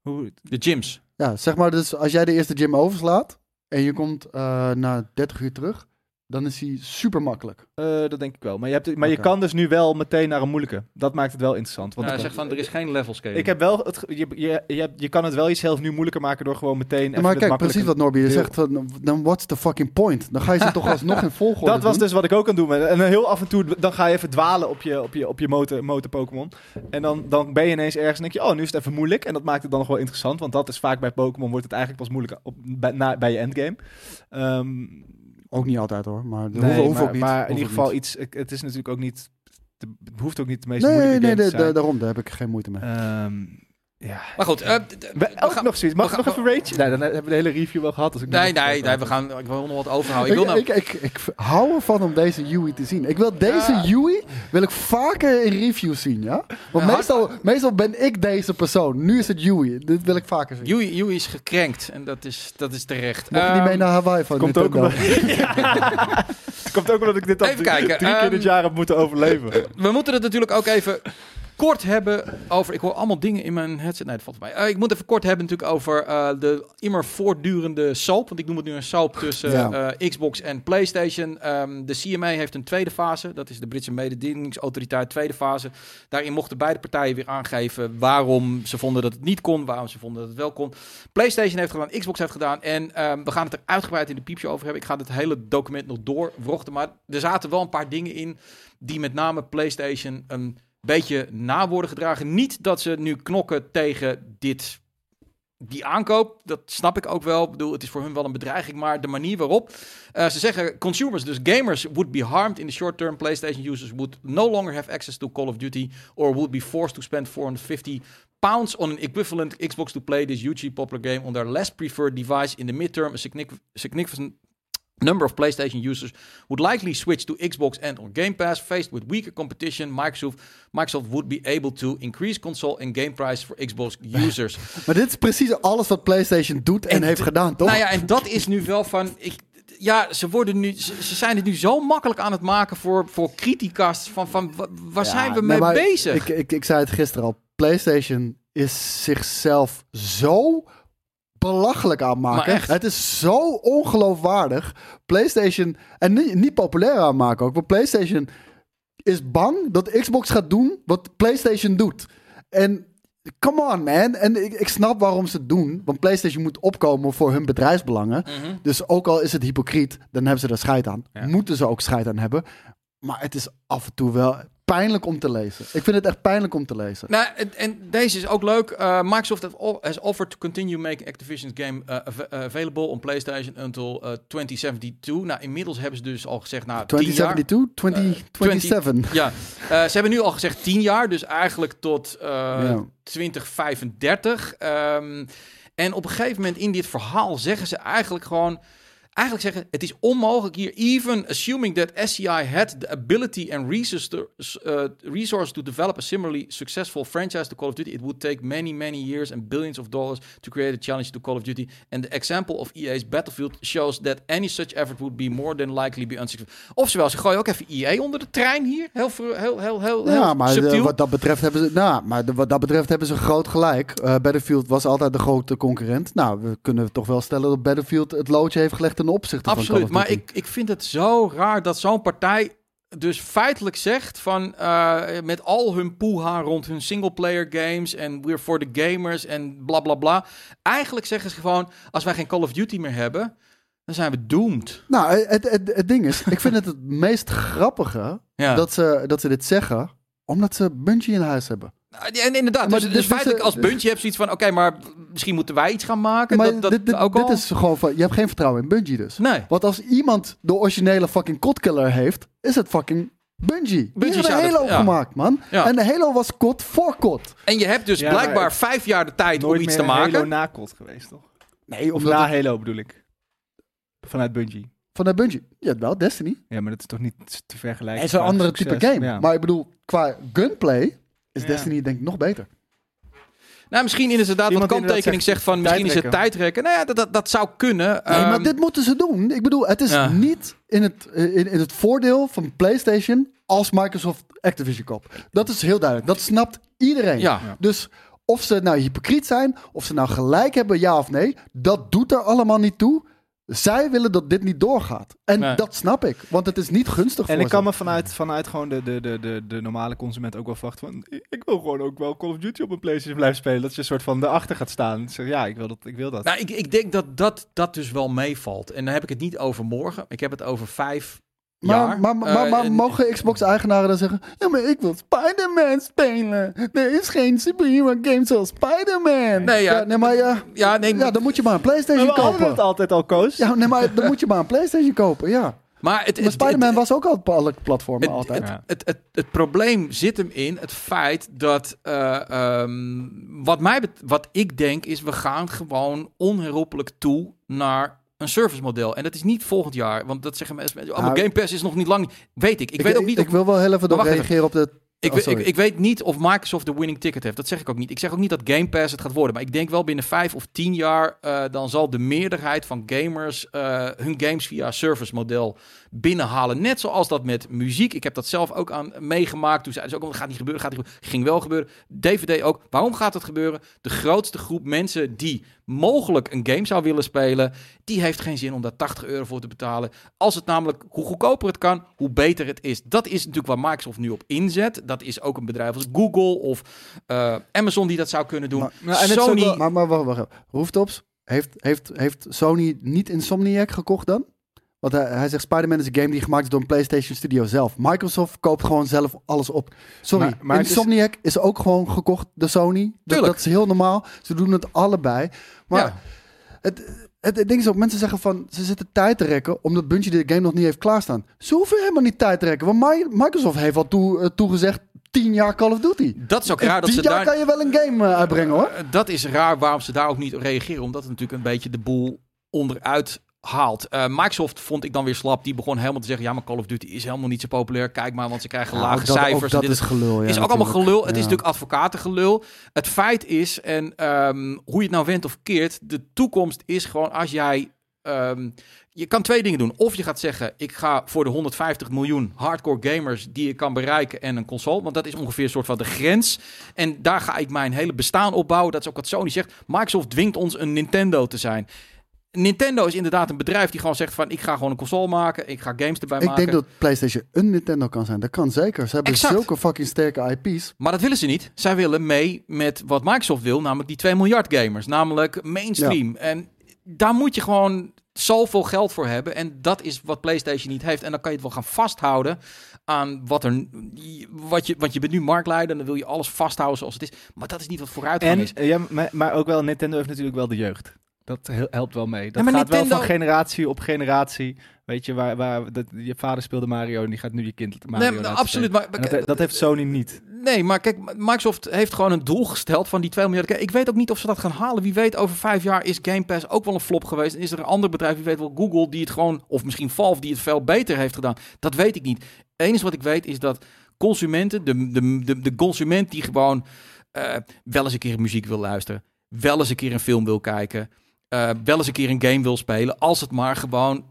Hoe,
De gyms.
Ja, zeg maar dus als jij de eerste gym overslaat en je komt eh, na 30 uur terug, dan is die super makkelijk.
eh, dat denk ik wel. Maar, je, hebt, maar je
Oké.
kan dus nu wel meteen naar een moeilijke. Dat maakt het wel interessant. Want
Want hij
dan-
zegt van, er is geen level scaling.
ik heb wel het, ge- je, je, je, hebt- je kan het wel jezelf nu moeilijker maken door gewoon meteen. even
maar
het
kijk,
makkelijke-
precies wat Norby hier
deel.
zegt, van, dan what's the fucking point? Dan ga je ze toch alsnog in volgorde
Dat was
doen.
dus wat ik ook aan het doen ben. En heel af en toe dan ga je even dwalen op je, op je, op je motor, motor Pokémon. En dan, dan ben je ineens ergens en denk je, oh, nu is het even moeilijk. En dat maakt het dan nog wel interessant. Want dat is vaak bij Pokémon wordt het eigenlijk pas moeilijk op, bij, na- bij je endgame. Ehm
Ook niet altijd hoor, maar dat
nee,
hoeft- hoeft
maar,
ook niet.
maar
Hoeft
in ieder
ook
geval
niet.
iets. Het het is natuurlijk ook niet. Het hoeft ook niet de meest
Nee,
moeilijke
nee,
game
nee
te zijn.
da- daarom, daar heb ik geen moeite mee.
Ehm, ja.
Maar goed, eh, d- d-
We,
we
ook
gaan-
nog zoiets. Mag
we
ik nog
gaan-
even rage? Nee, dan hebben we de hele review wel gehad. Dus ik
Nee,
moet nog
nee,
even-
nee, we gaan, ik wil nog wat overhouden. Ik
Ik,
wil nou,
ik, ik, ik v- hou ervan om deze Yui te zien. Ik wil deze Yui wil ik vaker in reviews zien, ja? Want
Ja,
meestal, meestal ben ik deze persoon. Nu is het Yui. Dit wil ik vaker zien.
Yui, Yui is gekrenkt en dat is, dat is terecht.
Mocht je niet
Ehm,
mee naar Hawaii van
Komt ook,
Nintendo?
omdat, komt ook omdat ik dit al
Even
drie,
kijken,
drie keer
ehm,
dit jaar heb moeten overleven.
We moeten het natuurlijk ook even kort hebben over... Ik hoor allemaal dingen in mijn headset. Nee, dat valt mij. Eh, ik moet even kort hebben natuurlijk over eh, de immer voortdurende soap. Want ik noem het nu een soap tussen
Ja.
eh, Xbox en PlayStation. Ehm, de CMA heeft een tweede fase. Dat is de Britse mededingingsautoriteit, tweede fase. Daarin mochten beide partijen weer aangeven waarom ze vonden dat het niet kon. Waarom ze vonden dat het wel kon. PlayStation heeft gedaan, Xbox heeft gedaan. En ehm, we gaan het er uitgebreid in de piepje over hebben. Ik ga het hele document nog doorwrochten. Maar er zaten wel een paar dingen in die met name PlayStation een beetje na worden gedragen. Niet dat ze nu knokken tegen dit, die aankoop. Dat snap ik ook wel. Ik bedoel, het is voor hun wel een bedreiging, maar de manier waarop. eh, ze zeggen, consumers, dus gamers, would be harmed in the short term. PlayStation users would no longer have access to Call of Duty or would be forced to spend 450 pounds on an equivalent Xbox to play this hugely popular game on their less preferred device in the midterm. A significant- significant number of PlayStation users would likely switch to Xbox and or Game Pass. Faced with weaker competition, Microsoft, Microsoft would be able to increase console and game price for Xbox users.
Maar dit is precies alles wat PlayStation doet en,
En
heeft
de-
gedaan, toch?
Nou ja, en dat is nu wel van. Ik, ja, ze, worden nu, ze, ze zijn het nu zo makkelijk aan het maken voor, voor criticast. Van, van wa- waar
Ja,
zijn we
nee,
mee
maar
bezig?
Ik, ik, ik zei het gisteren al. PlayStation is zichzelf zo belachelijk aan het
Maar
maken.
echt.
Het is zo ongeloofwaardig. PlayStation, en niet, niet populair aan maken ook, want PlayStation is bang dat Xbox gaat doen wat PlayStation doet. En come on man, en ik, ik snap waarom ze het doen, want PlayStation moet opkomen voor hun bedrijfsbelangen.
Mhm.
Dus ook al is het hypocriet, dan hebben ze er scheid aan.
Ja.
Moeten ze ook scheid aan hebben. Maar het is af en toe wel pijnlijk om te lezen. Ik vind het echt pijnlijk om te lezen.
Nou, en, en deze is ook leuk. Eh, Microsoft have al- has offered to continue making Activision's game eh, av- eh, available on PlayStation until eh, 2072. Nou, inmiddels hebben ze dus al gezegd, nou, 2072?
2072?
Eh,
2027.
Ja, eh, ze hebben nu al gezegd 10 jaar, dus eigenlijk tot eh,
Ja.
2035. Ehm, en op een gegeven moment in dit verhaal zeggen ze eigenlijk gewoon. Eigenlijk zeggen, het is onmogelijk hier, even assuming that SCI had the ability and resources to, eh, resource to develop a similarly successful franchise to Call of Duty, it would take many, many years and billions of dollars to create a challenge to Call of Duty. And the example of EA's Battlefield shows that any such effort would be more than likely be unsuccessful. Oftewel, ze gooien ook even EA onder de trein hier. Heel, ver- heel, heel, heel,
Ja,
heel
maar de-
subtiel.
wat dat betreft hebben ze, nou, maar de- wat dat betreft hebben ze groot gelijk. Eh, Battlefield was altijd de grote concurrent. Nou, we kunnen toch wel stellen dat Battlefield het loodje heeft gelegd ten opzichte van
Absoluut,
Call of
maar
Duty.
ik, ik vind het zo raar dat zo'n partij dus feitelijk zegt van eh, met al hun poeha rond hun singleplayer games en we're for the gamers en bla bla bla. Eigenlijk zeggen ze gewoon, als wij geen Call of Duty meer hebben, dan zijn we doomed.
Nou, het, het, het ding is, ik vind het het meest grappige
Ja.
dat, ze, dat ze dit zeggen, omdat ze Bungie in huis hebben.
en inderdaad,
Maar
dus,
dit-
dus
dit-
feitelijk als
dit-
Buntje heb je zoiets van, oké, maar misschien moeten wij iets gaan maken.
Maar
dat, dat
dit, dit,
ook al.
dit is gewoon van, je hebt geen vertrouwen in Bungie dus.
Nee.
Want als iemand de originele fucking kotkiller heeft, is het fucking Bungie.
Bungie
Die hebben
zou dat-
Halo
ja.
gemaakt, man.
Ja.
En de Halo was kot voor kot.
En je hebt dus
Ja, maar
blijkbaar
het-
vijf jaar de tijd om
Nooit
iets
meer
te
een
maken.
Halo nakot geweest, toch?
Nee,
Of
omdat
na
het-
Halo bedoel ik. Vanuit Bungie.
Vanuit Bungie. Ja, wel, Destiny.
Ja, maar dat is toch niet te vergelijken.
Het is een
qua
andere
succes?
type game.
Ja.
Maar ik bedoel, qua gunplay is
Ja.
Destiny denk ik nog beter.
Nou, misschien inderdaad wat
Iemand inderdaad
kanttekening
zegt
zegt van misschien is het tijdrekken. Nou ja, dat, dat, dat zou kunnen.
Nee, maar
Ehm,
dit moeten ze doen. Ik bedoel, het is
Ja.
niet in het, eh, in, in het voordeel van PlayStation als Microsoft Activision koopt. Dat is heel duidelijk. Dat snapt iedereen.
Ja.
Ja.
Dus of ze nou hypocriet zijn, of ze nou gelijk hebben, ja of nee, dat doet er allemaal niet toe. Zij willen dat dit niet doorgaat. En
Nee.
dat snap ik, want het is niet gunstig
En
voor
ik kan
ze.
me vanuit, vanuit gewoon de, de, de, de, de normale consument ook wel verwachten van... ik- Ik wil gewoon ook wel Call of Duty op een PlayStation blijven spelen. Dat je een soort van erachter gaat staan. Ik zeg, ja, ik wil dat. Ik wil dat.
Nou, ik, ik denk dat, dat dat dus wel meevalt. En dan heb ik het niet over morgen. Ik heb het over vijf
Maar,
jaar.
maar, maar, maar,
Eh, en-
mogen Xbox-eigenaren dan zeggen... Ja, maar ik wil Spider-Man spelen. Er is geen superhero game zoals Spider-Man.
Nee, ja.
nee, maar ja,
Ja, nee,
ja, dan moet je maar een PlayStation
Maar we hadden het
kopen.
altijd al, Koos.
Ja, nee, maar dan moet je maar een PlayStation kopen, ja.
maar het,
Maar
het, het,
Spider-Man was ook al op alle platformen
het,
altijd.
Het,
Ja.
het, het, het probleem zit hem in het feit dat. eh, ehm, wat, mij bet- wat ik denk is, we gaan gewoon onherroepelijk toe naar een service model. En dat is niet volgend jaar. Want dat zeggen mensen. Oh, maar
Nou,
Game Pass is nog niet lang. Weet ik. Ik, weet ook niet.
Ik,
of,
wil wel heel even
Maar
nog
wacht even.
reageren op de...
ik,
oh,
weet-
sorry.
ik, ik weet niet of Microsoft de winning ticket heeft. Dat zeg ik ook niet. Ik zeg ook niet dat Game Pass het gaat worden. Maar ik denk wel binnen vijf of tien jaar. eh, dan zal de meerderheid van gamers eh, hun games via service model binnenhalen. Net zoals dat met muziek. Ik heb dat zelf ook aan meegemaakt. Toen zeiden ze ook: oh, het gaat niet gebeuren, gaat niet gebeuren. Ging wel gebeuren. DVD ook. Waarom gaat het gebeuren? De grootste groep mensen die mogelijk een game zou willen spelen, die heeft geen zin om daar 80 euro voor te betalen. Als het namelijk, hoe goedkoper het kan, hoe beter het is. Dat is natuurlijk waar Microsoft nu op inzet. Dat is ook een bedrijf als Google of eh, Amazon die dat zou kunnen doen.
Maar-
Nou, en het is ook
Sony,
wel-
Maar, maar wacht, wacht. even. Rooftops, heeft, heeft, heeft Sony niet Insomniac gekocht dan? Want hij, hij zegt Spider-Man is een game die gemaakt is door een PlayStation Studio zelf. Microsoft koopt gewoon zelf alles op. Sorry,
Maar- maar het is-
Insomniac is... ook gewoon gekocht door Sony. Dat,
Tuurlijk.
dat is heel normaal. Ze doen het allebei. Maar
Ja.
het, het, het ding is ook, mensen zeggen van ze zitten tijd te rekken omdat Bungie de game nog niet heeft klaarstaan. Ze hoeven helemaal niet tijd te rekken, want Mi- Microsoft heeft al toe, eh, toegezegd 10 jaar Call of Duty.
dat is ook
In
raar dat
10
ze
jaar
daar...
Eh, kan je wel een game eh, uitbrengen hoor.
Eh, Dat is raar waarom ze daar ook niet op reageren. Omdat het natuurlijk een beetje de boel onderuit haalt. Eh, Microsoft vond ik dan weer slap. Die begon helemaal te zeggen... ja, maar Call of Duty is helemaal niet zo populair. Kijk maar, want ze krijgen
Nou,
lage
dat- ook
cijfers. en
dat
dit
is gelul. Ja,
is ook allemaal
natuurlijk.
gelul. Het is
Ja.
natuurlijk advocatengelul. Het feit is, en ehm, hoe je het nou wendt of keert, de toekomst is gewoon als jij. ehm, je kan twee dingen doen. Of je gaat zeggen: ik ga voor de 150 miljoen hardcore gamers die je kan bereiken en een console. Want dat is ongeveer een soort van de grens. En daar ga ik mijn hele bestaan op bouwen. Dat is ook wat Sony zegt. Microsoft dwingt ons een Nintendo te zijn. Nintendo is inderdaad een bedrijf die gewoon zegt van... ik ga gewoon een console maken, ik ga games erbij
Ik
maken.
denk dat PlayStation een Nintendo kan zijn. Dat kan zeker. Ze hebben
Exact.
zulke fucking sterke IP's.
Maar dat willen ze niet. Zij willen mee met wat Microsoft wil, namelijk die 2 miljard gamers, namelijk mainstream. En daar moet je gewoon zoveel geld voor hebben. En dat is wat PlayStation niet heeft. En dan kan je het wel gaan vasthouden aan wat er. Wat je, want je bent nu marktleider en dan wil je alles vasthouden zoals het is. Maar dat is niet wat vooruitgang
En,
is.
eh, ja, maar, maar ook wel, Nintendo heeft natuurlijk wel de jeugd. Dat he- helpt wel mee. Dat
maar
gaat wel van
Nintendo-
generatie op generatie. Weet je, waar, waar dat, je vader speelde Mario en die gaat nu je kind Mario
Nee, maar
laten
absoluut.
spelen.
Maar,
En Dat, dat heeft Sony niet.
Nee, maar kijk, Microsoft heeft gewoon een doel gesteld van die 2 miljard. Kijk, Ik weet ook niet of ze dat gaan halen. Wie weet, over vijf jaar is Game Pass ook wel een flop geweest. En is er een ander bedrijf, wie weet wel, Google, die het gewoon... Of misschien Valve, die het veel beter heeft gedaan. Dat weet ik niet. Het enige wat ik weet is dat consumenten, de, de, de, de consument die gewoon eh, wel eens een keer muziek wil luisteren... wel eens een keer een film wil kijken... eh, wel eens een keer een game wil spelen... als het maar gewoon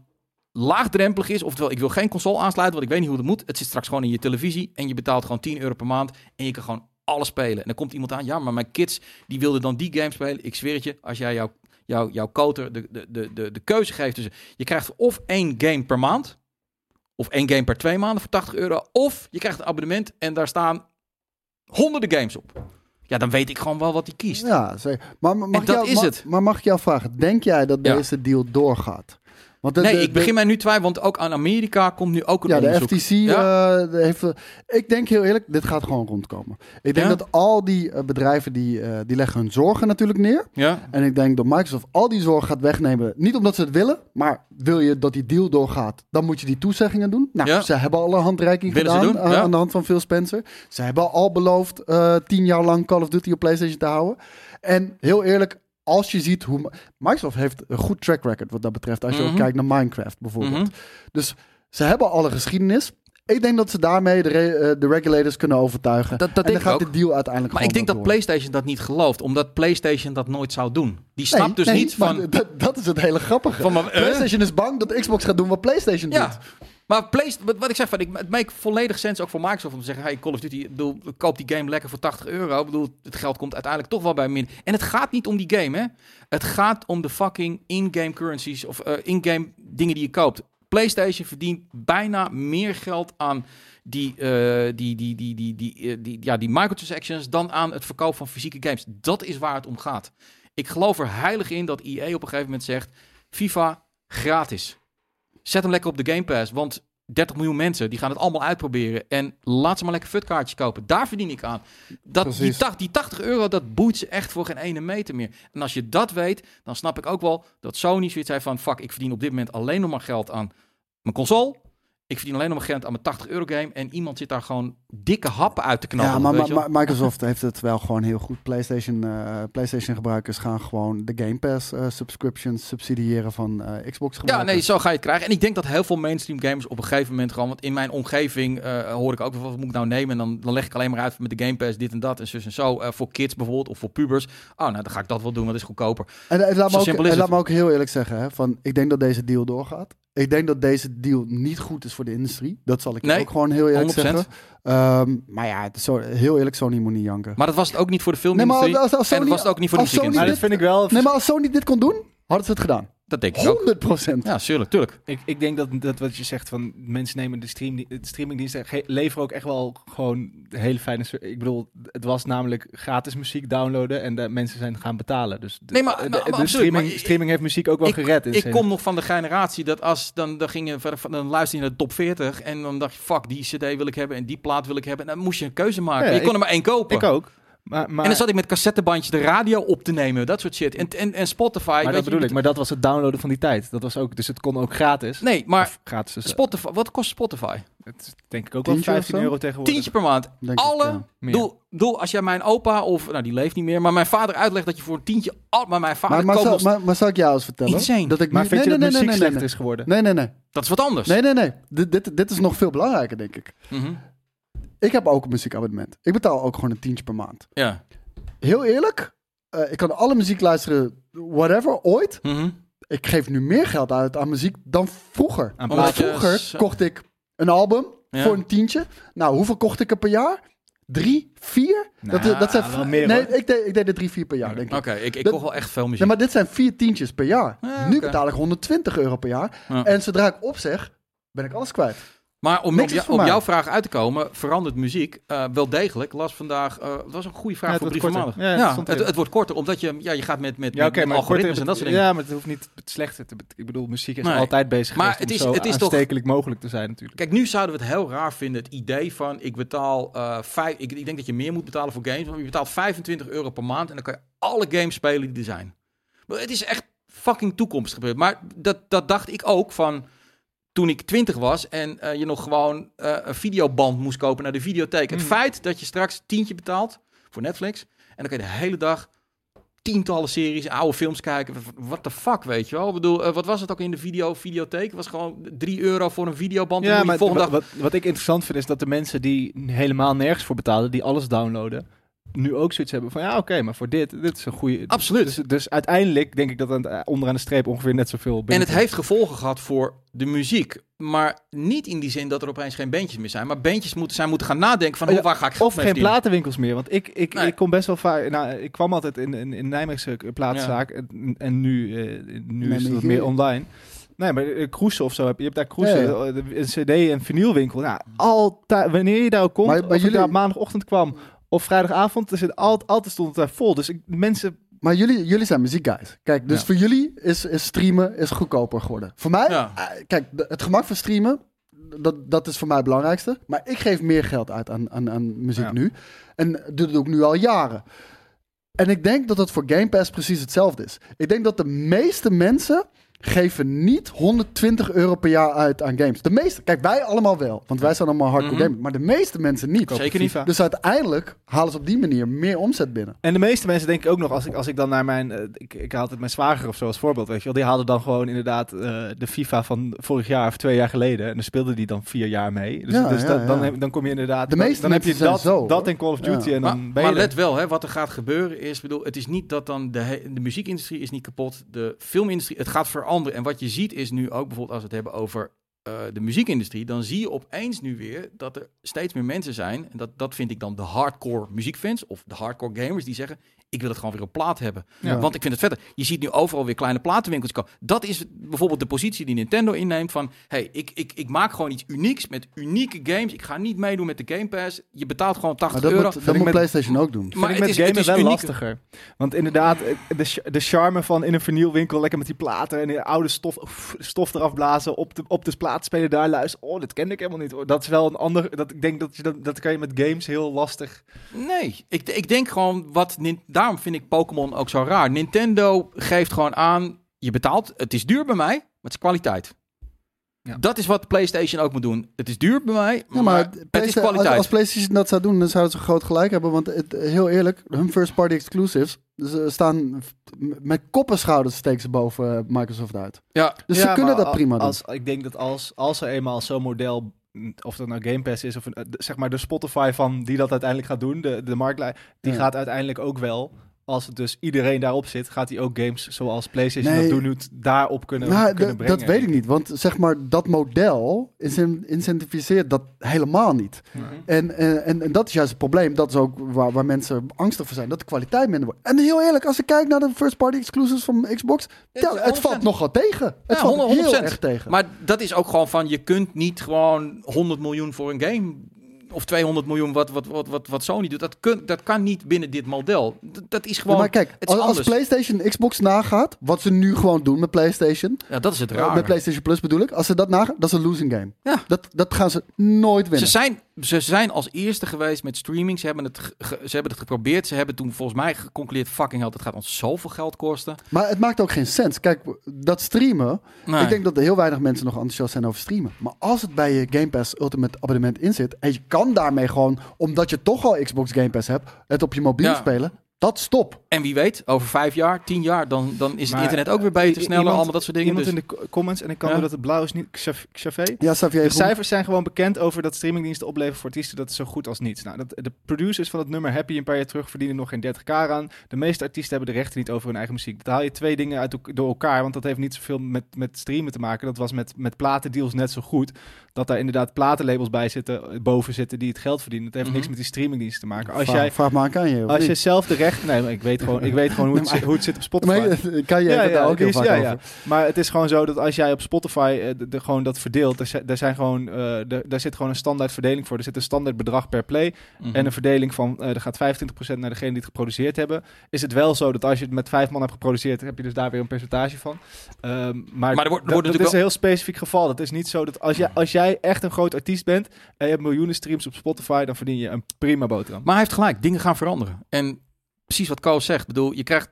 laagdrempelig is. Oftewel, ik wil geen console aansluiten, want ik weet niet hoe dat moet. Het zit straks gewoon in je televisie en je betaalt gewoon 10 euro per maand en je kan gewoon alles spelen. En dan komt iemand aan, ja, maar mijn kids die wilden dan die game spelen. Ik zweer het je, als jij jouw jouw jouw coter de, de, de, de, de keuze geeft tussen... Je krijgt of één game per maand, of één game per twee maanden voor 80 euro, of je krijgt een abonnement en daar staan honderden games op. Ja, dan weet ik gewoon wel wat hij kiest.
Ja, zeker. Maar, maar mag
En
ik
dat
jou,
is
ma-
het.
Maar mag ik jou vragen, denk jij dat
Ja.
deze deal doorgaat? Want de-
Nee,
de-
ik begin mij nu twijfelen, want ook aan Amerika komt nu ook een
Ja, de
onderzoek.
FTC
Ja.
eh, heeft... eh, ik denk heel eerlijk, dit gaat gewoon rondkomen. Ik denk
Ja?
dat al die eh, bedrijven, die, eh, die leggen hun zorgen natuurlijk neer.
Ja,
En ik denk dat Microsoft al die zorg gaat wegnemen. Niet omdat ze het willen, maar wil je dat die deal doorgaat, dan moet je die toezeggingen doen. Nou,
Ja.
ze hebben al een handreiking
Willen ze
gedaan
doen,
eh,
ja.
aan de hand van Phil Spencer. Ze hebben al beloofd eh, tien jaar lang Call of Duty op PlayStation te houden. En heel eerlijk, als je ziet hoe... Microsoft heeft een goed track record wat dat betreft. Als je
Mhm.
ook kijkt naar Minecraft bijvoorbeeld.
Mhm.
Dus ze hebben alle geschiedenis. Ik denk dat ze daarmee de, re- eh, de regulators kunnen overtuigen.
Dat, dat
en
denk
dan
ik
gaat
ook.
de deal uiteindelijk
Maar ik
gewoon
denk dat
wel door.
PlayStation dat niet gelooft, omdat PlayStation dat nooit zou doen. Die
Nee,
snapt dus
nee,
niet
maar
van.
Dat, dat is het hele grappige.
van maar, eh?
PlayStation is bang dat Xbox gaat doen wat PlayStation
Ja,
doet.
maar Play- wat, wat ik zeg, van, ik, het maakt volledig sens ook voor Microsoft om te zeggen: hey, Call of Duty, ik bedoel, koop die game lekker voor 80 euro. Ik bedoel, het geld komt uiteindelijk toch wel bij min. En het gaat niet om die game, hè? Het gaat om de fucking in-game currencies of eh, in-game dingen die je koopt. PlayStation verdient bijna meer geld aan die, eh, die, die, die, die, die, eh, die, ja, die microtransactions dan aan het verkoop van fysieke games. Dat is waar het om gaat. Ik geloof er heilig in dat EA op een gegeven moment zegt: FIFA gratis. Zet hem lekker op de Game Pass. Want 30 miljoen mensen die gaan het allemaal uitproberen. En laat ze maar lekker futkaartjes kopen. Daar verdien ik aan. Dat, die,
Precies.
tach- die 80 euro, dat boeit ze echt voor geen ene meter meer. En als je dat weet, dan snap ik ook wel dat Sony zoiets zei van... fuck, ik verdien op dit moment alleen nog maar geld aan mijn console. Ik verdien alleen nog maar geld aan mijn 80 euro game. En iemand zit daar gewoon dikke happen uit te knallen.
Ja, maar,
weet
maar-
je wel.
maar Microsoft heeft het wel gewoon heel goed. PlayStation, eh, PlayStation gebruikers gaan gewoon de Game Pass eh, subscriptions subsidiëren van eh, Xbox
Ja,
gebruikers.
nee, zo ga je het krijgen. En ik denk dat heel veel mainstream gamers op een gegeven moment gewoon... Want in mijn omgeving eh, hoor ik ook wel, wat moet ik nou nemen? En dan, dan leg ik alleen maar uit met de Game Pass dit en dat en zus en zo. Eh, voor kids bijvoorbeeld of voor pubers. Oh, nou, dan ga ik dat wel doen, want dat is goedkoper.
En, eh, laat,
Zo
me ook,
simpel is
en
het.
laat me ook heel eerlijk zeggen, hè, van, ik denk dat deze deal doorgaat. Ik denk dat deze deal niet goed is voor de industrie. Dat zal ik je
Nee,
ook gewoon heel eerlijk
100%.
zeggen. Ehm, maar ja, het is zo, heel eerlijk, Sony moet niet janken.
Maar dat was het ook niet voor de
nee, maar
filmindustrie.
als, als
en
Sony,
dat was het ook niet voor de
als Sony
Maar
muziekindustrie.
dit-
dat vind ik wel...
nee, maar als Sony dit kon doen, hadden ze het gedaan.
Dat denk ik ook.
100 procent.
Ja, tuurlijk, tuurlijk.
Ik, ik denk dat, dat wat je zegt van mensen nemen de stream, de streamingdiensten ge- leveren ook echt wel gewoon hele fijne. ser- Ik bedoel, het was namelijk gratis muziek downloaden en de mensen zijn gaan betalen. Dus de,
Nee, maar-
de-
maar-
de
maar absoluut,
streaming,
maar ik-
streaming heeft muziek ook wel
ik-
gered. in
Ik
zin.
kom nog van de generatie dat als dan, dan ging je verder van- dan luisterde je naar de top 40 en dan dacht je fuck die CD wil ik hebben en die plaat wil ik hebben en dan moest je een keuze maken.
Ja,
je
ik-
kon er maar één kopen.
ik ook. Maar, maar,
En dan zat ik met cassettebandjes de radio op te nemen, dat soort shit. En, en, en Spotify.
maar
weet
dat
je,
bedoel
je
ik.
moet-
Maar dat was het downloaden van die tijd. Dat was ook, dus het kon ook gratis.
Nee, maar
Of gratis. Dus
Spotify, wat kost Spotify?
het is denk ik ook wel
Tientje of
15
zo?
euro tegenwoordig.
Tientje per maand. Alle.
Meer.
Doe, doe, als jij mijn opa of, nou die leeft niet meer, maar mijn vader uitlegt dat je voor een tientje, al, maar mijn vader
Maar, maar,
koopt
zou,
nog-
maar, maar zou ik jou eens vertellen?
Insane.
Dat ik
Maar
nu-
vind
nee,
je dat
nee, nee,
muziek
nee, nee,
slecht
nee.
is geworden?
Nee, nee, nee.
dat is wat anders.
Nee, nee, nee. Dit, dit, dit is nog veel belangrijker, denk ik.
Mhm.
Ik heb ook een muziekabonnement. Ik betaal ook gewoon een tientje per maand.
Ja.
Heel eerlijk, eh, ik kan alle muziek luisteren, whatever, ooit.
Mhm.
Ik geef nu meer geld uit aan muziek dan vroeger.
Aan
Omdat
Want
je-
vroeger kocht ik een album
Ja.
voor een tientje. Nou, hoeveel kocht ik er per jaar? Drie, vier?
Nou,
dat, dat zijn
wel meer,
nee,
hoor.
ik deed, ik deed er drie, vier per jaar, denk ik.
Oké, ik, ik
Dat-
kocht wel echt veel muziek.
Ja, maar dit zijn vier tientjes per jaar.
Ja,
Nu
oké.
betaal ik 120 euro per jaar.
Ja.
En zodra ik opzeg, ben ik alles kwijt.
Maar om op,
Niks is
jou-
voor
op
mij.
jouw vraag uit te komen, verandert muziek eh, wel degelijk. Las vandaag, eh, het was een goede
Ja,
vraag
het
voor
wordt
Brief van
korter.
Maandag.
Ja,
Ja,
het stond
het,
erin.
het wordt korter, omdat je, ja, je gaat met, met,
Ja, oké,
met
maar
algoritmes
korter-
en dat soort dingen.
Ja, maar het hoeft niet het slechter te bet- Ik bedoel, muziek is
Nee.
altijd bezig
Maar
geweest
het
om
is-
zo
het is toch-
aanstekelijk mogelijk te zijn natuurlijk.
Kijk, nu zouden we het heel raar vinden, het idee van ik betaal eh, vijf, ik, ik denk dat je meer moet betalen voor games, want je betaalt 25 euro per maand en dan kan je alle games spelen die er zijn. Maar het is echt fucking toekomst gebeurd. Maar dat, dat dacht ik ook van toen ik 20 was en eh, je nog gewoon eh, een videoband moest kopen naar de videotheek. Het
Mm.
feit dat je straks tientje betaalt voor Netflix en dan kan je de hele dag tientallen series, oude films kijken. What the fuck, weet je wel? Ik bedoel, eh, wat was het ook in de video, videotheek? Het was gewoon 3 euro voor een videoband. Ja,
Ja,
maar
maar
je volgende dag...
wat, wat ik interessant vind is dat de mensen die helemaal nergens voor betalen, die alles downloaden, nu ook zoiets hebben van ja, oké, maar voor dit, dit is een goede.
Absoluut.
Dus, dus uiteindelijk denk ik dat aan het- eh, onderaan de streep ongeveer net zoveel.
en het
binnenkomt.
heeft gevolgen gehad voor de muziek. Maar niet in die zin dat er opeens geen bandjes meer zijn. Maar bandjes moeten, zijn moeten gaan nadenken van
Oh ja,
hoe, waar ga ik geld
Of
mee
geen
verdienen?
platenwinkels meer. Want ik, ik,
Nee.
ik kom best wel vaak. Nou, ik kwam altijd in een in Nijmeegse plaatszaak. En, en nu, eh, nu is het wat
Nijmegen.
meer online. Nee, maar eh, Kroes of zo heb je. hebt daar Kroes,
Ja, ja.
eh, een CD- en vinylwinkel. Nou, altijd, wanneer je daar ook komt,
Maar- maar
of je
jullie-
daar op maandagochtend kwam of vrijdagavond, er zit altijd, altijd stond het daar vol. Dus ik, mensen,
Maar jullie, jullie zijn muziekguys. Kijk, dus
Ja.
voor jullie is, is streamen is goedkoper geworden. Voor mij,
Ja.
eh, kijk, de- het gemak van streamen, dat, dat is voor mij het belangrijkste. Maar ik geef meer geld uit aan, aan, aan muziek
Ja.
nu. En dat doe ik nu al jaren. En ik denk dat dat voor Game Pass precies hetzelfde is. Ik denk dat de meeste mensen geven niet 120 euro per jaar uit aan games. De meeste, kijk, wij allemaal wel, want wij zijn allemaal hardcore
Mhm.
gamers. Maar de meeste mensen niet.
Kopen
Zeker niet.
FIFA.
Dus uiteindelijk halen ze op die manier meer omzet binnen.
En de meeste mensen denken ook nog, als ik, als ik dan naar mijn... eh, ik, ik haal altijd mijn zwager of zo als voorbeeld, weet je wel. Die haalde dan gewoon inderdaad eh, de FIFA van vorig jaar of twee jaar geleden. En dan speelde die dan vier jaar mee. Dus,
Ja,
dus
ja,
dan,
ja.
Dan, heb- dan kom je inderdaad...
De
dan-
meeste
dan, heb je
mensen zijn
dat,
zo,
dat
hoor.
in Call of Duty
Ja.
en dan ben
Maar, maar
je er.
let wel, hè, wat er gaat gebeuren is, bedoel, het is niet dat dan de, he- de muziekindustrie is niet kapot, de filmindustrie, het gaat veranderen. En wat je ziet is nu ook bijvoorbeeld als we het hebben over eh, de muziekindustrie, dan zie je opeens nu weer dat er steeds meer mensen zijn, en dat, dat vind ik dan de hardcore muziekfans of de hardcore gamers, die zeggen, ik wil het gewoon weer op plaat hebben.
Ja.
Want ik vind het verder. Je ziet nu overal weer kleine platenwinkels komen. Dat is bijvoorbeeld de positie die Nintendo inneemt van... hey, ik, ik, ik maak gewoon iets unieks met unieke games. Ik ga niet meedoen met de Game Pass. Je betaalt gewoon 80
Maar dat
euro.
moet,
ik
dat moet
met-
PlayStation ook doen.
Maar
het
ik met
is-
gamen
het is
wel
uniek.
lastiger. Want inderdaad, eh, de, ch- de charme van in een vernielwinkel lekker met die platen en die oude stof, oef, stof eraf blazen, op de, op de plaat spelen, daar luisteren. Oh, dat kende ik helemaal niet. Oh, Dat is wel een ander. Dat, ik denk dat je dat, dat kan je met games heel lastig.
Nee, ik, ik denk gewoon wat... Nin- Daarom vind ik Pokémon ook zo raar. Nintendo geeft gewoon aan... Je betaalt, het is duur bij mij, maar het is kwaliteit.
Ja.
Dat is wat PlayStation ook moet doen. Het is duur bij mij,
Ja,
maar,
maar
het is
PlayStation-
kwaliteit.
Als, als PlayStation dat zou doen, dan zouden ze groot gelijk hebben. Want het, heel eerlijk, hun first party exclusives ze staan m- met kop en schouders steken ze boven eh, Microsoft uit.
Ja,
Dus
Ja,
ze kunnen
maar
dat
a-
prima doen.
als, Ik denk dat als, als er eenmaal zo'n model, mm, of dat nou Game Pass is, of een, eh, de- zeg maar de Spotify van die dat uiteindelijk gaat doen, de, de marktlijn, die
Ja.
gaat uiteindelijk ook wel. Als het dus iedereen daarop zit, gaat hij ook games zoals PlayStation
Nee.
dat doet, daarop kunnen,
Nou, d-
kunnen brengen.
dat weet ik niet, want zeg maar dat model incen- incentiviseert dat helemaal niet. En, eh, en, en dat is juist het probleem. Dat is ook waar, waar mensen angstig voor zijn. Dat de kwaliteit minder wordt. En heel eerlijk, als ik kijk naar de first party exclusives van Xbox.
is
ja, het
100%.
valt nogal tegen. Het
Ja,
valt
100%.
heel erg tegen.
Maar dat is ook gewoon van, je kunt niet gewoon 100 miljoen voor een game of 200 miljoen wat, wat, wat, wat, wat Sony doet. Dat, kun, dat kan niet binnen dit model. D- dat is gewoon,
maar kijk,
het is
als, als
anders.
PlayStation Xbox nagaat, wat ze nu gewoon doen met PlayStation,
ja, dat is het
eh,
raar.
met PlayStation Plus bedoel ik, als ze dat nagaan, dat is een losing game.
Ja.
Dat, dat gaan ze nooit
Ze
winnen.
zijn, ze zijn als eerste geweest met streaming. Ze hebben, het ge- ge- ze hebben het geprobeerd. Ze hebben toen volgens mij geconcludeerd... fucking hell, dat gaat ons zoveel geld kosten.
Maar het maakt ook geen sens. Kijk, dat streamen,
Nee.
ik denk dat er heel weinig mensen nog enthousiast zijn over streamen. Maar als het bij je Game Pass Ultimate abonnement in zit, en je kan daarmee gewoon, omdat je toch al Xbox Game Pass hebt, het op je mobiel
Ja.
spelen, dat stop.
En wie weet, over vijf jaar, tien jaar... dan, dan is het
Maar,
internet ook weer
i-
beter, sneller,
iemand-
allemaal dat soort dingen.
Iemand
Dus.
in de co- comments, en ik kan
Ja.
door dat het blauw is niet, Xav- Xavier.
Ja, Xavier,
De
Groen.
cijfers zijn gewoon bekend over dat streamingdiensten opleveren voor artiesten. Dat is zo goed als niets. Nou, dat, de producers van het nummer Happy een paar jaar terug verdienen nog geen 30k aan. De meeste artiesten hebben de rechten niet over hun eigen muziek. Dat haal je twee dingen uit elk- door elkaar. Want dat heeft niet zoveel met, met streamen te maken. Dat was met, met platendeals net zo goed. Dat daar inderdaad platenlabels bij zitten, eh, boven zitten, die het geld verdienen. Dat heeft
Mhm.
niks met die streamingdiensten te maken. Als
vraag,
jij,
vraag maar aan Kanye. of
als je
niet?
zelf de rechten... Nee, maar ik weet gewoon, ik weet gewoon hoe, het, zit- hoe het zit op Spotify.
Maar, Kanye heeft het daar ook
die
heel
is-
vaak
ja,
over.
ja. Maar het is gewoon zo dat als jij op Spotify eh, de, de- gewoon dat verdeelt, er, zi- daar zijn gewoon, eh, er- daar zit gewoon een standaard verdeling voor. Er zit een standaard bedrag per play
Mhm.
en een verdeling van, eh er gaat 25% naar degene die het geproduceerd hebben. Is het wel zo dat als je het met vijf man hebt geproduceerd, heb je dus daar weer een percentage van. Ehm, maar
Maar er wordt- er wordt
dat- dat,
natuurlijk Mhm.
is
wel-
een heel specifiek geval. Het is niet zo dat als jij, als jij echt een groot artiest bent en je hebt miljoenen streams op Spotify, dan verdien je een prima boterham.
Maar hij heeft gelijk, dingen gaan veranderen. En precies wat Koos zegt, bedoel, je krijgt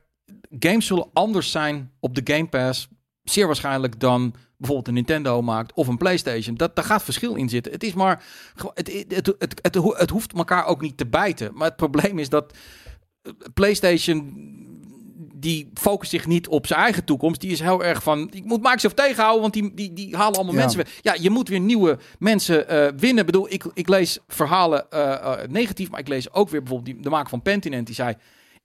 games zullen anders zijn op de Game Pass, zeer waarschijnlijk dan bijvoorbeeld een Nintendo maakt of een PlayStation. Dat, daar gaat verschil in zitten. Het is maar, gewo- het, het, het, het, het, ho- het hoeft elkaar ook niet te bijten. Maar het probleem is dat eh, PlayStation die focust zich niet op zijn eigen toekomst. Die is heel erg van, ik moet Microsoft tegenhouden, want die, die, die halen allemaal
Ja.
mensen weg. Ja, je moet weer nieuwe mensen eh, winnen. Ik bedoel, ik, ik lees verhalen eh, eh, negatief, maar ik lees ook weer bijvoorbeeld die, de maker van Pentinent. Die zei,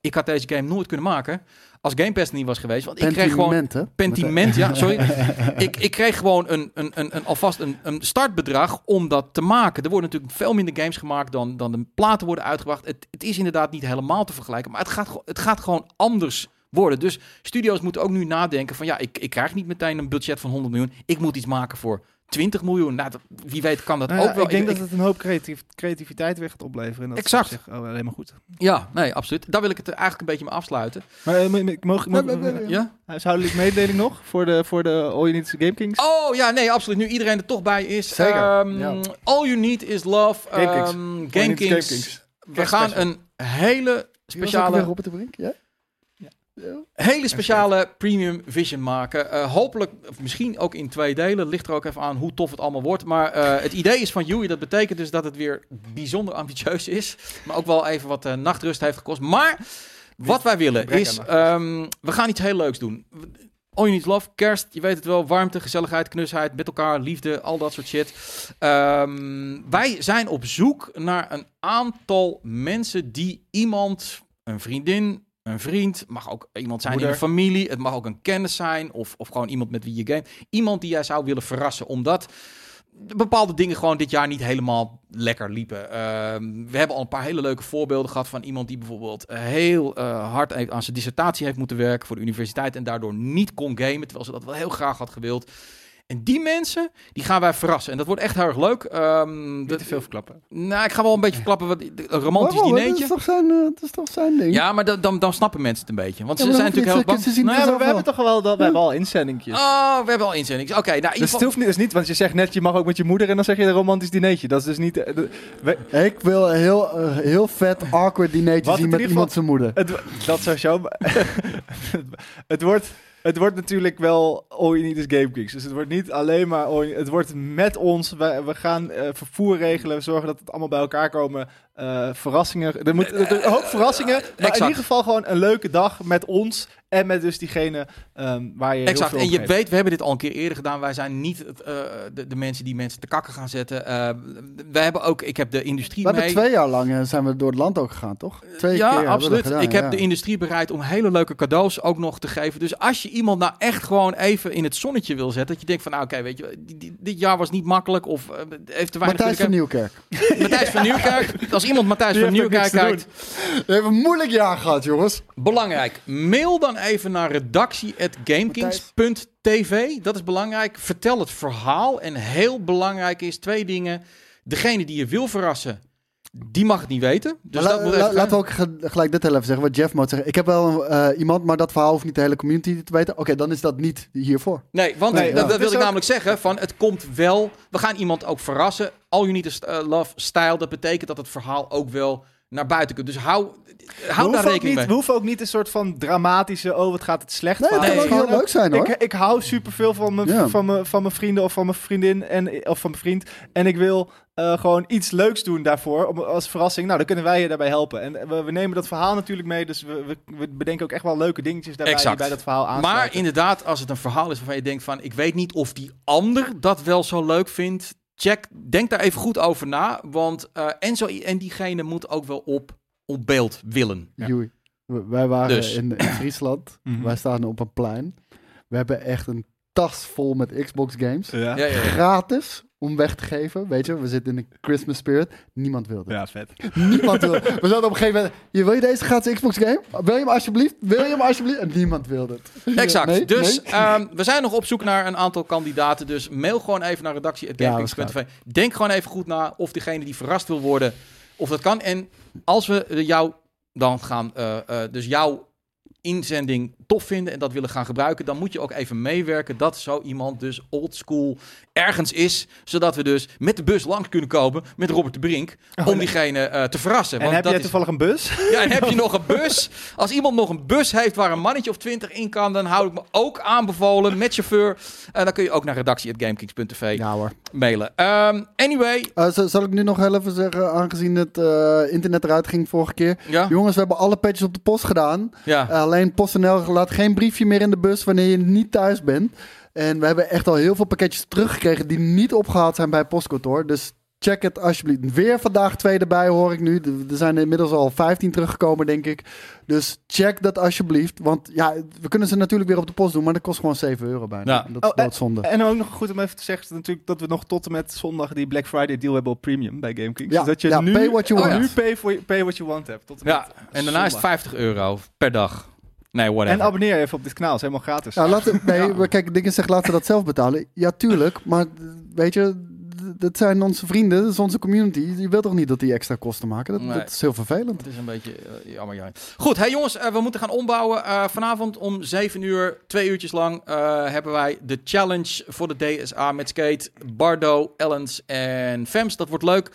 ik had deze game nooit kunnen maken als Game Pass er niet was geweest. Want ik kreeg gewoon
Pentiment, hè?
Pentiment, ja, sorry. ik, ik kreeg gewoon een, een, een, een, alvast een, een startbedrag om dat te maken. Er worden natuurlijk veel minder games gemaakt dan, dan de platen worden uitgebracht. Het, het is inderdaad niet helemaal te vergelijken, maar het gaat, gewoon- het gaat gewoon anders worden. Dus studio's moeten ook nu nadenken van ja, ik, ik krijg niet meteen een budget van 100 miljoen. Ik moet iets maken voor 20 miljoen. Nou, dat- wie weet kan dat
Nou ja,
ook wel.
ik denk
Ik-
dat het een hoop creatief- creativiteit weer gaat opleveren. En dat
Exact.
is op zich, oh, alleen maar goed.
ja, nee, absoluut. Daar wil ik het eigenlijk een beetje mee afsluiten.
Maar eh, mo- mo- mogen- Eh,
Nee,
mogen-
nee, nee,
ja?
Huishoudelijke mededeling nog voor de, voor de All You Need is Game Kings.
Oh ja, nee, absoluut. Nu iedereen er toch bij is.
Zeker,
Ehm,
ja.
All you need is love.
Game Kings.
Ehm, Game
All You Need is
Kings. We gaan een hele
Speciale...
speciale.
Robert de Brink, ja?
Hele speciale premium vision maken. Eh, hopelijk, of misschien ook in twee delen. Ligt er ook even aan hoe tof het allemaal wordt. Maar eh, het idee is van Yui. Dat betekent dus dat het weer bijzonder ambitieus is. Maar ook wel even wat eh, nachtrust heeft gekost. Maar wat wij willen
Gebrek aan
is...
nachtrust.
ehm, we gaan iets heel leuks doen. All You Need Love, kerst, je weet het wel. Warmte, gezelligheid, knusheid, met elkaar, liefde, al dat soort shit. Ehm, wij zijn op zoek naar een aantal mensen die iemand, een vriendin, een vriend, mag ook iemand zijn in
Moeder.
de familie, het mag ook een kennis zijn of, of gewoon iemand met wie je game. Iemand die jij zou willen verrassen, omdat bepaalde dingen gewoon dit jaar niet helemaal lekker liepen. Ehm, we hebben al een paar hele leuke voorbeelden gehad van iemand die bijvoorbeeld heel eh, hard heeft- aan zijn dissertatie heeft moeten werken voor de universiteit en daardoor niet kon gamen, terwijl ze dat wel heel graag had gewild. En die mensen, die gaan wij verrassen. En dat wordt echt heel erg leuk. Ehm,
Niet
dat-
te veel verklappen.
nou, ik ga wel een beetje verklappen. Wat, een romantisch
Waarom? Het
dineetje.
is toch zijn, eh, het is toch zijn ding?
Ja, maar dan, dan, dan snappen mensen het een beetje. Want
Ja,
ze
maar
zijn
dan
natuurlijk heel bang.
hoef je- ze- ze zien
Nou
het
ja, maar
zelf
we hebben toch wel, wel- we hebben al inzendingjes.
Oh, we hebben al inzendingen. Oké, nou, in ieder
Dus het
geval...
hoeft niet, is niet, want je zegt net, je mag ook met je moeder en dan zeg je een romantisch dineetje. Dat is dus niet... eh, de- we-
wel. Ik wil een heel, eh, heel vet, awkward dineetje
Wat
zien
in
met
ieder
iemand zijn moeder.
Het, wo- dat zou zo. het, wordt, het wordt natuurlijk wel All You Need is Game Geeks. Dus het wordt niet alleen maar... all you- het wordt met ons. We, we gaan eh, vervoer regelen. We zorgen dat het allemaal bij elkaar komen. Eh, verrassingen. Er moet er- er- een hoop verrassingen. Maar
Eh, exact.
in ieder geval gewoon een leuke dag met ons. En met dus diegene ehm, waar je
Exact.
heel
En
veel om
je
geeft.
weet, we hebben dit al een keer eerder gedaan. Wij zijn niet het, eh, de, de mensen die mensen te kakken gaan zetten. Eh wij hebben ook... Ik heb de industrie
We hebben
mee...
twee jaar lang eh, zijn we door het land ook gegaan, toch? Twee keer
Eh, ja,
hebben we dat
absoluut.
gedaan,
ik heb
ja.
de industrie bereid om hele leuke cadeaus ook nog te geven. Dus als je iemand nou echt gewoon even in het zonnetje wil zetten, dat je denkt van, nou, oké, weet je, die- die- dit jaar was niet makkelijk of eh, heeft te weinig.
Matthijs van
geluk
Nieuwkerk.
gehad. Matthijs van Nieuwkerk. Als iemand Matthijs
Die
van
heeft ook
Nieuwkerk
niks te doen.
kijkt,
We hebben een moeilijk jaar gehad, jongens.
Belangrijk. Mail dan even naar redactie.gamekings.tv. Dat is belangrijk. Vertel het verhaal. En heel belangrijk is twee dingen. Degene die je wil verrassen, die mag het niet weten. Dus
Maar
dat
la-
moet
la-
even-
laten we ook ge- gelijk dit heel even zeggen. Wat Jeff moet zeggen. Ik heb wel een, eh, iemand, maar dat verhaal hoeft niet de hele community te weten. Oké, dan is dat niet hiervoor.
Nee, want
Nee,
dat, dat
ja.
wil
Dus
ik
ook-
namelijk zeggen. Van, het komt wel. We gaan iemand ook verrassen. All you need is eh, love style. Dat betekent dat het verhaal ook wel naar buiten komt. Dus hou,
We
hou daar
hoeven, ook
rekening
niet,
mee.
we hoeven ook niet een soort van dramatische... Oh, wat gaat het slecht
Nee, het
verhaal.
kan ook
nee.
heel leuk zijn, hoor.
Ik, ik hou superveel van mijn,
Ja.
van, mijn, van mijn vrienden of van mijn vriendin en, of van mijn vriend. En ik wil eh, gewoon iets leuks doen daarvoor om, als verrassing. Nou, dan kunnen wij je daarbij helpen. En we, we nemen dat verhaal natuurlijk mee. Dus we, we, we bedenken ook echt wel leuke dingetjes daarbij
Exact.
die bij dat verhaal aansluiten.
Maar inderdaad, als het een verhaal is waarvan je denkt van... ik weet niet of die ander dat wel zo leuk vindt. Check, denk daar even goed over na. Want eh, en, zo, en diegene moet ook wel op, op beeld willen.
Ja.
Joey, w- wij waren
Dus.
in, in Friesland.
Mhm.
Wij staan op een plein. We hebben echt een tas vol met Xbox games.
ja.
Ja,
Ja.
ja, ja.
Gratis om weg te geven. Weet je, we zitten in de Christmas spirit. Niemand wilde. het.
vet.
Niemand wilde. het. We zaten op een gegeven moment. Je, wil je deze gratis Xbox game? Wil je hem alsjeblieft? Wil je hem alsjeblieft? En niemand wilde het.
Exact.
Nee,
dus
nee.
ehm, we zijn nog op zoek naar een aantal kandidaten. Dus mail gewoon even naar redactie.gamepix.tv. Denk gewoon even goed na of degene die verrast wil worden, of dat kan. En als we eh, jou dan gaan, eh, eh, dus jouw inzending tof vinden en dat willen gaan gebruiken, dan moet je ook even meewerken dat zo iemand dus oldschool ergens is, zodat we dus met de bus langs kunnen komen met Robert de Brink om diegene eh, te verrassen.
En heb
dat
jij
is-
toevallig een bus?
ja, en heb je nog een bus? Als iemand nog een bus heeft waar een mannetje of twintig in kan, dan hou ik me ook aanbevolen met chauffeur. En dan kun je ook naar redactie.gamekings.tv
Ja hoor.
mailen. Ehm, anyway,
Eh, z- zal ik nu nog heel even zeggen, aangezien het eh, internet eruit ging vorige keer.
ja,
Ah.
Jongens, we hebben alle petjes op de post gedaan.
ja.
Uh, alleen PostNL laat geen briefje meer in de bus wanneer je niet thuis bent. En we hebben echt al heel veel pakketjes teruggekregen die niet opgehaald zijn bij het postkantoor. Dus check het alsjeblieft. Weer vandaag twee erbij hoor ik nu. D- Er zijn inmiddels al 15 teruggekomen, denk ik. Dus check dat alsjeblieft. Want ja, we kunnen ze natuurlijk weer op de post doen, maar dat kost gewoon 7 euro bijna.
Ja.
En Dat
Oh,
is
eh,
doodzonde.
En ook nog goed om even te zeggen is natuurlijk dat we nog tot en met zondag die Black Friday deal hebben op premium bij GameKings.
Ja,
dus dat je
ja,
nu,
pay what you
oh,
want.
nu pay, for, pay what you want hebt. Tot en,
ja.
met
En daarna is het
zondag.
50 euro per dag. Nee, whatever.
en abonneer even op dit kanaal, is helemaal gratis.
Nou, laten, nee, we- kijk, Dickens zegt laten we dat zelf betalen. Ja, tuurlijk. Maar d- weet je, d- dat zijn onze vrienden, dat is onze community. Je wilt toch niet dat die extra kosten maken? Dat,
Nee.
dat is heel vervelend.
Het is een beetje eh, jammer, ja. Goed, hey jongens, eh, we moeten gaan ombouwen. Eh, vanavond om 7 uur, twee uurtjes lang, eh, hebben wij de challenge voor de DSA met Skate, Bardo, Ellens en Fems. Dat wordt leuk.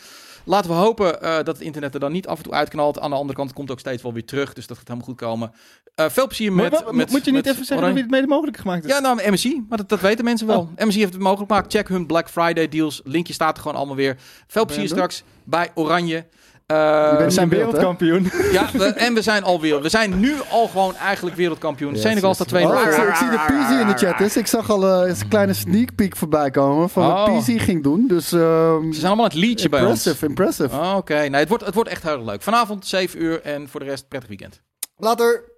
Laten we hopen eh, dat het internet er dan niet af en toe uitknalt. Aan de andere kant komt het ook steeds wel weer terug. Dus dat gaat helemaal goed komen. Eh, veel plezier met...
Maar wat-
met
moet je niet
met
even zeggen
Oranje.
wie Oh. het mede mogelijk gemaakt is?
Ja, nou, MSI. Maar dat, dat weten mensen wel. MSI heeft het mogelijk gemaakt. Check hun Black Friday deals. Linkje staat er gewoon allemaal weer. Veel plezier
doen?
straks bij Oranje. Eh,
Je
we
bent
zijn
in beeld, hè?
wereldkampioen.
ja, we- en we zijn alweer. We zijn nu al gewoon eigenlijk wereldkampioen.
Yes,
Senegal
yes.
staat 2-0.
Oh, ik, zie- ik zie de PZ in de chat. Dus ik zag al eh, eens een kleine sneak peek voorbij komen van
Oh.
wat PZ ging doen. Dus ehm,
Ze zijn allemaal aan het liedje bij ons.
impressive, impressive.
Oh, Oké, nee, het, wordt, het wordt echt heel leuk. Vanavond 7 uur en voor de rest prettig weekend.
Later.